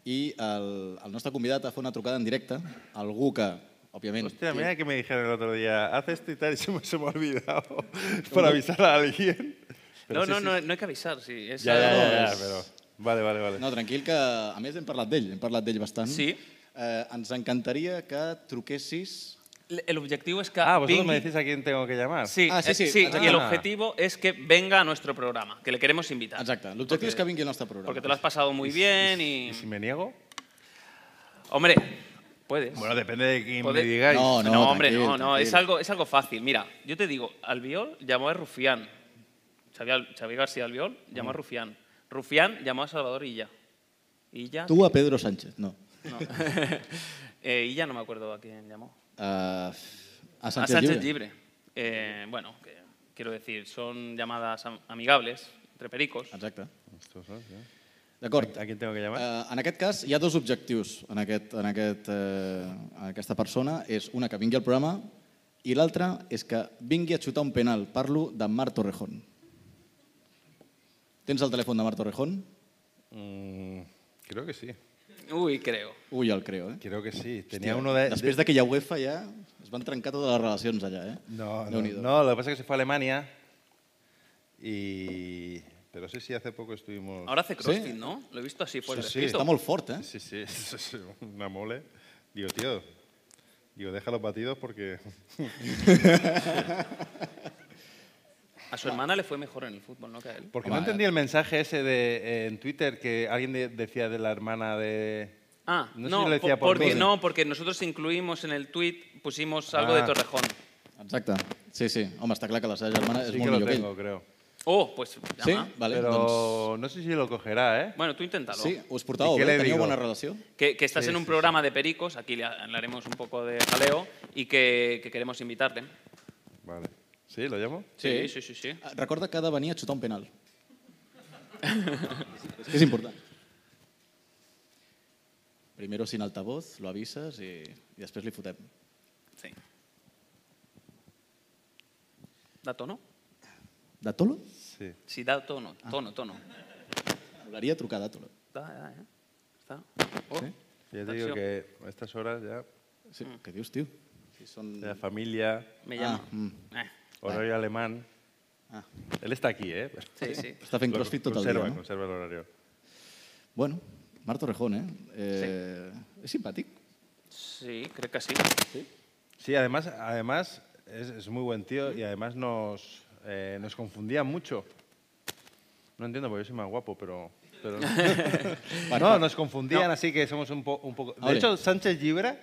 [SPEAKER 2] i el, el nostre convidat ha fet una trucada en directe a algú que, òbviament...
[SPEAKER 10] Hostia, mira que me dijeron el otro día, haz esto y tal, y se me, se me
[SPEAKER 3] <laughs>
[SPEAKER 10] ha olvidado <laughs> para avisar a alguien.
[SPEAKER 3] No,
[SPEAKER 10] Pero sí,
[SPEAKER 3] no,
[SPEAKER 10] sí.
[SPEAKER 3] no, no hay que avisar, sí. Es,
[SPEAKER 10] Ya, ya, ya,
[SPEAKER 2] és-
[SPEAKER 10] ya, pero... Vale, vale, vale.
[SPEAKER 2] No, tranquil, que a més hem parlat d'ell, hem parlat d'ell bastant. Sí. Eh, ens encantaria que truquessis...
[SPEAKER 3] El objetivo es que...
[SPEAKER 10] Ah, vosotros me
[SPEAKER 3] Vingui-
[SPEAKER 10] decís a quién tengo que llamar.
[SPEAKER 3] Sí,
[SPEAKER 2] Ah,
[SPEAKER 3] eh, y el objetivo es que venga a nuestro programa, que le queremos invitar.
[SPEAKER 2] Exacto, el objetivo es que venga a nuestro programa.
[SPEAKER 3] Porque te lo has pasado muy bien y...
[SPEAKER 10] ¿Y si me niego?
[SPEAKER 3] Hombre, puedes.
[SPEAKER 10] Bueno, depende de quién
[SPEAKER 3] Poder-
[SPEAKER 10] me digáis.
[SPEAKER 2] No, no,
[SPEAKER 3] hombre,
[SPEAKER 2] tranquil,
[SPEAKER 3] no, no, es
[SPEAKER 2] tranquil.
[SPEAKER 3] algo, es algo fácil. Mira, yo te digo, Albiol llamó a Rufián. Xavier, Xavier García Albiol llamó a
[SPEAKER 2] Mm.
[SPEAKER 3] Rufián. Rufián llamó a Salvador Illa. Illa.
[SPEAKER 2] Tu a Pedro Sánchez, no.
[SPEAKER 3] No. <laughs> Eh, Illa no me acuerdo a quién llamó.
[SPEAKER 2] Uh, a
[SPEAKER 3] a
[SPEAKER 2] Sánchez,
[SPEAKER 3] Sánchez
[SPEAKER 2] Llibre.
[SPEAKER 3] Llibre. Eh, bueno, que- quiero decir, son llamadas am- amigables entre pericos.
[SPEAKER 2] Exacte. D'acord.
[SPEAKER 10] A quién tengo que
[SPEAKER 2] Uh,
[SPEAKER 10] llamar?
[SPEAKER 2] en aquest cas hi ha dos objectius en, aquest, en, aquest, uh, en aquesta persona. És una que vingui al programa i l'altra és que vingui a xutar un penal. Parlo de Mar Torrejón. Tens el telèfon de Mar Torrejón?
[SPEAKER 10] Mm, creo que sí.
[SPEAKER 3] Uy, creo.
[SPEAKER 2] Ui, el creo, eh?
[SPEAKER 10] Creo que sí. Tenía uno de...
[SPEAKER 2] Després d'aquella UEFA ja es van trencar totes les relacions allà, eh?
[SPEAKER 10] No, no,
[SPEAKER 2] Déu-n'hi-do.
[SPEAKER 10] no, lo que pasa es que se fue a Alemania y... Pero sí, sí, hace poco estuvimos...
[SPEAKER 3] Ahora hace crossfit, ¿no? Lo he visto así fuerte.
[SPEAKER 2] fuerte, ¿eh?
[SPEAKER 10] Sí, sí, <laughs> es- es una mole. Digo, tío, digo, deja los batidos porque...
[SPEAKER 3] <laughs> A su hermana le fue mejor en el fútbol, ¿no? Que a él.
[SPEAKER 2] Ah,
[SPEAKER 10] Porque no entendí el mensaje ese de, eh, en Twitter que alguien de- decía de la hermana de...
[SPEAKER 3] Ah, no,
[SPEAKER 10] no, sé si lo decía
[SPEAKER 3] po-
[SPEAKER 10] por,
[SPEAKER 3] porque,
[SPEAKER 10] mí.
[SPEAKER 3] no, porque nosotros incluimos en el tweet, pusimos algo de
[SPEAKER 10] Ah.
[SPEAKER 3] Torrejón.
[SPEAKER 2] Exacte. Sí, sí. Home, està clar que la seva germana és
[SPEAKER 10] Sí que
[SPEAKER 2] molt
[SPEAKER 10] lo
[SPEAKER 2] millor que ell.
[SPEAKER 10] tengo, creo.
[SPEAKER 3] Oh, pues llama.
[SPEAKER 2] Vale,
[SPEAKER 10] Pero
[SPEAKER 2] doncs-
[SPEAKER 10] no sé si lo cogerá, ¿eh?
[SPEAKER 3] Bueno, tú inténtalo.
[SPEAKER 2] Sí, us portàveu
[SPEAKER 10] ¿Y qué
[SPEAKER 2] bé?
[SPEAKER 10] le
[SPEAKER 2] Teníeu
[SPEAKER 10] digo?
[SPEAKER 2] bona relació?
[SPEAKER 3] Que, que estás
[SPEAKER 2] Sí,
[SPEAKER 3] en un
[SPEAKER 2] sí,
[SPEAKER 3] programa de pericos, aquí le ha- le haremos un poco de jaleo y que, que queremos invitarte.
[SPEAKER 10] Vale. ¿Sí? ¿Lo llamo?
[SPEAKER 3] Sí, sí, sí. sí.
[SPEAKER 2] Eh, Recorda que ha de venir a xutar un penal. és que és important. Primero sin altavoz, lo avisas i, i després li fotem.
[SPEAKER 3] ¿Da tono?
[SPEAKER 2] De tolo?
[SPEAKER 10] Sí.
[SPEAKER 2] Ah.
[SPEAKER 3] Sí, da tono, tono, tono.
[SPEAKER 2] M'agradaria trucar a Dàtula.
[SPEAKER 3] Està, ja, eh? Està.
[SPEAKER 10] Sí. Ya te digo
[SPEAKER 2] Atención.
[SPEAKER 10] que a estas horas ya...
[SPEAKER 2] Sí, ¿Qué dios, tío? Si Mm. son...
[SPEAKER 10] La familia...
[SPEAKER 2] Me llama. Ah, mm.
[SPEAKER 3] Eh.
[SPEAKER 10] Horario alemán. Él está aquí, ¿eh?
[SPEAKER 2] Sí, sí. Está fent
[SPEAKER 10] Lo
[SPEAKER 2] crossfit tot el
[SPEAKER 10] conserva,
[SPEAKER 2] dia, no?
[SPEAKER 10] Conserva el horario.
[SPEAKER 2] Bueno, Marc Torrejón, eh? eh És simpàtic.
[SPEAKER 3] Sí, creo que sí.
[SPEAKER 2] Sí,
[SPEAKER 10] Sí, además, además es, es muy buen tío y además nos, eh, nos confundía mucho. No entiendo porque yo soy más guapo, pero...
[SPEAKER 2] <laughs>
[SPEAKER 10] pero-
[SPEAKER 2] pues,
[SPEAKER 10] no, nos confundían
[SPEAKER 14] No.
[SPEAKER 10] así que somos un, po- un poco... De
[SPEAKER 14] Ole.
[SPEAKER 10] hecho, Sánchez Gibra,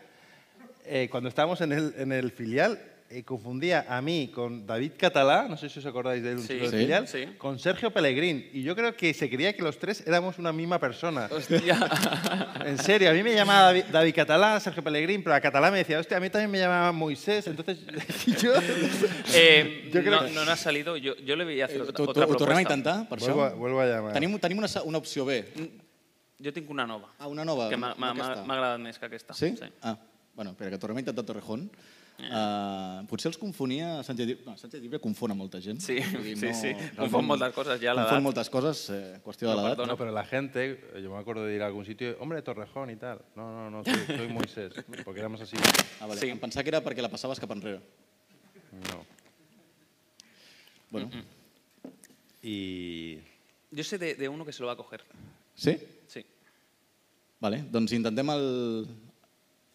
[SPEAKER 10] eh, cuando estábamos en el, en el filial, eh, confundía a mí con David Catalá, no sé si os acordáis de él, un
[SPEAKER 14] Sí.
[SPEAKER 10] chico del
[SPEAKER 14] Sí.
[SPEAKER 10] filial,
[SPEAKER 14] Sí.
[SPEAKER 10] con Sergio Pellegrín. Y yo creo que se creía que los tres éramos una misma persona. <laughs> En serio, a mí me llamaba David, David Catalá, Sergio Pellegrín, pero a Catalá me decía, hostia, a mí también me llamaba Moisés, entonces <laughs> y yo...
[SPEAKER 3] Eh,
[SPEAKER 10] Yo creo
[SPEAKER 3] no,
[SPEAKER 10] que-
[SPEAKER 3] no n'ha salido. Jo, jo li veia fer otra,
[SPEAKER 2] Ho,
[SPEAKER 3] otra
[SPEAKER 2] ho
[SPEAKER 3] proposta.
[SPEAKER 2] tornem a intentar, per
[SPEAKER 10] Vuelvo a-
[SPEAKER 2] això?
[SPEAKER 10] vuelvo a llamar.
[SPEAKER 2] Tenim, tenim una, una opció B.
[SPEAKER 3] Mm, Jo tinc una nova.
[SPEAKER 2] Ah, una nova.
[SPEAKER 3] Que m'ha m'ha- m'ha
[SPEAKER 2] aquesta.
[SPEAKER 3] m'ha agradat més que aquesta.
[SPEAKER 2] Sí? Ah, bueno, espera, que tornem a intentar Torrejón.
[SPEAKER 3] Eh.
[SPEAKER 2] Uh, potser els confonia Sánchez Llibre. No, Sánchez Llibre confon a molta gent.
[SPEAKER 3] Sí,
[SPEAKER 2] Vull dir,
[SPEAKER 3] sí, sí. Confon moltes coses, ja a l'edat.
[SPEAKER 2] Confon moltes coses, eh, qüestió de l'edat.
[SPEAKER 10] No, pero la gente, eh, yo me acuerdo de ir a algún sitio, hombre, Torrejón y tal. No, no, no, soy, soy Moisés, porque éramos así.
[SPEAKER 2] Ah, vale. Sí. Em pensava que era perquè la passaves cap enrere.
[SPEAKER 10] No.
[SPEAKER 2] Bueno.
[SPEAKER 10] Y...
[SPEAKER 3] Yo sé de, de uno que se lo va a coger.
[SPEAKER 2] Sí?
[SPEAKER 3] Sí.
[SPEAKER 2] Vale, doncs intentem el...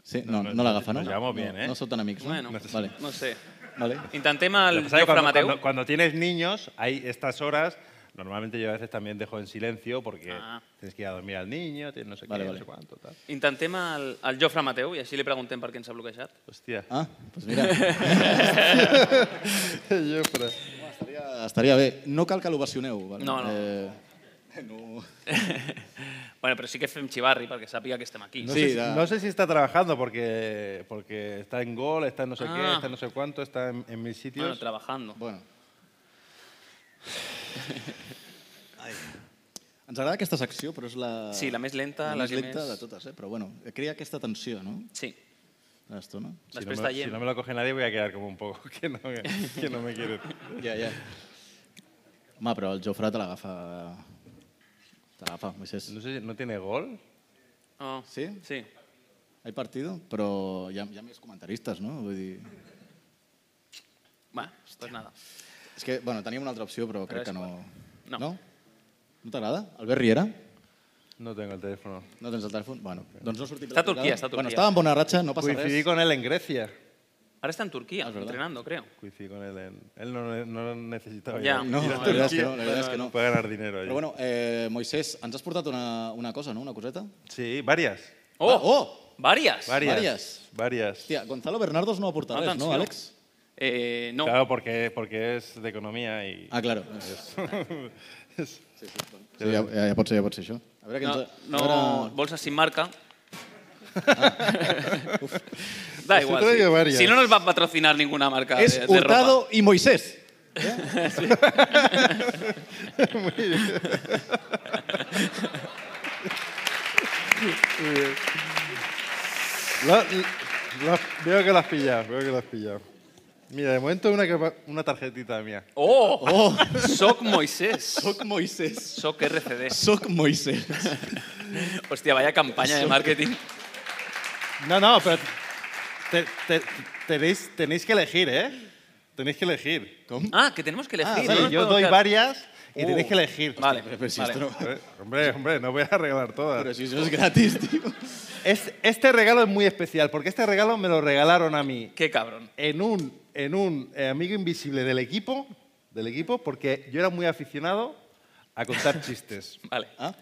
[SPEAKER 2] Sí, no, no,
[SPEAKER 10] no,
[SPEAKER 2] no l'agafa, no?
[SPEAKER 10] nos llevamos
[SPEAKER 2] no,
[SPEAKER 10] bien, ¿eh?
[SPEAKER 2] No són tan amics, no?
[SPEAKER 3] Bueno,
[SPEAKER 2] vale.
[SPEAKER 3] no sé.
[SPEAKER 2] Vale.
[SPEAKER 3] Intentem
[SPEAKER 10] Lo que
[SPEAKER 3] el
[SPEAKER 10] pasa es
[SPEAKER 3] Jofre
[SPEAKER 10] que cuando,
[SPEAKER 3] Mateu.
[SPEAKER 10] cuando- cuando tienes niños, hay estas horas, normalmente yo a veces también dejo en silencio porque
[SPEAKER 3] Ah.
[SPEAKER 10] tienes que ir a dormir al niño, tienes no sé
[SPEAKER 2] Vale,
[SPEAKER 10] qué,
[SPEAKER 2] vale.
[SPEAKER 10] no sé cuánto, tal.
[SPEAKER 3] Intentem el, el Jofre Mateu i així li preguntem per què ens ha bloquejat.
[SPEAKER 10] Hòstia.
[SPEAKER 2] Ah, doncs mira.
[SPEAKER 10] <laughs> Jofre.
[SPEAKER 2] Estaria bé. No cal que l'ovacioneu. Vale?
[SPEAKER 3] No, no.
[SPEAKER 2] Eh, no.
[SPEAKER 3] <laughs> bueno, però sí que fem xivarri perquè sàpiga que estem aquí.
[SPEAKER 10] No, sé, si- no sé si está trabajando porque, porque está en gol, está en no sé qué,
[SPEAKER 3] Ah.
[SPEAKER 10] está en no sé cuánto, está en, en mis sitios.
[SPEAKER 3] Bueno, trabajando.
[SPEAKER 2] Bueno. Ens agrada aquesta secció, però és la...
[SPEAKER 3] Sí, la més lenta, la
[SPEAKER 2] La, més
[SPEAKER 3] que
[SPEAKER 2] lenta
[SPEAKER 3] més-
[SPEAKER 2] de totes, eh? però bueno, crea aquesta tensió, no?
[SPEAKER 3] Sí.
[SPEAKER 2] De l'estona.
[SPEAKER 10] Si no, me, si no me lo coge nadie voy a quedar como un poco <laughs> que no me, que no me quiere.
[SPEAKER 2] Ya, ya. Home, però el Jofre te l'agafa... Te l'agafa, Moisés.
[SPEAKER 10] No sé si no tiene gol.
[SPEAKER 3] Oh.
[SPEAKER 2] Sí?
[SPEAKER 3] Sí.
[SPEAKER 2] Hay partido, però hi ha, hi ha més comentaristes, no? Vull dir...
[SPEAKER 3] Va, pues nada.
[SPEAKER 2] És que, bueno, teníem una altra opció, però
[SPEAKER 3] Però és
[SPEAKER 2] crec que no...
[SPEAKER 3] No.
[SPEAKER 2] No? No t'agrada? Albert Riera?
[SPEAKER 10] No tengo el teléfono.
[SPEAKER 2] No tens el telèfon? Bueno, doncs no ha sortit
[SPEAKER 3] Està a
[SPEAKER 2] la trucada.
[SPEAKER 3] Turquia, està a
[SPEAKER 2] Bueno,
[SPEAKER 3] Turquia.
[SPEAKER 2] estava en bona ratxa, no Ah, passa
[SPEAKER 10] Coincidí
[SPEAKER 2] res.
[SPEAKER 10] con él en Grecia.
[SPEAKER 3] Ahora está en Turquía,
[SPEAKER 10] verdad.
[SPEAKER 3] entrenando, creo.
[SPEAKER 10] Coincidí con él en... Él no, no lo necesitaba.
[SPEAKER 3] Ya.
[SPEAKER 10] ir a-
[SPEAKER 2] No,
[SPEAKER 10] ir a
[SPEAKER 2] la veritat és que
[SPEAKER 10] Turquía
[SPEAKER 2] no, la veritat és que no.
[SPEAKER 10] Para ganar dinero ahí.
[SPEAKER 2] Però bueno, eh, Moisés, ens has portat una, una cosa, no? Una coseta?
[SPEAKER 10] Sí, varias.
[SPEAKER 3] Oh!
[SPEAKER 2] Ah, oh!
[SPEAKER 3] Varias.
[SPEAKER 10] Varias.
[SPEAKER 2] Varias.
[SPEAKER 10] Varias.
[SPEAKER 2] Hòstia, Gonzalo Bernardos no ha portat res, no,
[SPEAKER 10] Atenció.
[SPEAKER 2] Àlex?
[SPEAKER 3] Eh, no.
[SPEAKER 10] Claro, porque, porque es de economía y...
[SPEAKER 2] Ah, claro.
[SPEAKER 10] Es- es-
[SPEAKER 2] Sí, ja, ja, ja pot ser, ja pot ser això. A veure, que
[SPEAKER 3] no,
[SPEAKER 2] ens...
[SPEAKER 3] no,
[SPEAKER 2] a veure...
[SPEAKER 3] bolsas sin marca.
[SPEAKER 2] Ah.
[SPEAKER 3] <laughs>
[SPEAKER 2] Uf. Pues
[SPEAKER 3] da
[SPEAKER 2] Os he
[SPEAKER 3] igual.
[SPEAKER 2] traído
[SPEAKER 3] sí.
[SPEAKER 2] varias.
[SPEAKER 3] Si no nos va a patrocinar ninguna marca
[SPEAKER 2] Es
[SPEAKER 3] de, de
[SPEAKER 2] Hurtado
[SPEAKER 3] ropa. <laughs>
[SPEAKER 2] y Moisés.
[SPEAKER 3] Sí.
[SPEAKER 10] Muy bien. Muy bien. Lo- lo- veo que lo has pillado, veo que lo has pillado. Mira, de momento una, que va- una tarjetita mía.
[SPEAKER 3] Oh! <laughs>
[SPEAKER 2] Oh.
[SPEAKER 3] Soc Moisés.
[SPEAKER 2] Soc Moisés.
[SPEAKER 3] Soc RCD.
[SPEAKER 2] Soc Moisés.
[SPEAKER 3] <laughs> Hostia, vaya campaña de
[SPEAKER 10] Soc-
[SPEAKER 3] marketing.
[SPEAKER 10] No, no, pero te- te- tenéis, tenéis que elegir, ¿eh? Tenéis que elegir.
[SPEAKER 3] Ah, que tenemos que elegir.
[SPEAKER 10] Sí,
[SPEAKER 3] no nos
[SPEAKER 10] yo
[SPEAKER 3] podemos
[SPEAKER 10] doy
[SPEAKER 3] quedar-
[SPEAKER 10] varias y
[SPEAKER 3] Uh,
[SPEAKER 10] tenéis que elegir.
[SPEAKER 3] Vale, pero si vale. esto
[SPEAKER 2] <laughs>
[SPEAKER 10] Eh, Hombre, hombre, no voy a regalar todas. Pero
[SPEAKER 2] si eso es gratis, <laughs> tío.
[SPEAKER 10] este regalo es muy especial porque este regalo me lo regalaron a mí.
[SPEAKER 3] Qué cabrón.
[SPEAKER 10] En un, en un eh, amigo invisible del equipo, del equipo, porque yo era muy aficionado a contar chistes.
[SPEAKER 3] <laughs> Vale.
[SPEAKER 2] ¿Ah?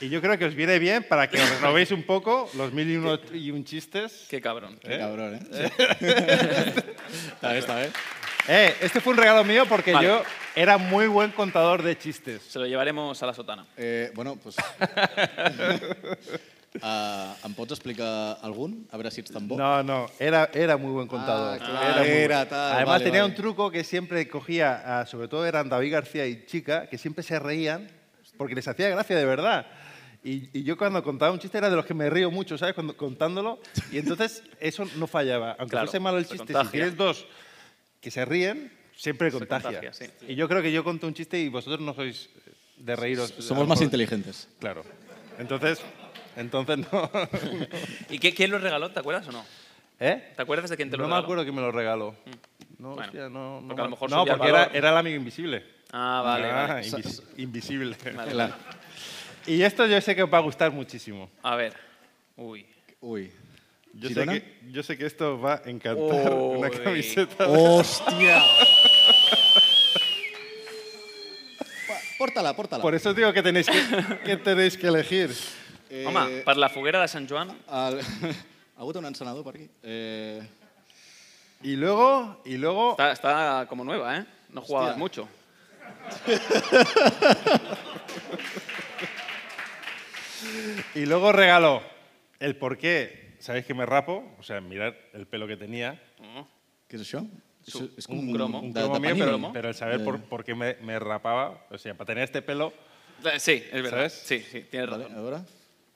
[SPEAKER 10] Y yo creo que os viene bien para que os renovéis un poco los mil y, uno y un chistes.
[SPEAKER 3] Qué cabrón.
[SPEAKER 2] Qué cabrón, ¿eh?
[SPEAKER 10] está
[SPEAKER 2] bien, <laughs> está bien.
[SPEAKER 10] Eh, este fue un regalo mío porque
[SPEAKER 3] Vale.
[SPEAKER 10] yo era muy buen contador de chistes.
[SPEAKER 3] Se lo llevaremos a la sotana.
[SPEAKER 2] Eh,
[SPEAKER 3] <laughs>
[SPEAKER 2] bueno, pues... Uh, em pots explicar algun? A veure si ets tan bo.
[SPEAKER 10] No, no, era, era muy buen
[SPEAKER 2] Ah,
[SPEAKER 10] contador.
[SPEAKER 2] claro,
[SPEAKER 10] muy
[SPEAKER 2] era
[SPEAKER 10] bueno.
[SPEAKER 2] tal,
[SPEAKER 10] Además
[SPEAKER 2] vale,
[SPEAKER 10] tenía
[SPEAKER 2] vale.
[SPEAKER 10] un truco que siempre cogía, a- sobre todo eran David García y Chica, que siempre se reían porque les hacía gracia de verdad. Y, y yo cuando contaba un chiste era de los que me río mucho, ¿sabes? Cuando, contándolo. Y entonces eso no fallaba. Aunque
[SPEAKER 14] Claro,
[SPEAKER 10] fuese malo el
[SPEAKER 14] se
[SPEAKER 10] chiste, si
[SPEAKER 14] contagia.
[SPEAKER 10] tienes dos que se ríen, siempre
[SPEAKER 14] Se
[SPEAKER 10] contagia.
[SPEAKER 14] contagia, sí.
[SPEAKER 10] Y yo creo que yo conté un chiste y vosotros no sois de reíros.
[SPEAKER 2] Somos más inteligentes.
[SPEAKER 10] Claro. Entonces, entonces
[SPEAKER 2] <laughs>
[SPEAKER 10] no.
[SPEAKER 3] ¿Y qué- quién los regaló? ¿Te acuerdas o no?
[SPEAKER 10] ¿Eh?
[SPEAKER 3] ¿Te acuerdas de quién te lo
[SPEAKER 10] no me
[SPEAKER 3] regaló?
[SPEAKER 10] acuerdo quién me lo regaló. No,
[SPEAKER 3] Bueno,
[SPEAKER 10] hostia, no, no
[SPEAKER 3] porque a lo
[SPEAKER 10] me-
[SPEAKER 3] mejor
[SPEAKER 10] no,
[SPEAKER 3] subía
[SPEAKER 10] porque
[SPEAKER 3] valor.
[SPEAKER 10] era, era el amigo invisible.
[SPEAKER 3] Ah, vale, vale.
[SPEAKER 10] invis-
[SPEAKER 3] Sa-
[SPEAKER 10] invisible.
[SPEAKER 3] Vale. Claro.
[SPEAKER 10] Y esto yo sé que os va a gustar muchísimo.
[SPEAKER 3] A ver. Uy.
[SPEAKER 2] Uy.
[SPEAKER 10] Yo sé,
[SPEAKER 2] ¿Girona?
[SPEAKER 10] que, yo sé que esto os va a encantar. <laughs> Una
[SPEAKER 2] Uy.
[SPEAKER 10] camiseta.
[SPEAKER 2] Hostia. Pórtala, pórtala.
[SPEAKER 10] Por eso os digo que tenéis que, que tenéis que elegir.
[SPEAKER 2] Eh,
[SPEAKER 3] Home, per la foguera de Sant Joan...
[SPEAKER 2] El... Ha hagut un encenador per aquí? <laughs> Eh...
[SPEAKER 10] Y luego, y luego...
[SPEAKER 3] Está, está como nueva, ¿eh? No jugabas
[SPEAKER 2] Hostia.
[SPEAKER 3] mucho.
[SPEAKER 10] Y luego regaló el por qué. ¿Sabéis que me rapo? O sea, mirad el pelo que tenía.
[SPEAKER 2] Què és això? Això és com
[SPEAKER 10] un cromo,
[SPEAKER 2] de-
[SPEAKER 10] un
[SPEAKER 2] de
[SPEAKER 10] cromo mío,
[SPEAKER 2] Panini.
[SPEAKER 10] pero, pero el saber por,
[SPEAKER 2] Eh,
[SPEAKER 10] por qué me, me rapaba, o sea, para tener este pelo,
[SPEAKER 3] Eh, Sí, es verdad.
[SPEAKER 10] ¿Sabes?
[SPEAKER 3] Sí, sí, tienes razón.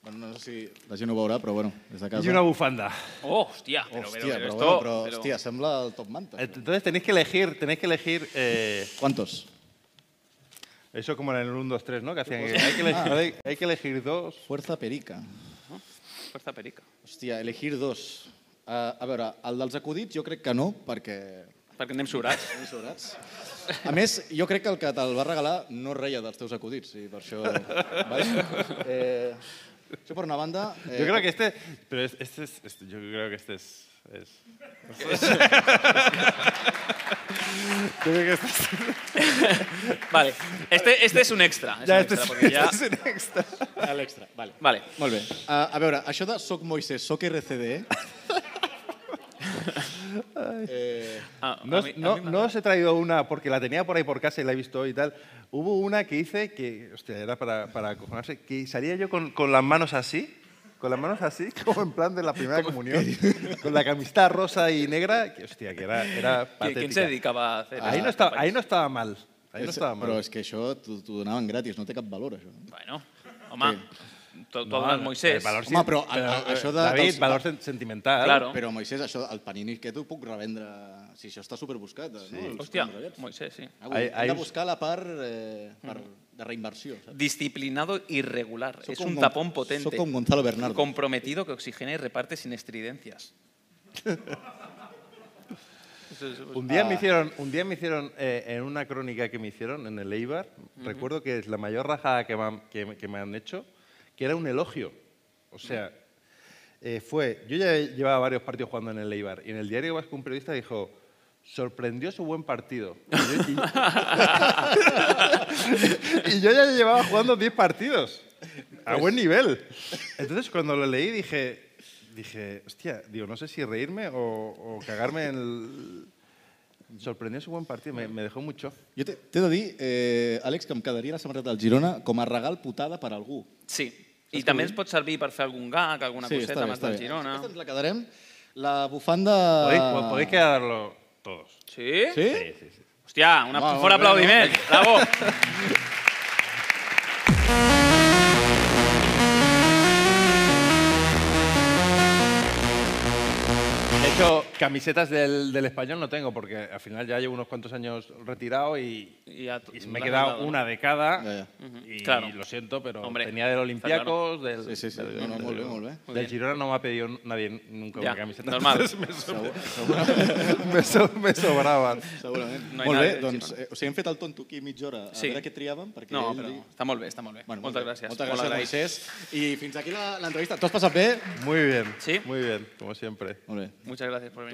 [SPEAKER 2] Bueno, no sé si... La gent ho veurà, però bueno, des de casa.
[SPEAKER 10] y una bufanda.
[SPEAKER 3] Oh, hostia, pero, pero,
[SPEAKER 2] Hòstia,
[SPEAKER 3] pero
[SPEAKER 2] però,
[SPEAKER 3] esto-
[SPEAKER 2] bueno, però,
[SPEAKER 3] pero-
[SPEAKER 2] hòstia, sembla el Top Manta.
[SPEAKER 10] Entonces tenéis que elegir, tenéis que elegir... eh,
[SPEAKER 2] ¿Cuántos?
[SPEAKER 10] Eso como en el 1, 2, 3, ¿no? Que hacían, hay, que elegir, hay, hay que elegir dos.
[SPEAKER 2] Fuerza perica.
[SPEAKER 3] Fuerza perica.
[SPEAKER 2] Hòstia, elegir dos. Uh, a veure, el dels acudits jo crec que no, perquè...
[SPEAKER 3] Perquè anem sobrats.
[SPEAKER 2] Anem sobrats. A més, jo crec que el que te'l va regalar no reia dels teus acudits, i per això... Vale? Eh, això per una banda... eh,
[SPEAKER 10] Yo creo que este... Pero es- este es... este- yo creo que este es... es- Yo creo que este es-
[SPEAKER 3] <laughs> Vale, este, este es un extra. Es
[SPEAKER 10] Ya,
[SPEAKER 3] un
[SPEAKER 10] este
[SPEAKER 3] extra,
[SPEAKER 10] es-
[SPEAKER 3] porque
[SPEAKER 2] <laughs>
[SPEAKER 3] ya-
[SPEAKER 10] este es un extra.
[SPEAKER 2] El extra, vale.
[SPEAKER 3] Vale.
[SPEAKER 2] Molt bé. Uh, a veure, això de Soc Moisés, Soc
[SPEAKER 10] <laughs>
[SPEAKER 2] RCD... eh,
[SPEAKER 3] Ah,
[SPEAKER 10] No, no- no os he traído una porque la tenía por ahí por casa y la he visto hoy y tal. Hubo una que hice que, hostia, era para, para acojonarse, que salía yo con, con las manos así, con las manos así, <laughs> como en plan de la primera comunión, con la camiseta rosa y negra, que hostia, que era, era
[SPEAKER 3] ¿Qui-
[SPEAKER 10] patética.
[SPEAKER 3] ¿Quién se dedicaba a hacer
[SPEAKER 10] Ahí
[SPEAKER 3] eso?
[SPEAKER 10] no estaba, ahí no estaba mal. Ahí no
[SPEAKER 2] és-
[SPEAKER 10] estaba mal.
[SPEAKER 2] Però és que això t'ho t'ho donaven gratis, no té cap valor, això.
[SPEAKER 3] Bueno, home, tu, tu hablas
[SPEAKER 10] Eh,
[SPEAKER 3] Moisés.
[SPEAKER 2] Home, però, a, a, això de... dels-
[SPEAKER 10] sentimental.
[SPEAKER 3] Claro.
[SPEAKER 2] Però, Moisés, això, el panini que tu puc revendre... Si això està superbuscat. Sí. No? Els
[SPEAKER 3] Hòstia,
[SPEAKER 2] panini aquests.
[SPEAKER 3] Moisés, sí.
[SPEAKER 2] Ah, vull, hem de buscar la part, eh, part de reinversió. Saps?
[SPEAKER 3] Disciplinado irregular.
[SPEAKER 2] Soy
[SPEAKER 3] es
[SPEAKER 2] como
[SPEAKER 3] un
[SPEAKER 2] Gon-
[SPEAKER 3] tapón potente.
[SPEAKER 2] soy como Gonzalo Bernardo.
[SPEAKER 3] Comprometido que oxigena y reparte sin estridencias. <laughs> Eso es-
[SPEAKER 10] Un día me
[SPEAKER 3] Ah.
[SPEAKER 10] hicieron, un día me hicieron eh, en una crónica que me hicieron en el Eibar,
[SPEAKER 3] Ujú.
[SPEAKER 10] recuerdo que es la mayor rajada que me, han, que me- que me han hecho, que era un elogio. O sea, eh, fue, yo ya llevaba varios partidos jugando en el Eibar y en el diario Vasco un periodista dijo, sorprendió su buen partido. Y <laughs> yo, y- y yo ya llevaba jugando 10 partidos, a buen nivel. Entonces cuando lo leí dije, dije, hostia, digo, no sé si reírme o, o cagarme en el... Sorprendió su buen partido, me, me dejó mucho.
[SPEAKER 2] Jo t'he- t'he de dir, eh, Àlex, que em quedaria la samarreta del Girona com a regal putada per a algú.
[SPEAKER 3] Sí. I
[SPEAKER 2] Saps
[SPEAKER 3] també
[SPEAKER 2] què
[SPEAKER 3] ens pot servir per fer algun gag, alguna
[SPEAKER 2] Sí, està
[SPEAKER 3] coseta
[SPEAKER 2] bé,
[SPEAKER 3] més
[SPEAKER 2] està
[SPEAKER 3] del
[SPEAKER 2] bé.
[SPEAKER 3] Girona.
[SPEAKER 2] Aquesta ens la quedarem. La bufanda...
[SPEAKER 10] Podéis, po- podéis quedarlo todos.
[SPEAKER 3] Sí?
[SPEAKER 2] Sí?
[SPEAKER 3] Hòstia, una, un
[SPEAKER 2] Home,
[SPEAKER 3] fort
[SPEAKER 2] molt bé,
[SPEAKER 3] aplaudiment.
[SPEAKER 2] no?
[SPEAKER 3] Bravo.
[SPEAKER 10] De hecho, camisetas del, del español no tengo porque al final ya llevo unos cuantos años retirado y, y me he
[SPEAKER 3] la has
[SPEAKER 10] quedado
[SPEAKER 3] dado,
[SPEAKER 10] una
[SPEAKER 3] ¿no?
[SPEAKER 10] de cada.
[SPEAKER 3] Ujú.
[SPEAKER 10] Y
[SPEAKER 3] Claro.
[SPEAKER 10] lo siento, pero
[SPEAKER 3] Hombre,
[SPEAKER 10] tenía del
[SPEAKER 3] está
[SPEAKER 10] Olympiacos,
[SPEAKER 3] claro.
[SPEAKER 10] del,
[SPEAKER 2] Sí, sí, sí.
[SPEAKER 10] del,
[SPEAKER 2] No, no, molt bé, molt bé.
[SPEAKER 10] del Girona no me ha pedido nadie nunca
[SPEAKER 2] Ja,
[SPEAKER 10] una camiseta. <laughs>
[SPEAKER 2] normal.
[SPEAKER 10] entonces Me, sobre-
[SPEAKER 2] Segur-
[SPEAKER 10] <laughs> me, so- me sobraban.
[SPEAKER 2] Segurament.
[SPEAKER 3] No
[SPEAKER 2] No
[SPEAKER 3] hi
[SPEAKER 2] molt
[SPEAKER 3] ha
[SPEAKER 2] bé,
[SPEAKER 3] res,
[SPEAKER 2] doncs,
[SPEAKER 3] sí,
[SPEAKER 2] eh, o sigui, hem fet el tonto aquí mitja hora a
[SPEAKER 3] Sí.
[SPEAKER 2] veure què triàvem. Perquè
[SPEAKER 3] No,
[SPEAKER 2] ell
[SPEAKER 3] però
[SPEAKER 2] digui-
[SPEAKER 3] està molt bé, està molt bé.
[SPEAKER 2] Bueno, molt
[SPEAKER 3] Moltes
[SPEAKER 2] bé.
[SPEAKER 3] gràcies.
[SPEAKER 2] Moltes
[SPEAKER 3] Molt
[SPEAKER 2] gràcies,
[SPEAKER 3] agraït.
[SPEAKER 2] Moisés. I fins aquí la- l'entrevista. T'ho has passat bé?
[SPEAKER 10] Muy bien.
[SPEAKER 3] Sí.
[SPEAKER 10] Muy bien, como siempre.
[SPEAKER 2] Molt bé.
[SPEAKER 3] Muchas gracias por venir.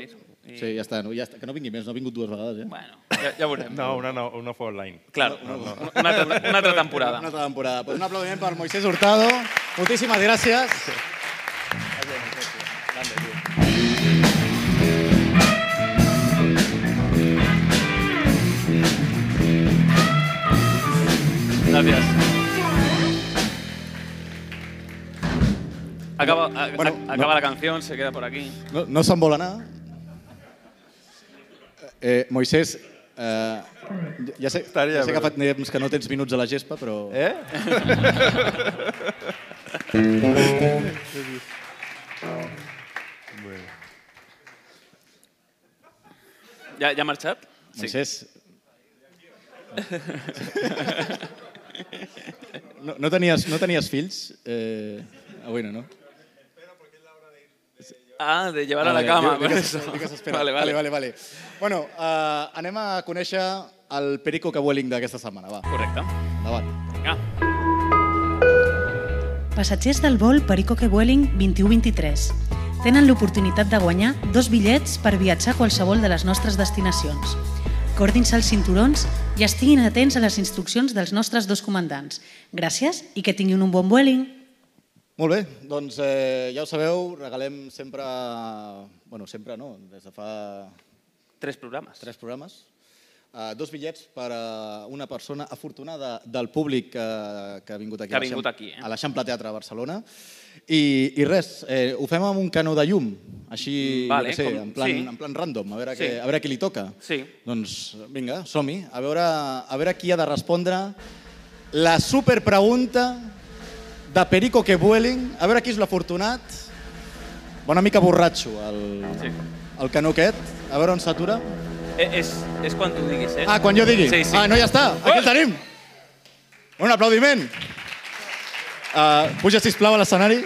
[SPEAKER 3] I-
[SPEAKER 2] Sí, ja està, no, ja està. Que no vingui més, no ha vingut dues vegades, eh?
[SPEAKER 3] Bueno, ja, ja veurem.
[SPEAKER 10] No, una, no, una fue online.
[SPEAKER 3] Claro,
[SPEAKER 10] No, no.
[SPEAKER 3] una, altra, una altra temporada.
[SPEAKER 2] Una altra temporada. Pues un aplaudiment per Moisés Hurtado. Moltíssimes gràcies.
[SPEAKER 3] Gràcies. Acaba, a-
[SPEAKER 2] Bueno,
[SPEAKER 3] a- acaba
[SPEAKER 2] no.
[SPEAKER 3] la canción, se queda por aquí.
[SPEAKER 2] No, no se'n vol anar. Eh, Moisés, eh, ja sé,
[SPEAKER 10] Estaria
[SPEAKER 2] ja sé que fa
[SPEAKER 10] bé.
[SPEAKER 2] temps que no tens minuts a la gespa, però... <laughs>
[SPEAKER 10] Eh? Bueno.
[SPEAKER 2] <laughs>
[SPEAKER 3] Ja, ja ha marxat?
[SPEAKER 2] Moisés, No, no, tenies, no tenies fills? Eh, avui no, no?
[SPEAKER 3] Ah, de llevar a
[SPEAKER 2] Ah,
[SPEAKER 3] la
[SPEAKER 2] vale,
[SPEAKER 3] cama.
[SPEAKER 2] diu-
[SPEAKER 3] por
[SPEAKER 2] diu que s'es-
[SPEAKER 3] eso.
[SPEAKER 2] diu que s'espera.
[SPEAKER 3] <laughs> Vale, vale.
[SPEAKER 2] vale, vale. Bueno, eh, anem a conèixer el Perico Cabueling d'aquesta setmana, va.
[SPEAKER 3] Correcte.
[SPEAKER 2] Endavant.
[SPEAKER 3] Vinga.
[SPEAKER 15] Passatgers del vol Perico que Vueling 21-23 tenen l'oportunitat de guanyar dos bitllets per viatjar a qualsevol de les nostres destinacions. Cordin-se els cinturons i estiguin atents a les instruccions dels nostres dos comandants. Gràcies i que tinguin un bon vueling.
[SPEAKER 2] Molt bé, doncs eh, ja ho sabeu, regalem sempre... Bueno, sempre no, des de fa...
[SPEAKER 3] Tres programes.
[SPEAKER 2] Tres programes. Eh, dos bitllets per a una persona afortunada del públic que, que ha vingut aquí,
[SPEAKER 3] Que ha
[SPEAKER 2] a l'Eixam-
[SPEAKER 3] vingut aquí, eh?
[SPEAKER 2] a l'Eixample Teatre de Barcelona. I, I res, eh, ho fem amb un canó de llum, així,
[SPEAKER 3] Mm, vale,
[SPEAKER 2] jo què sé,
[SPEAKER 3] com-
[SPEAKER 2] en, plan,
[SPEAKER 3] sí.
[SPEAKER 2] en plan random, a veure,
[SPEAKER 3] Sí.
[SPEAKER 2] què, a veure qui li toca.
[SPEAKER 3] Sí.
[SPEAKER 2] Doncs vinga, som-hi, a veure, a veure qui ha de respondre la superpregunta de Perico que vueling, a veure qui és l'afortunat. Bona mica borratxo, el, sí. el canó aquest. A veure on s'atura.
[SPEAKER 3] Eh, És, és quan tu diguis, eh?
[SPEAKER 2] Ah, quan jo digui.
[SPEAKER 3] Sí, ¡Oh! Eh. sí.
[SPEAKER 2] Ah, no, ja està. Aquí el tenim. Un aplaudiment. Uh, puja, sisplau, a l'escenari.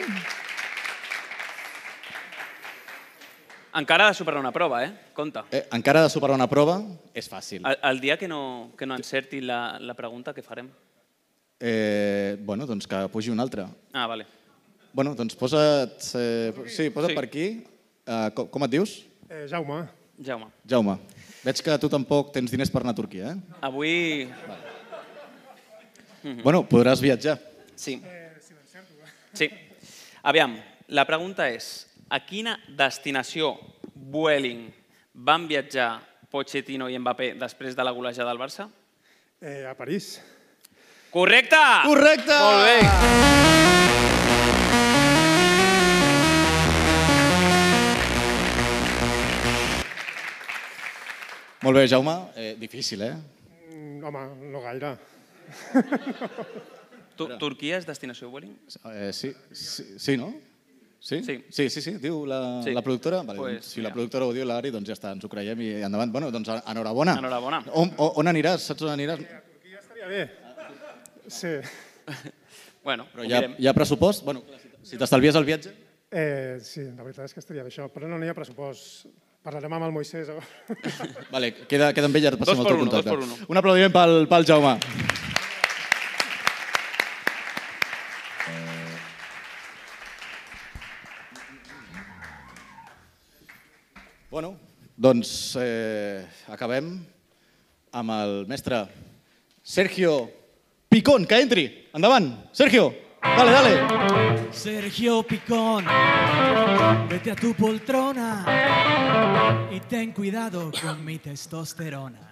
[SPEAKER 3] Encara ha de superar una prova, eh? Compte.
[SPEAKER 2] Eh, encara ha de superar una prova. És fàcil.
[SPEAKER 3] El, el dia que no, que no encerti la, la pregunta, què farem?
[SPEAKER 2] Eh, bueno, doncs que pugi una altra.
[SPEAKER 3] Ah, vale.
[SPEAKER 2] Bueno, doncs posa't... Eh, po- sí, posa't
[SPEAKER 3] Sí.
[SPEAKER 2] sí. per aquí. Uh, com, com et dius?
[SPEAKER 9] Eh, Jaume.
[SPEAKER 3] Jaume.
[SPEAKER 2] Jaume. Veig que tu tampoc tens diners per anar a Turquia,
[SPEAKER 3] Mm.
[SPEAKER 2] eh?
[SPEAKER 3] Avui... Mhm.
[SPEAKER 2] Bueno, podràs viatjar.
[SPEAKER 3] Sí. Sí. Aviam, la pregunta és, a quina destinació Vueling van viatjar Pochettino i Mbappé després de la golejada del Barça?
[SPEAKER 9] Eh, a París.
[SPEAKER 3] Correcte!
[SPEAKER 9] Correcte!
[SPEAKER 3] Molt bé.
[SPEAKER 2] Molt bé, Jaume. Eh, difícil, eh?
[SPEAKER 9] Mm, Home, no gaire.
[SPEAKER 3] Tu, Turquia és destinació Vueling?
[SPEAKER 2] Eh, sí, sí, sí, no? Sí?
[SPEAKER 3] Sí.
[SPEAKER 2] sí, sí, sí, diu la,
[SPEAKER 3] Sí.
[SPEAKER 2] sí. la productora. Vale,
[SPEAKER 3] Pues,
[SPEAKER 2] pues, si la productora ho diu, l'Ari, doncs ja està, ens ho creiem i endavant. Bueno, doncs en- enhorabona.
[SPEAKER 3] Enhorabona.
[SPEAKER 2] On, on, on aniràs? Saps on aniràs?
[SPEAKER 9] Estaria <laughs> bé. Sí.
[SPEAKER 3] Bueno,
[SPEAKER 2] Però hi ha, hi ha pressupost? Bueno, clar, si t- si t'estalvies el viatge...
[SPEAKER 9] Eh, sí, la veritat és que estaria bé això, però no n'hi ha pressupost. Parlarem amb el Moisés. a veure.
[SPEAKER 2] Vale, queda, queda amb ella, passem
[SPEAKER 9] Dos
[SPEAKER 2] el
[SPEAKER 9] por
[SPEAKER 2] teu
[SPEAKER 9] uno, dos
[SPEAKER 2] contacte.
[SPEAKER 9] por uno.
[SPEAKER 2] Un aplaudiment pel, pel Jaume. Bueno, doncs eh, acabem amb el mestre Sergio Picón, que entri. Endavant, Sergio. Dale, dale.
[SPEAKER 4] Sergio Picón, vete a tu poltrona y ten cuidado con mi testosterona.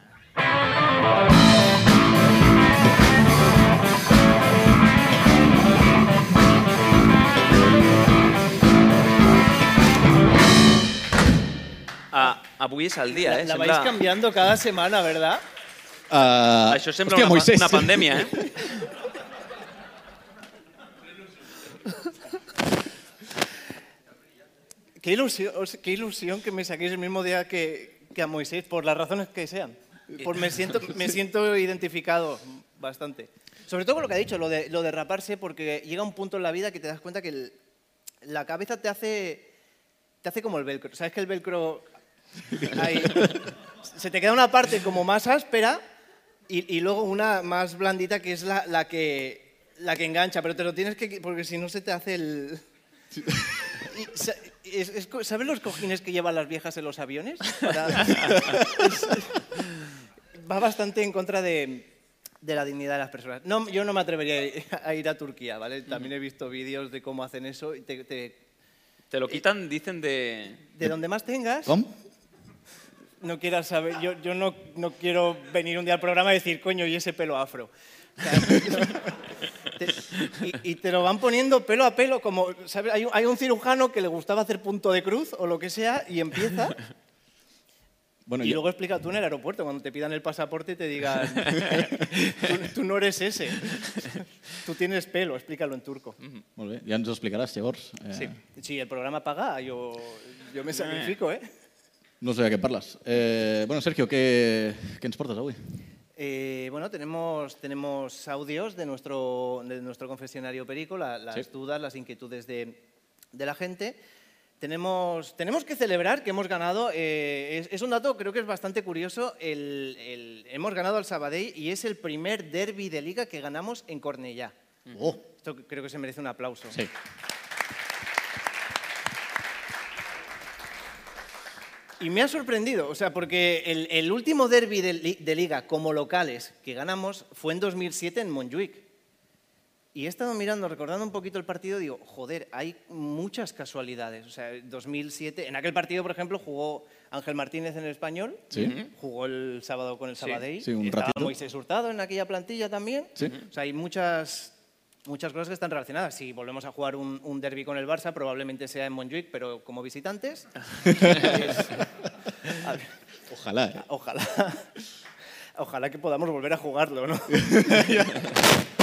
[SPEAKER 3] Ah, avui és el dia,
[SPEAKER 16] La,
[SPEAKER 3] eh?
[SPEAKER 16] la vais cambiando cada semana, ¿verdad?
[SPEAKER 2] Uh,
[SPEAKER 3] Això sembla Ah, una pa- una pandèmia, eh?
[SPEAKER 16] <laughs> Qué ilusión, o sea, qué ilusión que me saquéis el mismo día que, que a Moisés, por las razones que sean. Por- me, siento, me siento identificado bastante. Sobre todo con lo que ha dicho, lo de, lo de raparse, porque llega un punto en la vida que te das cuenta que el- la cabeza te hace, te hace como el velcro. ¿Sabes que el velcro... ahí- se te queda una parte como más áspera y, y luego una más blandita que es la, la que, la que engancha, pero te lo tienes que... qui- Porque si no se te hace el... <laughs> Y sa- es- es co- ¿Sabes los cojines que llevan las viejas en los aviones? Para- Es- Va bastante en contra de, de la dignidad de las personas. No, yo no me atrevería a ir- a ir a Turquía, ¿vale? También he visto vídeos de cómo hacen eso y te, te-
[SPEAKER 3] Te lo quitan, dicen de...
[SPEAKER 16] de donde más tengas.
[SPEAKER 2] ¿Cómo?
[SPEAKER 16] No quieras saber, yo, yo no, no quiero venir un día al programa y decir, coño, y ese pelo afro. O sea, <laughs> te- y, y te lo van poniendo pelo a pelo, como, ¿sabes? Hay, un- hay un cirujano que le gustaba hacer punto de cruz o lo que sea y empieza.
[SPEAKER 2] Bueno,
[SPEAKER 16] y
[SPEAKER 2] yo-
[SPEAKER 16] luego explica tú en el aeropuerto, cuando te pidan el pasaporte te digan, tú, tú no eres ese, tú tienes pelo, explícalo en turco.
[SPEAKER 2] Molt bé, ja ens ho explicaràs llavors. Eh,
[SPEAKER 16] Sí. Si el programa paga, yo, yo me sacrifico, ¿eh?
[SPEAKER 2] No sé de què parles. Eh, bueno, Sergio, què, què ens portes avui?
[SPEAKER 16] Eh, bueno, tenemos, tenemos audios de nuestro, de nuestro confesionario Perico, la- las
[SPEAKER 11] Sí.
[SPEAKER 16] dudas, las inquietudes de, de la gente. Tenemos, tenemos que celebrar que hemos ganado, eh, es, es un dato creo que es bastante curioso, el- el- hemos ganado al Sabadell y es el primer derby de liga que ganamos en Cornellá. Esto creo que se merece un aplauso.
[SPEAKER 11] Sí.
[SPEAKER 16] Y me ha sorprendido, o sea, porque el, el último derby de, li- de liga como locales que ganamos fue en 2007 en Montjuic. Y he estado mirando, recordando un poquito el partido, digo, joder, hay muchas casualidades. O sea, 2007, en aquel partido, por ejemplo, jugó Ángel Martínez en el español,
[SPEAKER 11] Sí.
[SPEAKER 16] jugó el sábado con el Sabadell,
[SPEAKER 11] Sí, un
[SPEAKER 16] estaba
[SPEAKER 11] ratito.
[SPEAKER 16] Moisés Hurtado en aquella plantilla también.
[SPEAKER 11] Sí.
[SPEAKER 16] O sea, hay muchas, muchas cosas que están relacionadas. Si volvemos a jugar un, un derby con el Barça, probablemente sea en Montjuic, pero como visitantes.
[SPEAKER 3] <laughs>
[SPEAKER 16] Pues, a ver.
[SPEAKER 11] Ojalá, ¿eh?
[SPEAKER 16] Ojalá. Ojalá que podamos volver a
[SPEAKER 11] <laughs>
[SPEAKER 16] jugarlo, ¿no?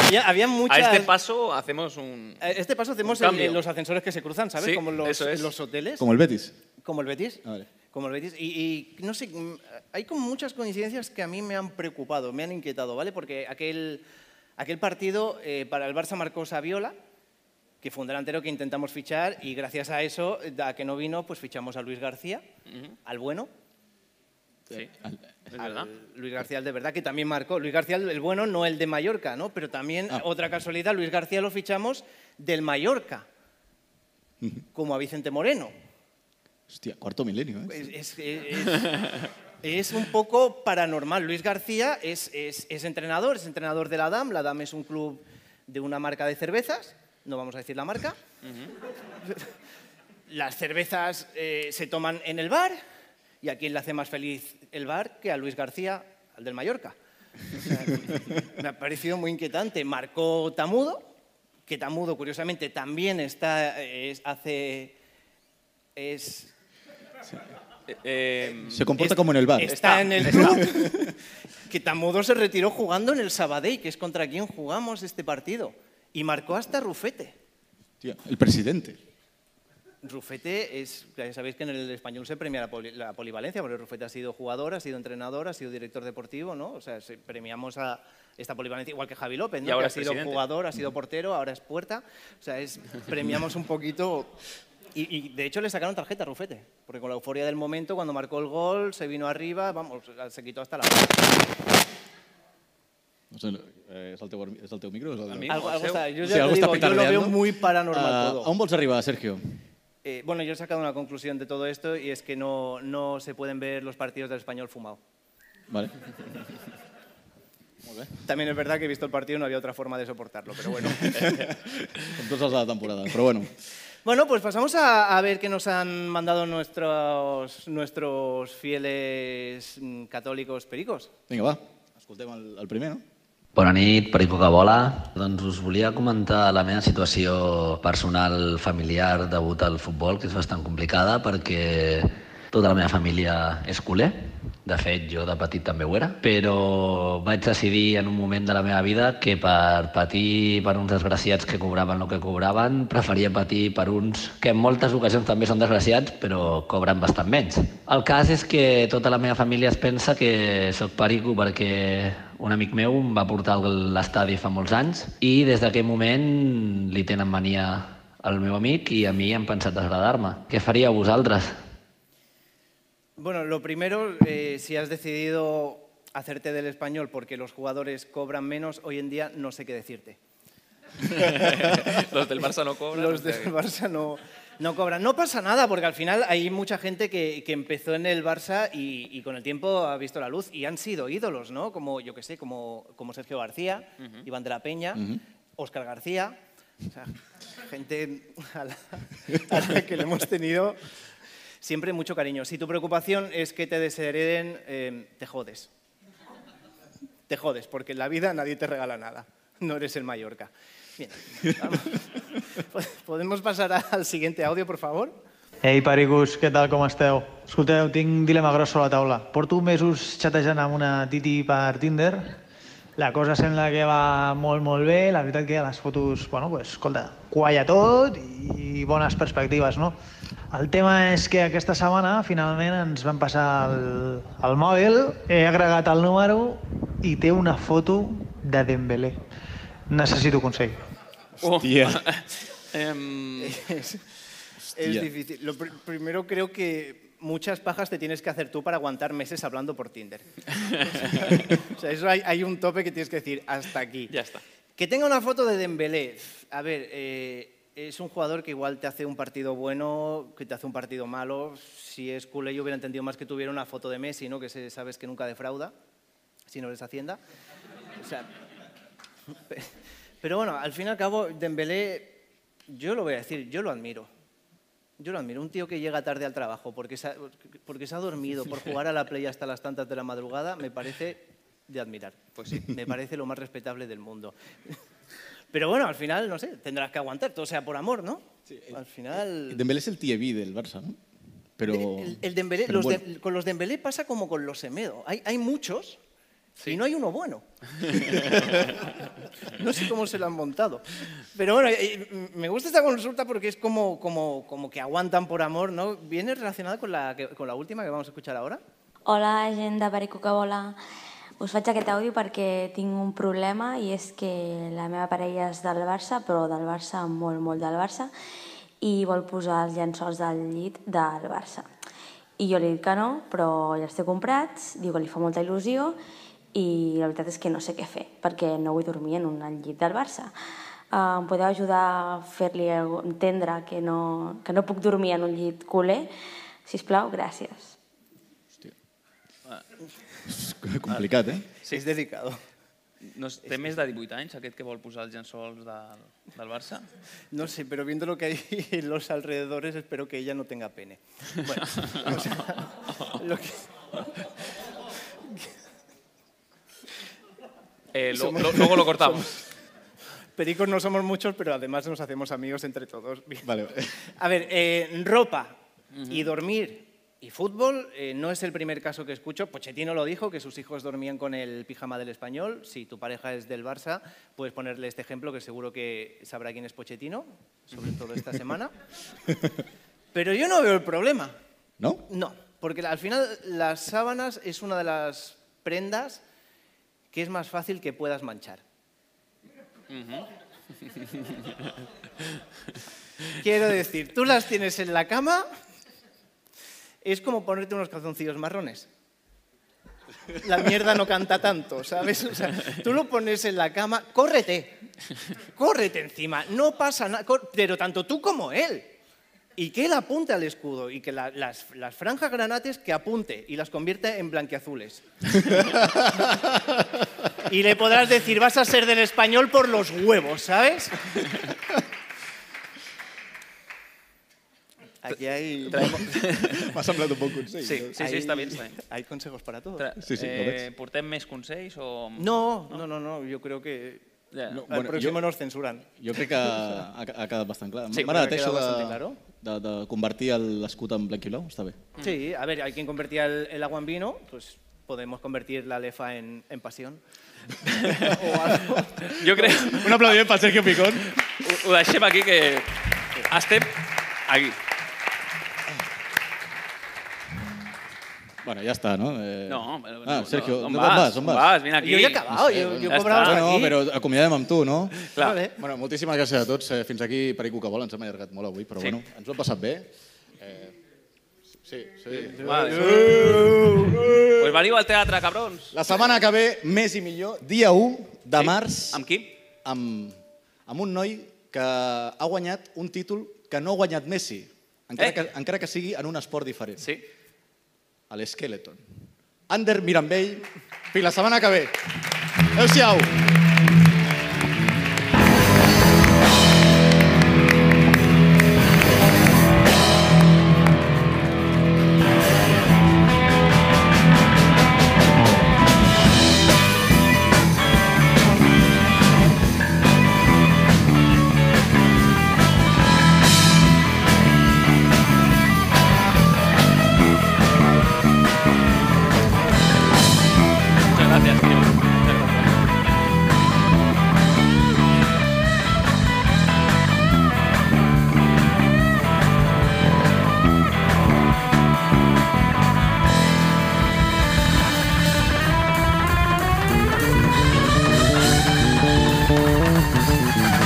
[SPEAKER 16] había, había muchas...
[SPEAKER 3] A este paso hacemos un.
[SPEAKER 16] A este paso hacemos
[SPEAKER 3] un
[SPEAKER 16] el-
[SPEAKER 3] cambio.
[SPEAKER 16] los ascensores que se cruzan, ¿sabes?
[SPEAKER 3] Sí,
[SPEAKER 16] Como los,
[SPEAKER 3] eso es.
[SPEAKER 16] los hoteles.
[SPEAKER 11] Como el Betis.
[SPEAKER 16] Como el Betis.
[SPEAKER 11] Ah, vale.
[SPEAKER 16] Como el Betis. Y, y, no sé, mm, hay como muchas coincidencias que a mí me han preocupado, me han inquietado, ¿vale? Porque aquel, aquel partido eh, para el Barça marcó Saviola, que fue un delantero que intentamos fichar y gracias a eso, eh, a que no vino, pues fichamos a Luis García, al bueno. Eh,
[SPEAKER 3] Sí.
[SPEAKER 16] Al- Luis García, el de verdad, que también marcó. Luis García, el bueno, no el de Mallorca, ¿no? Pero también, otra casualidad, Luis García lo fichamos del Mallorca, como a Vicente Moreno.
[SPEAKER 11] Hostia, cuarto milenio, ¿eh?
[SPEAKER 16] Es, es- es- es un poco paranormal. Luis García es, es- es entrenador, es entrenador de la DAM. La DAM es un club de una marca de cervezas, no vamos a decir la marca. Las cervezas eh, se toman en el bar y a quién le hace más feliz el bar que a Luis García, al del Mallorca. O sea, <laughs> me ha parecido muy inquietante. Marcó Tamudo, que Tamudo, curiosamente, también está, eh, es- hace... Es, eh, em,
[SPEAKER 11] Se comporta como en el bar.
[SPEAKER 16] Está en el club. <laughs> que Tamudo se retiró jugando en el Sabadell, que es contra quien jugamos este partido. Y marcó hasta Rufete.
[SPEAKER 11] Tío, el presidente.
[SPEAKER 16] Rufete es, ya sabéis que en el español se premia la, poli- la polivalencia, porque Rufete ha sido jugador, ha sido entrenador, ha sido director deportivo, ¿no? O sea, se- premiamos a esta polivalencia, igual que Javi López, ¿no?
[SPEAKER 3] Y ahora
[SPEAKER 16] que ha
[SPEAKER 3] es
[SPEAKER 16] sido
[SPEAKER 3] presidente. Mm.
[SPEAKER 16] jugador, ha sido portero, ahora es puerta. O sea, es, premiamos un poquito... Y, y, de hecho le sacaron tarjeta a Rufete, porque con la euforia del momento, cuando marcó el gol, se vino arriba, vamos, se quitó hasta la...
[SPEAKER 11] No sé, eh, és, el teu, és el teu micro? És el...
[SPEAKER 16] El meu, Algo- el algo seu. està- jo
[SPEAKER 11] No
[SPEAKER 16] ja
[SPEAKER 11] sé,
[SPEAKER 16] te
[SPEAKER 11] algo
[SPEAKER 16] digo,
[SPEAKER 11] està
[SPEAKER 16] yo lo
[SPEAKER 11] petardeando.
[SPEAKER 16] veo muy paranormal
[SPEAKER 11] Ah,
[SPEAKER 16] todo.
[SPEAKER 11] A on vols arribar, Sergio?
[SPEAKER 16] Eh, bueno, yo he sacado una conclusión de todo esto y es que no, no se pueden ver los partidos del español fumado. <laughs>
[SPEAKER 11] Vale.
[SPEAKER 16] También es verdad que he visto el partido y no había otra forma de soportarlo, pero bueno.
[SPEAKER 11] Com tots els de la temporada, però bueno.
[SPEAKER 16] <laughs> bueno, pues pasamos a, a ver qué nos han mandado nuestros, nuestros fieles mm, católicos pericos.
[SPEAKER 11] Vinga, va. Escoltem el, el primer, no?
[SPEAKER 17] Bona nit, Perico que vola. Doncs us volia comentar la meva situació personal familiar debut al futbol, que és bastant complicada perquè tota la meva família és culer. De fet, jo de petit també ho era. Però vaig decidir en un moment de la meva vida que per patir per uns desgraciats que cobraven el que cobraven, preferia patir per uns que en moltes ocasions també són desgraciats, però cobren bastant menys. El cas és que tota la meva família es pensa que sóc perico perquè un amic meu em va portar a l'estadi fa molts anys i des d'aquell moment li tenen mania al meu amic i a mi han pensat desagradar-me. Què faríeu vosaltres?
[SPEAKER 16] Bueno, lo primero, eh, si has decidido hacerte del español porque los jugadores cobran menos, hoy en día no sé qué decirte.
[SPEAKER 3] <laughs> Los del Barça no cobran,
[SPEAKER 16] Los
[SPEAKER 3] o sea
[SPEAKER 16] del
[SPEAKER 3] que-
[SPEAKER 16] Barça no, no cobran. No pasa nada, porque al final hay mucha gente que, que empezó en el Barça y, y con el tiempo ha visto la luz y han sido ídolos, ¿no? Como, yo qué sé, como, como Sergio García, Iván de la Peña, Óscar García. O sea, gente a la, a la que le hemos tenido siempre mucho cariño. Si tu preocupación es que te deshereden, eh, te jodes. Te jodes, porque en la vida nadie te regala nada. No eres el Mallorca. Bien, vamos. <laughs> ¿Podemos pasar a- al siguiente audio, por favor?
[SPEAKER 14] Ei, pericos, què tal, com esteu? Escolteu, tinc un dilema gros sobre la taula. Porto mesos xatejant amb una titi per Tinder. La cosa sembla que va molt, molt bé. La veritat que a les fotos, bueno, pues, escolta, qualla tot i bones perspectives, no? El tema és que aquesta setmana finalment ens van passar el, el mòbil, he agregat el número i té una foto de Dembélé. Necessito consell.
[SPEAKER 11] Hòstia.
[SPEAKER 16] es,
[SPEAKER 11] Hostia.
[SPEAKER 16] es difícil. Lo pr- primero creo que muchas pajas te tienes que hacer tú para aguantar meses hablando por Tinder. <laughs> o sea, eso hay, hay un tope que tienes que decir hasta aquí.
[SPEAKER 3] Ya está.
[SPEAKER 16] Que tenga una foto de Dembélé. A ver, eh, es un jugador que igual te hace un partido bueno, que te hace un partido malo. Si es culé, yo hubiera entendido más que tuviera una foto de Messi, ¿no? Que se- sabes que nunca defrauda, si no eres Hacienda. O sea, pe- pero bueno, al fin y al cabo, Dembélé, yo lo voy a decir, yo lo admiro. Yo lo admiro. Un tío que llega tarde al trabajo porque se ha, porque se ha dormido <laughs> por jugar a la play hasta las tantas de la madrugada, me parece de admirar. Pues sí, me parece lo más respetable del mundo. <laughs> Pero bueno, al final, no sé, tendrás que aguantar, todo sea por amor, ¿no? al final...
[SPEAKER 11] Dembélé es el TV del Barça, ¿no? Pero...
[SPEAKER 16] El, eh, el Dembélé-
[SPEAKER 11] pero
[SPEAKER 16] los
[SPEAKER 11] bueno.
[SPEAKER 16] de- con los Dembélé pasa como con los Semedo. Hay, hay muchos y no hay uno <laughs> bueno. <laughs> no sé cómo se lo han montado. Pero bueno, eh, m- me gusta esta consulta porque es como, como, como que aguantan por amor, ¿no? Viene relacionada con la, que- con la última que vamos a escuchar ahora.
[SPEAKER 18] Hola, gent de Perico que vola. Us faig aquest àudio perquè tinc un problema i és que la meva parella és del Barça, però del Barça, molt, molt del Barça, i vol posar els llençols del llit del Barça. I jo li dic que no, però ja els té comprats, diu que li fa molta il·lusió i la veritat és que no sé què fer, perquè no vull dormir en un llit del Barça. Eh, Em podeu ajudar a fer-li entendre que no, que no puc dormir en un llit culer? Sisplau, gràcies.
[SPEAKER 3] Ah.
[SPEAKER 11] Complicat, eh?
[SPEAKER 16] Sí. És dedicado.
[SPEAKER 3] No, és- té més de 18 anys aquest que vol posar els llençols del, del Barça?
[SPEAKER 16] No sé, pero viendo lo que hay <laughs> en los alrededores, espero que ella no tenga pene. Bueno, o sea, <laughs> lo que...
[SPEAKER 3] Eh, lo-
[SPEAKER 16] <laughs> Somos-
[SPEAKER 3] lo- luego lo cortamos.
[SPEAKER 16] Pericos no somos muchos, pero además nos hacemos amigos entre todos.
[SPEAKER 11] Vale.
[SPEAKER 16] A ver, eh, ropa y dormir y fútbol eh, no es el primer caso que escucho. Pochettino lo dijo, que sus hijos dormían con el pijama del español. Si tu pareja es del Barça, puedes ponerle este ejemplo, que seguro que sabrá quién es Pochettino, sobre
[SPEAKER 11] <laughs>
[SPEAKER 16] todo esta semana. Pero yo no veo el problema.
[SPEAKER 11] ¿No?
[SPEAKER 16] No, porque al final las sábanas es una de las prendas que es más fácil que puedas manchar. Quiero decir, tú las tienes en la cama, es como ponerte unos calzoncillos marrones. La mierda no canta tanto, ¿sabes? O sea, tú lo pones en la cama, córrete, córrete encima, no pasa nada, cor- pero tanto tú como él. Y que él apunte al escudo y que la- las, las franjas granates que apunte y las convierta en blanqueazules. y le podrás decir, vas a ser del español por los huevos, ¿sabes? Aquí hay...
[SPEAKER 3] <laughs>
[SPEAKER 11] M'ha semblat un bon consell.
[SPEAKER 3] Sí, sí, sí,
[SPEAKER 16] Hay-
[SPEAKER 3] està bé, està bé.
[SPEAKER 16] Hay consejos para todos.
[SPEAKER 3] Tra-
[SPEAKER 11] Sí, sí, lo
[SPEAKER 3] eh, portem més consells o...?
[SPEAKER 16] No, no, no, no, yo creo que
[SPEAKER 3] Ja. No,
[SPEAKER 16] al
[SPEAKER 3] bueno,
[SPEAKER 16] próximo
[SPEAKER 11] jo-
[SPEAKER 16] nos censuran.
[SPEAKER 11] Jo crec que ha, ha quedat bastant clar.
[SPEAKER 16] Sí,
[SPEAKER 11] M'ha agradat
[SPEAKER 16] crec que ha
[SPEAKER 11] això
[SPEAKER 16] quedat
[SPEAKER 11] de,
[SPEAKER 16] bastant claro.
[SPEAKER 11] de, de convertir el- l'escut en blanc i blau, està bé.
[SPEAKER 16] Mm. Sí, a ver, hay quien convertía el, el agua en vino, pues podemos convertir la lefa en, en pasión. <laughs> O algo.
[SPEAKER 3] Jo crec...
[SPEAKER 11] Un aplaudiment per Sergio Picón.
[SPEAKER 3] Ho, ho deixem aquí, que... Estem aquí.
[SPEAKER 11] Bueno, ja està, no? Eh...
[SPEAKER 3] No, però-
[SPEAKER 11] Ah,
[SPEAKER 3] no,
[SPEAKER 11] Sergio,
[SPEAKER 3] no,
[SPEAKER 11] no,
[SPEAKER 3] on
[SPEAKER 11] on, vas?
[SPEAKER 3] vas?
[SPEAKER 11] On
[SPEAKER 3] On
[SPEAKER 11] vas?
[SPEAKER 3] vas? Vine aquí. Jo ja he acabat, jo- jo Ja cobrava està.
[SPEAKER 11] Bueno,
[SPEAKER 3] aquí.
[SPEAKER 11] però acomiadem amb tu, no?
[SPEAKER 3] Clar. Vale.
[SPEAKER 11] Bueno, moltíssimes gràcies a tots. Eh, Fins aquí Perico que vol, ens hem allargat molt avui, però
[SPEAKER 3] Sí.
[SPEAKER 11] bueno, ens ho hem passat bé. Eh... Sí, sí.
[SPEAKER 3] Vale. Pues veniu al teatre, cabrons.
[SPEAKER 11] La setmana que ve, més i millor, dia 1 de sí. març...
[SPEAKER 3] Amb qui?
[SPEAKER 11] Amb, amb un noi que ha guanyat un títol que no ha guanyat Messi, encara, eh. que, encara que sigui en un esport diferent.
[SPEAKER 3] Sí.
[SPEAKER 11] A l'Skeleton. Ander Mirambell, fins la setmana que ve. Adéu-siau.
[SPEAKER 3] Muchas gracias, tío. Muchas gracias.
[SPEAKER 19] Thank you.